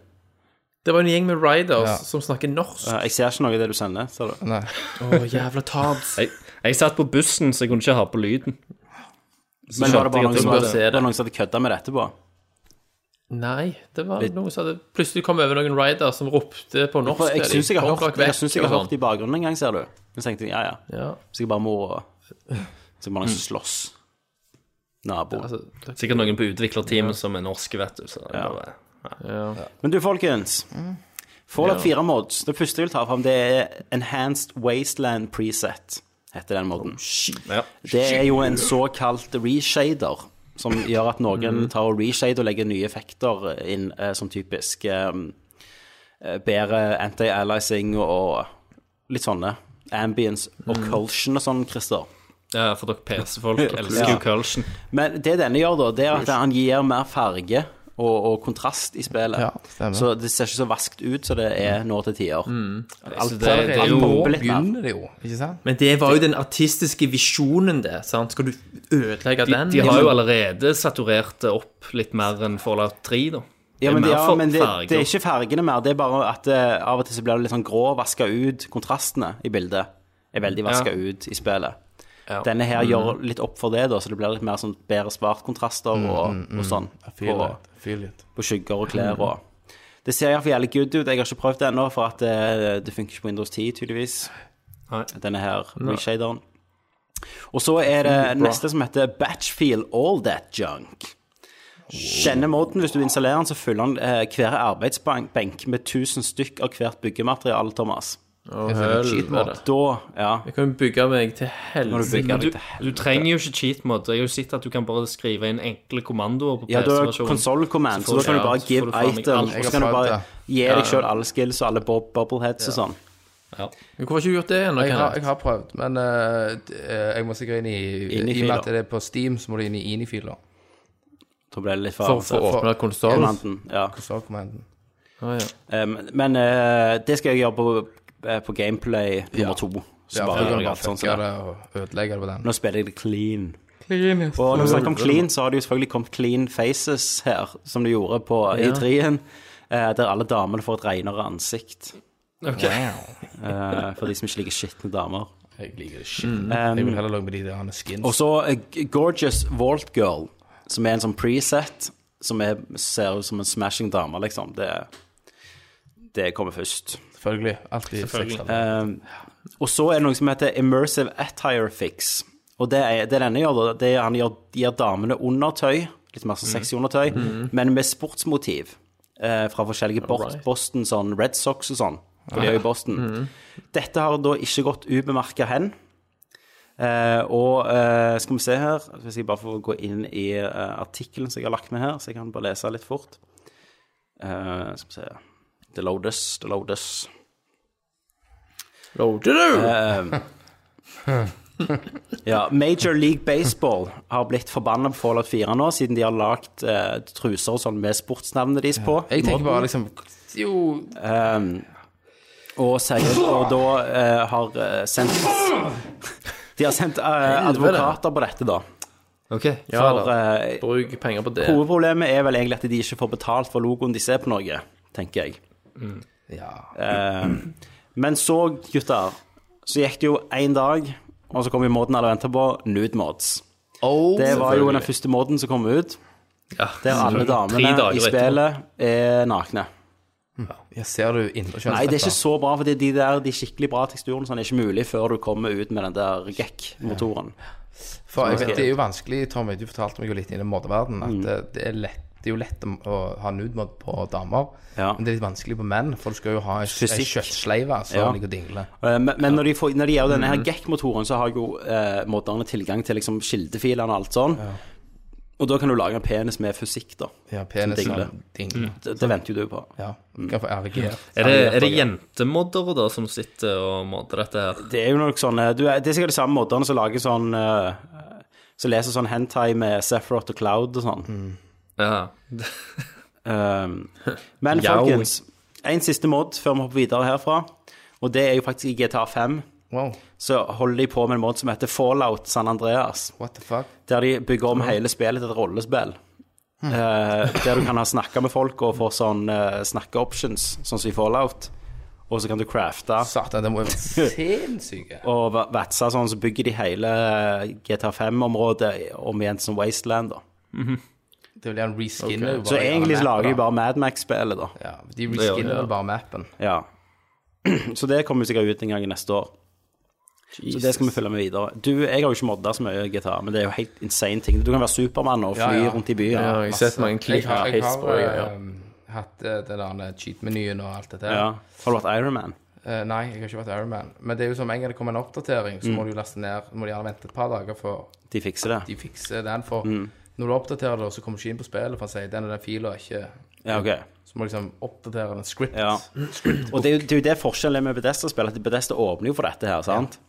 Speaker 6: Det var en gjeng med riders
Speaker 3: Ja.
Speaker 6: som snakker norsk.
Speaker 2: Eh, Jeg ser ikke noe i det du sender. Ser du?
Speaker 3: Nei.
Speaker 6: Å, jævla tabs.
Speaker 4: Jeg, jeg satt på bussen, så jeg kunne ikke ha på lyden. Så
Speaker 2: Men
Speaker 4: skjønte
Speaker 2: var det
Speaker 4: jeg
Speaker 2: bare
Speaker 4: at
Speaker 2: noen som
Speaker 6: bør
Speaker 2: hadde,
Speaker 6: se det.
Speaker 2: det var noen som hadde kødda med det etterpå?
Speaker 6: Nei, det var noe som hadde Plutselig kom jeg over noen riders som ropte på norsk.
Speaker 2: For jeg
Speaker 6: eller
Speaker 2: syns jeg har
Speaker 6: kom
Speaker 2: hørt
Speaker 6: dere vekk,
Speaker 2: Jeg synes jeg har
Speaker 6: og
Speaker 3: sånn.
Speaker 2: hørt det i bakgrunnen en gang, ser du. Men så tenkte jeg ja, ja.
Speaker 6: sånn. Ja,
Speaker 2: Så jeg bare må Så jeg bare noen som slåss.
Speaker 3: [laughs]
Speaker 2: Nabo.
Speaker 6: altså, det-
Speaker 4: Sikkert noen på utviklerteamet som er norske, vet du. Så det
Speaker 2: Ja.
Speaker 4: bare-
Speaker 6: ja.
Speaker 2: Men du, folkens. Fallout 4 mods. Det første jeg vil ta fram, det er Enhanced Wasteland Preset, heter den
Speaker 3: Oh,
Speaker 2: moden.
Speaker 4: ja.
Speaker 2: Det er jo en såkalt reshader, som gjør at
Speaker 3: Mhm.
Speaker 2: noen tar og reshader og legger nye effekter inn, eh, som typisk eh, eh, bedre anti-aliasing og litt sånne. Ambience og
Speaker 3: Mhm.
Speaker 2: cultion og sånn, Christer.
Speaker 4: ja, for dere PC-folk elsker
Speaker 2: Ja.
Speaker 4: jo Culsion.
Speaker 2: Men det denne gjør, da, det er at han gir mer farge og, og kontrast i spillet.
Speaker 3: Ja, stemmer.
Speaker 2: så det ser ikke så vaskt ut som det er nå til tider.
Speaker 4: Så det, det er
Speaker 2: alt
Speaker 4: jo
Speaker 2: på-
Speaker 3: Nå
Speaker 2: bobler litt mer.
Speaker 3: begynner det jo, ikke sant?
Speaker 6: Men det var jo den artistiske visjonen, det. sant? Skal du ødelegge den?
Speaker 4: De har jo allerede saturert det opp litt mer enn Fallout 3, da.
Speaker 2: Ja, men,
Speaker 4: det
Speaker 2: det,
Speaker 4: er mer
Speaker 2: ja,
Speaker 4: for
Speaker 2: men det,
Speaker 4: farger.
Speaker 2: det er ikke fargene mer. Det er bare at eh, av og til så blir det litt sånn grå, vaska ut. Kontrastene i bildet er veldig vaska ut i spillet. Denne
Speaker 4: Mm.
Speaker 2: her gjør litt opp for det, da, så det blir litt mer sånn bedre svartkontraster
Speaker 4: Mm,
Speaker 2: og, og sånn. På, på skygger og
Speaker 4: Mm.
Speaker 2: klær og Det ser iallfall jævlig good ut. Jeg har ikke prøvd det ennå, for at eh, det funker ikke på Windows 10, tydeligvis.
Speaker 4: Nei.
Speaker 2: Denne her reshaderen. Og så er det neste som heter Batchfeel All That Junk. Denne måten, hvis du installerer den, så fyller den eh, hver arbeidsbenk med 1000 stykk av hvert byggemateriale, Thomas.
Speaker 6: allerede
Speaker 2: Da, ja
Speaker 6: Jeg kan jo bygge meg til
Speaker 2: Når du
Speaker 6: helsike.
Speaker 2: bygger
Speaker 4: Du,
Speaker 2: deg til
Speaker 4: du trenger jo ikke cheat mode. Jeg har jo sett at du kan bare skrive inn enkle kommandoer på
Speaker 2: Ja, du har
Speaker 4: PC-versjonen.
Speaker 2: konsoll-command,
Speaker 4: Så
Speaker 2: så da kan du
Speaker 4: får-
Speaker 2: bare
Speaker 4: ja, så
Speaker 2: give
Speaker 4: får du faen meg
Speaker 2: item,
Speaker 4: alt.
Speaker 2: og så kan du
Speaker 3: Jeg har
Speaker 2: bare
Speaker 3: prøvd
Speaker 2: gi deg sjøl alle skills og alle bob- bubbleheads og sånn.
Speaker 4: Ja.
Speaker 6: Hvorfor har ikke du gjort det ennå?
Speaker 3: Jeg har,
Speaker 6: Kenneth?
Speaker 3: jeg har prøvd, men eh, d- eh, jeg må sikkert inn i
Speaker 2: Inn i
Speaker 3: I og med
Speaker 2: filer.
Speaker 3: at det er på Steam, så må du inn i Ini-filer.
Speaker 2: Da ble det litt for
Speaker 6: For, for å åpne konsoll?
Speaker 2: Commanden, ja.
Speaker 3: Så commanden.
Speaker 6: Ah, ja.
Speaker 2: Um, men eh, det skal jeg gjøre på, eh, på gameplay nummer
Speaker 3: Ja.
Speaker 2: to. Så
Speaker 3: Ja, for
Speaker 2: bare
Speaker 3: du
Speaker 2: gjør
Speaker 3: kan
Speaker 2: jeg
Speaker 3: bare
Speaker 2: alt sånn som
Speaker 3: fucke
Speaker 2: det.
Speaker 3: det og ødelegge det på den.
Speaker 2: Nå spiller jeg det clean. Og når vi snakker om clean, så har det jo selvfølgelig kommet clean faces her, som det gjorde på i 3-en. der alle damene får et renere ansikt. eh, for de som ikke liker skitne damer.
Speaker 3: Jeg liker det shit. Jeg vil heller lage med de der skins.
Speaker 2: Og så eh, G- Gorgeous Vault Girl, som er en sånn preset, som er, ser ut som en smashing dame, liksom. Det, det kommer først.
Speaker 3: Selvfølgelig. Alltid sextall.
Speaker 2: Um, og så er det noe som heter immersive attire fix. Og det, er, det denne gjør, da, det er han gjør, gir damene undertøy, litt mer sånn sexy undertøy, men med sportsmotiv. eh, fra forskjellige bo- Boston, sånn Red Sox og sånn. For de er jo i Boston. Dette har da ikke gått ubemerka hen. Eh, og eh, skal vi se her Hvis jeg bare får gå inn i eh, artikkelen som jeg har lagt med her, så jeg kan bare lese litt fort. Eh, skal vi se Det loades, det loades.
Speaker 6: Loader du?
Speaker 2: Eh, ja, Major League Baseball har blitt forbanna på Fallout 4 nå, siden de har lagd eh, truser og sånn med sportsnavnene deres på.
Speaker 3: Jeg tenker bare liksom Jo,
Speaker 2: Eh, og, sier, og da eh, har eh, sendt De har sendt eh, advokater på dette, da.
Speaker 3: OK.
Speaker 6: Ja,
Speaker 2: For
Speaker 6: da.
Speaker 2: eh,
Speaker 6: Bruk penger på det.
Speaker 2: hovedproblemet er vel egentlig at de ikke får betalt for logoen de ser på noe, tenker jeg.
Speaker 3: Ja.
Speaker 2: Eh, men så, gutter, så gikk det jo én dag, og så kom jo måten alle venta på, nude mods.
Speaker 3: Oh,
Speaker 2: Det var jo den første moden som kom ut, der alle
Speaker 4: Tre dager
Speaker 2: damene i
Speaker 4: etterpå.
Speaker 2: spillet er nakne.
Speaker 3: ja, ser du indre kjønnslepper?
Speaker 2: Nei, det er ikke så bra, fordi de der, de skikkelig bra teksturene sånn, er ikke mulig før du kommer ut med den der gekk-motoren.
Speaker 3: For jeg vet, Det er jo vanskelig, Tommy, du fortalte meg jo litt i den modeverden at det, det, er lett, det er jo lett å- å ha nudemod på damer,
Speaker 2: Ja.
Speaker 3: men det er litt vanskelig på menn, for du skal jo ha en, en
Speaker 2: Fysikk.
Speaker 3: kjøttsleive som
Speaker 2: Ja.
Speaker 3: ligger og dingler.
Speaker 2: Eh, Men, men når, de får, når de gjør denne her GEC-motoren, så har jo eh, moderne tilgang til liksom kildefilene og alt sånn. Og da kan du lage en penis med fysikk, da.
Speaker 3: Ja, penisen
Speaker 2: dingler.
Speaker 3: dingler.
Speaker 2: Det, det venter jo du på.
Speaker 3: Ja. Du kan få RG.
Speaker 4: Er det, er det jentemoddere da som sitter og modder dette her?
Speaker 2: Det er jo nok sånn eh, du, er- Det er sikkert de samme moderne som lager sånn eh, Som leser sånn hentai med Sephiroth og Cloud og sånn.
Speaker 4: Ja.
Speaker 2: Um, men
Speaker 4: Yaoi.
Speaker 2: folkens, en siste mod før vi hopper videre herfra. Og det er jo faktisk i GTA 5.
Speaker 3: Wow,
Speaker 2: Så holder de på med en mod som heter Fallout San Andreas.
Speaker 3: what the fuck?
Speaker 2: Der de bygger om hele spillet til et rollespill. Eh, der du kan ha snakka med folk og få sånn eh, snakke-options, sånn som i Fallout. Og så kan du crafte
Speaker 3: Satan, det må jo være sinnssyke.
Speaker 2: og va- vatse sånn, så bygger de hele GTA5-området om igjen som Wasteland, da.
Speaker 3: Det vil gjerne reskinne jo bare
Speaker 2: Så egentlig
Speaker 3: hele
Speaker 2: så lager de
Speaker 3: mappen,
Speaker 2: bare Mad Max-spillet, da.
Speaker 3: da. Ja, de reskinner
Speaker 4: Ja, ja.
Speaker 3: jo bare mappen.
Speaker 2: Ja. [clears throat] Så det kommer sikkert ut en gang neste år. Så det skal vi følge med videre. Du, jeg har jo ikke modda så mye GTA, men det er jo helt insane ting. Du kan være Supermann og fly
Speaker 3: Ja, ja.
Speaker 2: rundt i byen.
Speaker 6: Ja, jeg har sett mange klipp
Speaker 3: Jeg har,
Speaker 6: av
Speaker 3: jeg
Speaker 6: hest
Speaker 3: har
Speaker 6: og greier.
Speaker 3: eh, hatt eh, den der cheat-menyen og alt dette. her.
Speaker 2: Ja. Har du vært Ironman?
Speaker 3: Eh, nei, jeg har ikke vært Ironman. Men det er jo som en gang det kommer en oppdatering, så
Speaker 2: Mm.
Speaker 3: må du jo laste ned Må du gjerne vente et par dager før
Speaker 2: De fikser det.
Speaker 3: de fikser den. For
Speaker 2: Mm.
Speaker 3: når du oppdaterer det, så kommer du ikke inn på spillet for å si den og den fila er ikke
Speaker 2: Ja, ok.
Speaker 3: Så må du liksom oppdatere en script.
Speaker 2: Ja. Og det er, jo, det er jo det forskjellen er med Bedesta-spill, at Bedesta åpner jo for dette her, sant?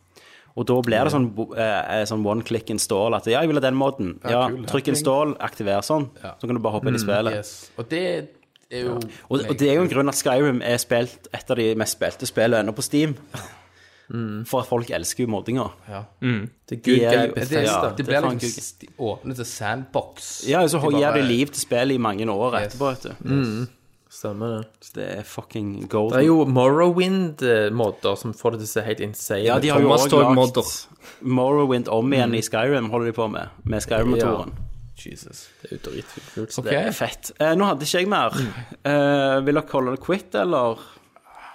Speaker 2: Og da blir det sånn, eh, sånn one click install, at ja, jeg vil ha den moden. Ja,
Speaker 3: kul, ja.
Speaker 2: trykk install, aktiver sånn,
Speaker 3: Ja.
Speaker 2: så kan du bare hoppe inn i spillet.
Speaker 3: Yes. Og det er jo
Speaker 2: Og, og det er jo en grunn at Skyrim er spilt et av de mest spilte spillene ennå på Steam. For at folk elsker jo moddinga.
Speaker 3: Ja.
Speaker 6: Det er
Speaker 2: De
Speaker 6: good
Speaker 2: er
Speaker 6: guy
Speaker 3: Det,
Speaker 2: jo-
Speaker 6: best.
Speaker 3: det,
Speaker 2: Ja,
Speaker 3: det
Speaker 2: det er
Speaker 3: blir
Speaker 2: faen
Speaker 3: liksom s- de åpner til sandbox.
Speaker 2: Ja, og så
Speaker 3: De
Speaker 2: gir
Speaker 3: bare-
Speaker 2: det liv til spillet i mange år
Speaker 3: Yes.
Speaker 2: etterpå, vet du.
Speaker 6: Stemmer det.
Speaker 2: Så det er fucking
Speaker 6: Det er
Speaker 2: golden.
Speaker 6: jo Morrowind-måter som får det til å se helt insane
Speaker 2: Ja, de har jo
Speaker 4: Thomas
Speaker 2: også
Speaker 4: Tog
Speaker 2: lagt
Speaker 4: modder.
Speaker 2: Morrowind om igjen i Skyrim, holder de på med. Med Skyrim-motoren.
Speaker 6: Jesus, det er jo dritkult.
Speaker 3: Ok.
Speaker 2: Det er fett. Eh, nå hadde ikke jeg mer. Eh, vil dere holde det quitt, eller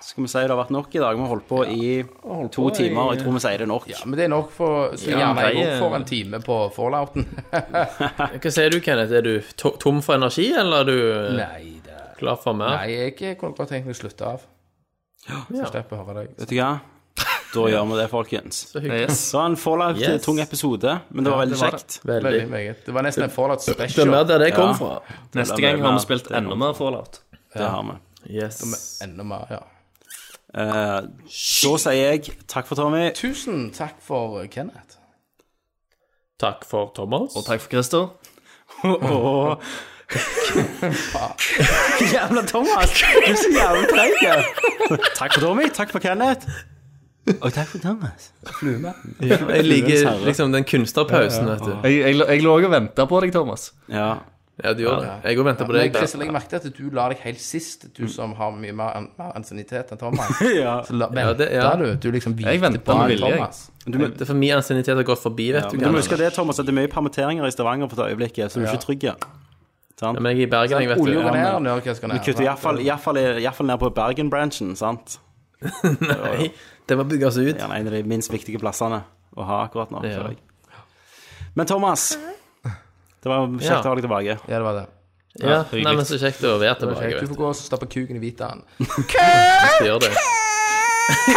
Speaker 2: skal vi si det har vært nok i dag? Vi har holdt på i to timer, og jeg tror vi sier det er nok.
Speaker 3: Ja, men det er nok for Så
Speaker 4: Ja,
Speaker 3: gjerne jeg
Speaker 4: det er-
Speaker 3: også får en time på fallouten.
Speaker 6: Hva sier du, Kenneth? Er du to tom for energi, eller er du eh,
Speaker 3: Nei, det
Speaker 6: klar for mer?
Speaker 3: Nei, jeg kunne godt tenkt meg å slutte av. Så slipper jeg å høre deg.
Speaker 2: Vet du hva? [laughs] Da gjør vi det, folkens. Så
Speaker 4: Yes. [laughs]
Speaker 2: det var en forlagt
Speaker 6: Yes.
Speaker 2: tung episode, men det var veldig kjekt.
Speaker 6: Veldig.
Speaker 3: Veldig meget. Det var nesten en fallout
Speaker 6: Det er
Speaker 3: special.
Speaker 6: mer der det kom
Speaker 2: Ja.
Speaker 6: fra.
Speaker 2: Det
Speaker 4: Neste
Speaker 2: blir
Speaker 4: gang har
Speaker 2: mer-
Speaker 4: vi spilt
Speaker 2: det er
Speaker 4: enda mer Fallout.
Speaker 2: Det har vi.
Speaker 6: Yes.
Speaker 3: Enda mer, ja.
Speaker 2: Eh, da sier jeg takk for [laughs] Tommy.
Speaker 3: Tusen takk for eh, Kenneth.
Speaker 6: Takk for Thomas.
Speaker 4: Og takk for Christer.
Speaker 2: Og [laughs] Jævla Thomas! Du er så jævlig treig. Takk for Tommy, takk for Kenneth. Og takk for Thomas.
Speaker 6: Jeg liker liksom den kunstnerpausen, vet du.
Speaker 4: Jeg, jeg, jeg lå og venta på deg, Thomas.
Speaker 2: Ja.
Speaker 6: Ja, du gjør det. Jeg går og venter på
Speaker 3: Men
Speaker 6: deg.
Speaker 3: Christel, jeg merket at du la deg helt sist, du som har mye mer, an mer ansiennitet enn Thomas.
Speaker 2: Ja.
Speaker 3: Så la,
Speaker 6: Ja,
Speaker 3: venter
Speaker 6: det- ja.
Speaker 3: du. Du liksom
Speaker 4: Jeg
Speaker 3: hvilte
Speaker 4: venter
Speaker 3: på
Speaker 4: med
Speaker 3: han
Speaker 4: vilje, jeg.
Speaker 3: Thomas.
Speaker 6: Det er for min ansiennitet har gått forbi, vet
Speaker 2: Ja,
Speaker 6: du.
Speaker 2: men du må
Speaker 6: Kenneth.
Speaker 2: huske det, Thomas, at det er mye permitteringer i Stavanger for det øyeblikket, så du er ikke trygg.
Speaker 6: Ja, men jeg er i Bergen, jeg, vet
Speaker 3: Olje
Speaker 6: du.
Speaker 3: går
Speaker 2: men-
Speaker 3: ned, Norge skal ned.
Speaker 2: Vi kutter iallfall ned på Bergen-branchen, sant?
Speaker 6: Nei, det må bygges ut.
Speaker 2: Gjerne en av de minst viktige plassene å ha akkurat nå.
Speaker 6: Ja.
Speaker 2: føler jeg. Men Thomas, det var kjekt
Speaker 6: Ja.
Speaker 2: å ha deg tilbake.
Speaker 3: Ja, det var det.
Speaker 6: Ja,
Speaker 4: hyggelig.
Speaker 6: nei, men så kjekt å være
Speaker 3: Det var
Speaker 6: tilbake,
Speaker 3: kjekt. Du
Speaker 6: vet du.
Speaker 3: får gå og stappe kuken i hvitaen.
Speaker 6: Skal gjøre det.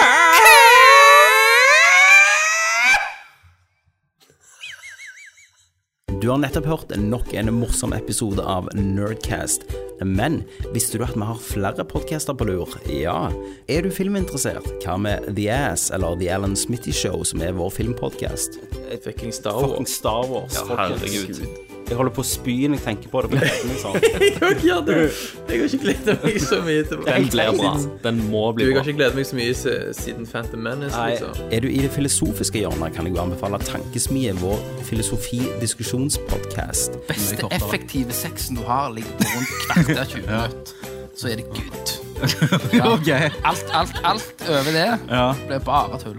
Speaker 2: Du har nettopp hørt nok en morsom episode av Nerdcast. Men visste du at vi har flere podcaster på lur? Ja. Er du filminteressert? Hva med The Ass eller The Alan Smitty Show, som er vår filmpodcast?
Speaker 6: Fucking Star Wars.
Speaker 2: Star Wars.
Speaker 4: Herregud.
Speaker 8: Jeg holder på å spy når jeg tenker på det. på netten, liksom.
Speaker 6: Jeg òg gjør det. Jeg har ikke gledet meg så mye til
Speaker 4: Den blir bra. Den må
Speaker 6: Du,
Speaker 4: bli
Speaker 6: jeg
Speaker 4: bra.
Speaker 6: har ikke gledet meg så mye se- siden Phantom Menace,
Speaker 8: Nei,
Speaker 6: liksom.
Speaker 8: er du i det filosofiske hjørnet, kan jeg jo anbefale Tankesmie, vår filosofi-diskusjonspodkast.
Speaker 3: beste effektive sexen du har, ligger på rundt kvarter 20 minutter. Så er det good. Alt, alt, alt over det blir bare tull.